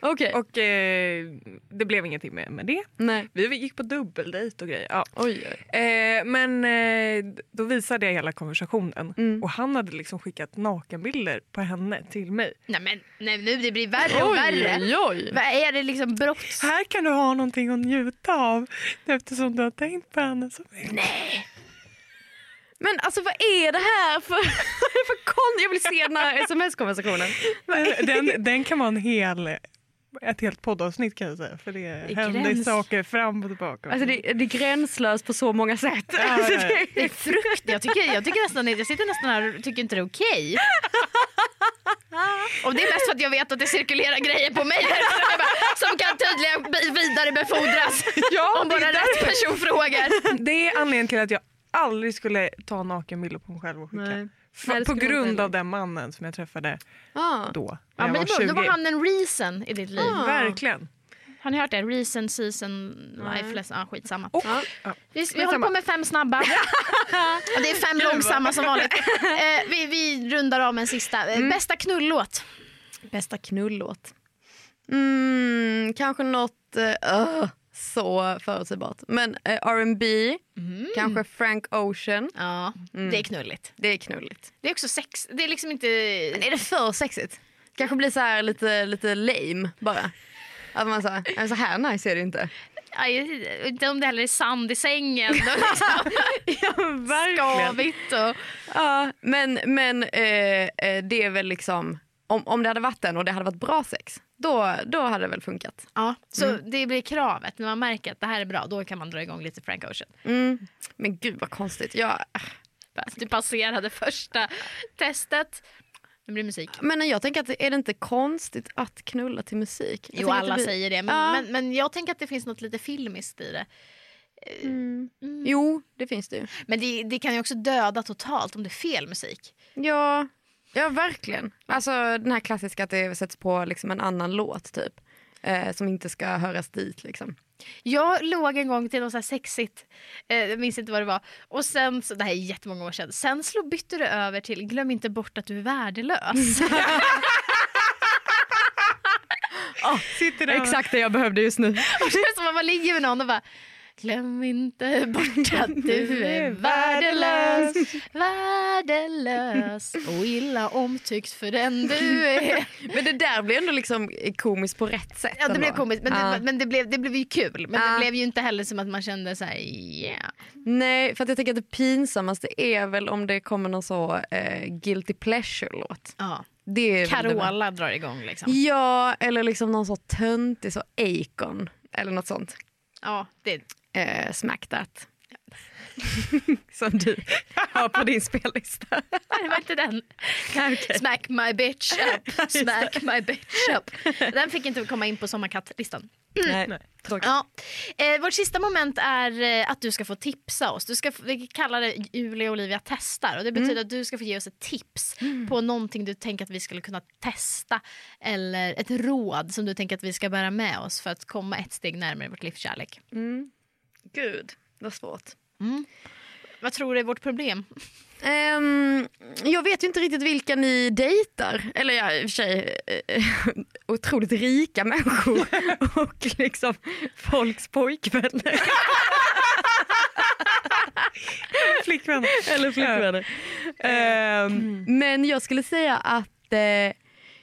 Speaker 1: Okej.
Speaker 5: och eh, det blev ingenting med, med det.
Speaker 1: Nej.
Speaker 5: Vi gick på dubbeldejt och grejer. Ja.
Speaker 1: Oj, oj.
Speaker 5: Eh, men eh, då visade jag hela konversationen
Speaker 1: Mm.
Speaker 5: och han hade liksom skickat nakenbilder på henne till mig.
Speaker 4: Nej men nej, nu det blir värre och värre.
Speaker 1: Oj, oj.
Speaker 4: Vad är det liksom brotts...
Speaker 5: Här kan du ha någonting att njuta av eftersom du har tänkt på henne så mycket.
Speaker 1: Men alltså vad är det här för, för kon? Jag vill se den här sms-konversationen.
Speaker 5: Den, den kan vara en hel, ett helt poddavsnitt kan jag säga för det händer
Speaker 4: gräns.
Speaker 5: saker fram och tillbaka.
Speaker 1: Alltså det, det är gränslöst på så många sätt.
Speaker 5: ja, ja.
Speaker 1: Alltså, det-
Speaker 4: Det är frukt. Jag, tycker, jag, tycker nästan, jag sitter nästan här och tycker inte det är okej. Och det är mest för att jag vet att det cirkulerar grejer på mig här ute. Jag bara, som kan tydligen bi- vidarebefordras
Speaker 5: ja,
Speaker 4: om
Speaker 5: det,
Speaker 4: bara
Speaker 5: är
Speaker 4: rätt person frågar.
Speaker 5: där- det är anledningen till att jag aldrig skulle ta nakenbilder på mig själv och skicka.
Speaker 1: Nej.
Speaker 5: För,
Speaker 1: Nej, det
Speaker 5: på
Speaker 1: skulle jag inte
Speaker 5: grund
Speaker 1: heller.
Speaker 5: av den mannen som jag träffade
Speaker 1: Ja.
Speaker 5: då.
Speaker 4: Ja,
Speaker 5: När
Speaker 4: men
Speaker 5: jag
Speaker 4: det var, då
Speaker 5: var 20.
Speaker 4: var han en reason i ditt liv.
Speaker 1: Ah.
Speaker 5: Verkligen.
Speaker 4: Har ni hört det? Reason, season, life lesson. Ah, skitsamma.
Speaker 5: Och,
Speaker 1: Ja.
Speaker 4: Vi, vi håller på med fem snabba. Ja, det är fem långsamma som vanligt. Eh, vi, vi rundar av med en sista. Eh, Bästa knullåt?
Speaker 1: Bästa knullåt? Mm, kanske något eh, öh, så förutsägbart. Men eh, R&B, kanske Frank Ocean.
Speaker 4: Ja, det är knulligt.
Speaker 1: Mm. Det är knulligt.
Speaker 4: Mm. Det är också sex. Det är liksom inte...
Speaker 1: Men är det för sexigt? Kanske blir så här lite, lite lame bara. Att man så här, "Nej, så här nice är det inte.
Speaker 4: Aj, inte om det heller är sand i sängen. Och liksom skavigt och...
Speaker 1: Ja, men men eh, eh, det är väl liksom, om, om det hade varit den och det hade varit bra sex, då, då hade det väl funkat.
Speaker 4: Ja, så det blir kravet. När man märker att det här är bra, då kan man dra igång lite Frank Ocean.
Speaker 1: Mm. Men gud vad konstigt. Jag,
Speaker 4: Du passerade första testet. Nu blir det musik.
Speaker 1: men jag tänker att är det inte konstigt att knulla till musik? Jag
Speaker 4: Jo,
Speaker 1: tänker att
Speaker 4: alla
Speaker 1: blir-
Speaker 4: säger det. Men,
Speaker 1: Ja.
Speaker 4: men, men jag tänker att det finns något lite filmiskt i det.
Speaker 1: Jo, det finns det ju.
Speaker 4: Men det, det kan ju också döda totalt om det är fel musik.
Speaker 1: Ja, ja verkligen. Alltså den här klassiska att det sätts på liksom en annan låt typ. Eh, som inte ska höras dit liksom.
Speaker 4: Jag låg en gång till något så här sexigt, eh, jag minns inte vad det var. Och sen, så, det här är jättemånga år sedan, sen slå, bytte det över till glöm inte bort att du är värdelös.
Speaker 5: Sitter där
Speaker 1: Exakt det jag behövde just nu.
Speaker 4: och det är som att man ligger med någon och bara Glöm inte bort att du är värdelös, värdelös och illa omtyckt för den du är.
Speaker 1: Men det där blir ändå liksom komiskt på rätt sätt.
Speaker 4: Ja, det
Speaker 1: ändå.
Speaker 4: blev komiskt, men,
Speaker 1: Ja.
Speaker 4: det, men det, blev, det blev ju kul. Men
Speaker 1: Ja.
Speaker 4: det blev ju inte heller som att man kände så här, yeah.
Speaker 1: Nej, för att jag tänker att det pinsammaste är väl om det kommer någon så eh, guilty pleasure-låt.
Speaker 4: Ja.
Speaker 1: Det är väl det värsta.
Speaker 4: Carola drar igång liksom.
Speaker 1: Ja, eller liksom någon så töntig, så Akon eller något sånt.
Speaker 4: Ja, det,
Speaker 1: Eh, smack that. Som du har på din spellista.
Speaker 4: nej, det var inte den.
Speaker 1: Okej.
Speaker 4: Smack my bitch up, smack my bitch up. Den fick inte komma in på sommarkattlistan. Mm.
Speaker 1: Nej, tråkigt.
Speaker 4: Ja. Eh, vårt sista moment är eh, att du ska få tipsa oss. Du ska, få- vi kallar det Julia och Olivia testar. Och det betyder att du ska få ge oss ett tips på någonting du tänker att vi skulle kunna testa. Eller ett råd som du tänker att vi ska bära med oss för att komma ett steg närmare vårt livs kärlek.
Speaker 1: Gud, vad svårt.
Speaker 4: Vad tror du är vårt problem?
Speaker 1: Ehm, jag vet ju inte riktigt vilka ni dejtar. Eller ja, i och för sig eh, otroligt rika människor och liksom folks pojkvänner.
Speaker 5: Flickvän.
Speaker 1: Eller flickvänner. Ehm, Men jag skulle säga att, eh, eller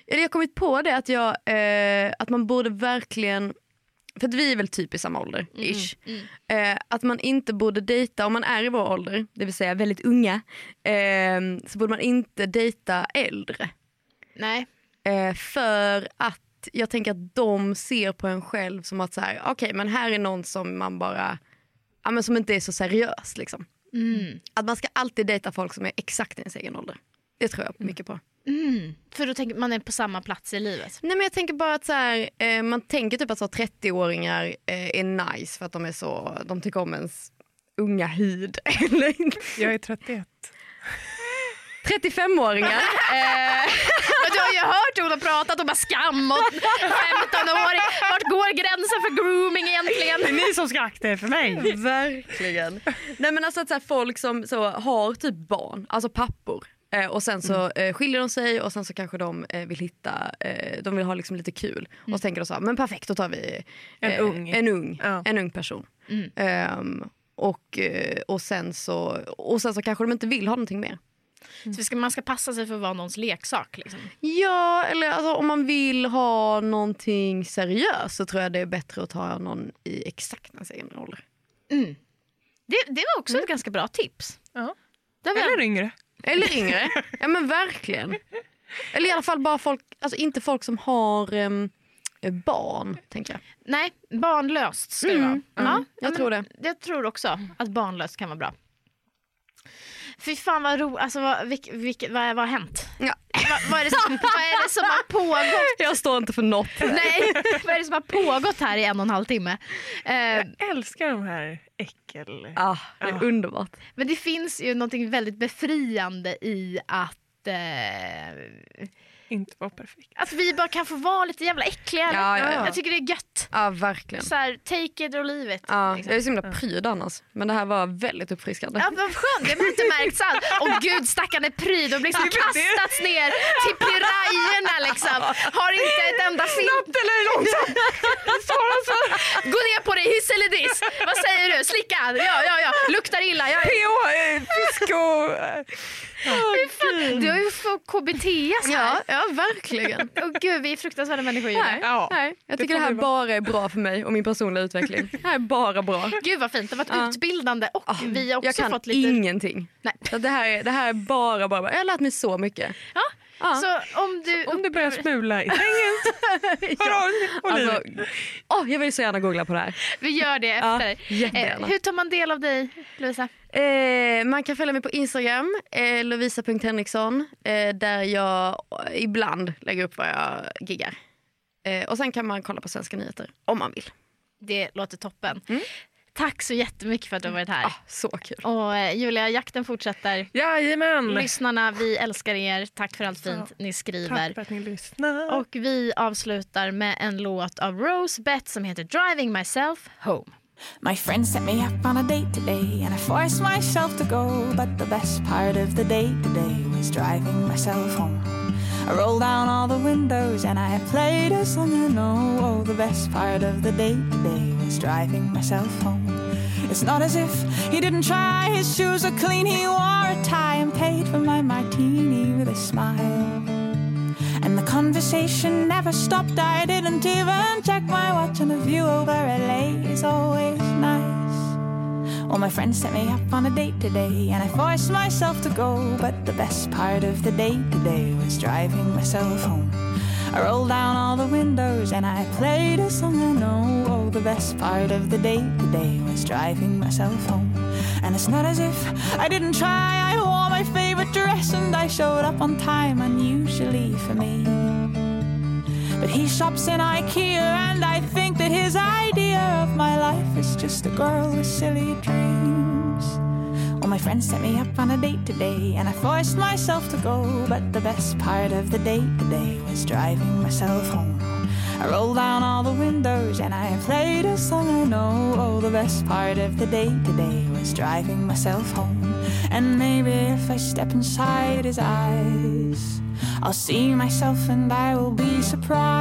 Speaker 1: jag har kommit på det att, jag, eh, att man borde verkligen, för att vi är väl typ i samma ålder, ish. Eh, att man inte borde dejta, om man är i vår ålder, det vill säga väldigt unga, ehm, så borde man inte dejta äldre.
Speaker 4: Nej.
Speaker 1: Eh, för att jag tänker att de ser på en själv som att så här, okej men här är någon som man bara, ja, men som inte är så seriös liksom. Att man ska alltid dejta folk som är exakt i ens egen ålder. Det tror jag mycket på.
Speaker 4: Mm. För då tänker man är på samma plats i livet.
Speaker 1: Nej men jag tänker bara att så här, eh, man tänker typ att så 30-åringar eh, är nice för att de är så, de tycker om ens unga hud. Eller
Speaker 5: Jag är 31.
Speaker 1: 35-åringar. Eh,
Speaker 4: Men du har ju hört Ola prata om skam och 15-åring. Vart går gränsen för grooming egentligen?
Speaker 5: Det är ni som ska akta er för mig.
Speaker 1: Verkligen. Nej men alltså att så här, folk som så har typ barn, alltså pappor. Eh, och sen så
Speaker 5: Mm.
Speaker 1: eh, skiljer de sig och sen så kanske de eh, vill hitta, eh, de vill ha liksom lite kul. Och så tänker de så här, men perfekt då tar vi eh,
Speaker 5: Mm. En ung.
Speaker 1: En, ung
Speaker 5: Ja. Mm.
Speaker 1: en ung person. Ehm, och, eh, och, sen så, och sen så kanske de inte vill ha någonting mer.
Speaker 4: Så vi ska, man ska passa sig för att vara någons leksak. Liksom.
Speaker 1: Ja, eller alltså, om man vill ha någonting seriöst så tror jag det är bättre att ta någon i exakt hans egen ålder.
Speaker 4: Det, det var också ett ganska bra tips.
Speaker 5: Ja.
Speaker 4: Det var-
Speaker 5: Eller yngre.
Speaker 1: Eller yngre. ja men verkligen. Eller i alla fall bara folk, alltså inte folk som har em, barn, tänker jag. Mm.
Speaker 4: nej, barnlöst ska
Speaker 5: Mm.
Speaker 4: det vara. Ja,
Speaker 1: jag tror det.
Speaker 4: Jag tror också att barnlöst kan vara bra. Fy fan vad roligt, alltså, vad, vilk, vilk, vad, vad har hänt?
Speaker 1: Ja.
Speaker 4: Vad, vad, är det som, vad är det som har pågått?
Speaker 1: Jag står inte för något.
Speaker 4: Nej, vad är det som har pågått här i en och en halv timme? Eh,
Speaker 5: Jag älskar de här äckel...
Speaker 1: Ah, det är
Speaker 5: Ja.
Speaker 1: underbart.
Speaker 4: Men det finns ju någonting väldigt befriande i att, eh,
Speaker 5: Inte vara perfekt.
Speaker 4: att vi bara kan få vara lite jävla äckliga.
Speaker 1: Ja, ja, ja.
Speaker 4: Jag tycker det är gött.
Speaker 1: Ja, verkligen.
Speaker 4: Så här, take it or leave it.
Speaker 1: Ja,
Speaker 4: liksom.
Speaker 1: jag är så himla pryd annars, men det här var väldigt uppfriskande.
Speaker 4: Ja, vad skönt, det har inte märkts alls. Och gud stackarne pryd, de har liksom kastats ner till pirajerna liksom. Har inte ett enda fint.
Speaker 5: Eller långsamt!
Speaker 4: Gå ner på dig, hiss eller diss. Vad säger du? Slicka? Ja, ja, ja. Luktar illa? Ja, ja.
Speaker 5: PH, eh, fisk och... eh,
Speaker 4: Du har ju fått KBT här.
Speaker 1: Ja, ja verkligen.
Speaker 4: Och gud, vi är fruktansvärda människor
Speaker 1: Nej,
Speaker 4: Julia.
Speaker 5: Ja.
Speaker 1: nej, jag tycker det, här
Speaker 5: kommer det vara.
Speaker 1: bara är bra för mig och min personliga utveckling. Det här är bara bra.
Speaker 4: Gud vad fint, det har varit
Speaker 1: Ja.
Speaker 4: utbildande och vi har också
Speaker 1: jag kan
Speaker 4: fått lite...
Speaker 1: ingenting.
Speaker 4: Nej.
Speaker 1: Så det, här är, det här är bara, bara, bara. Jag har lärt mig så mycket.
Speaker 4: Ja.
Speaker 1: Ja.
Speaker 4: Så om du...
Speaker 5: Om du börjar smula i sängen, hör av dig.
Speaker 1: Alltså,
Speaker 5: Oliver.
Speaker 1: åh, jag vill så gärna googla på det här.
Speaker 4: Vi gör det
Speaker 1: Ja,
Speaker 4: efter.
Speaker 1: jättegärna.
Speaker 4: Eh, hur tar man del av dig, Lovisa?
Speaker 1: Eh, man kan följa mig på Instagram, eh, lovisa.henriksson, eh, där jag ibland lägger upp vad jag giggar. Eh, och sen kan man kolla på svenska nyheter om man vill.
Speaker 4: Det låter toppen.
Speaker 1: Mm.
Speaker 4: Tack så jättemycket för att du har varit här.
Speaker 1: Ah, så kul.
Speaker 4: Och eh, Julia, jakten fortsätter.
Speaker 5: Jajamän!
Speaker 4: Lyssnarna, vi älskar er. Tack för allt fint ni skriver.
Speaker 5: Tack för att ni lyssnar.
Speaker 4: Och vi avslutar med en låt av Rose Bett som heter Driving Myself Home.
Speaker 9: My friend set me up on a date today, and I forced myself to go. But the best part of the day today was driving myself home. I rolled down all the windows and I played a song I know. Oh, the best part of the day today was driving myself home. It's not as if he didn't try. His shoes are clean. He wore a tie and paid for my martini with a smile. And the conversation never stopped. I didn't even check my watch, and the view over LA is always nice. All my friends set me up on a date today, and I forced myself to go. But the best part of the day today was driving myself home. I rolled down all the windows and I played a song I know. Oh, the best part of the day today was driving myself home. And it's not as if I didn't try. I wore my favorite dress and I showed up on time, unusually for me. But he shops in IKEA, and I think that his idea of my life is just a girl with silly dreams. All my friends set me up on a date today, and I forced myself to go. But the best part of the date today was driving myself home. I rolled down all the windows and I played a song I know. Oh, the best part of the day today was driving myself home. And maybe if I step inside his eyes, I'll see myself and I will be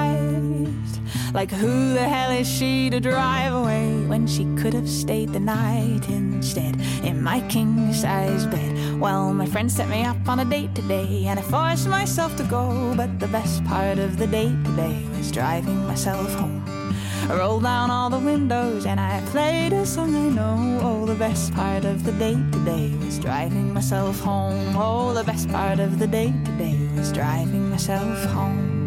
Speaker 9: surprised. Like, who the hell is she to drive away when she could have stayed the night instead in my king size bed? Well, my friend set me up on a date today and I forced myself to go. But the best part of the date today was driving myself home. I rolled down all the windows and I played a song I know. Oh, the best part of the day today was driving myself home. Oh, the best part of the day today was driving myself home.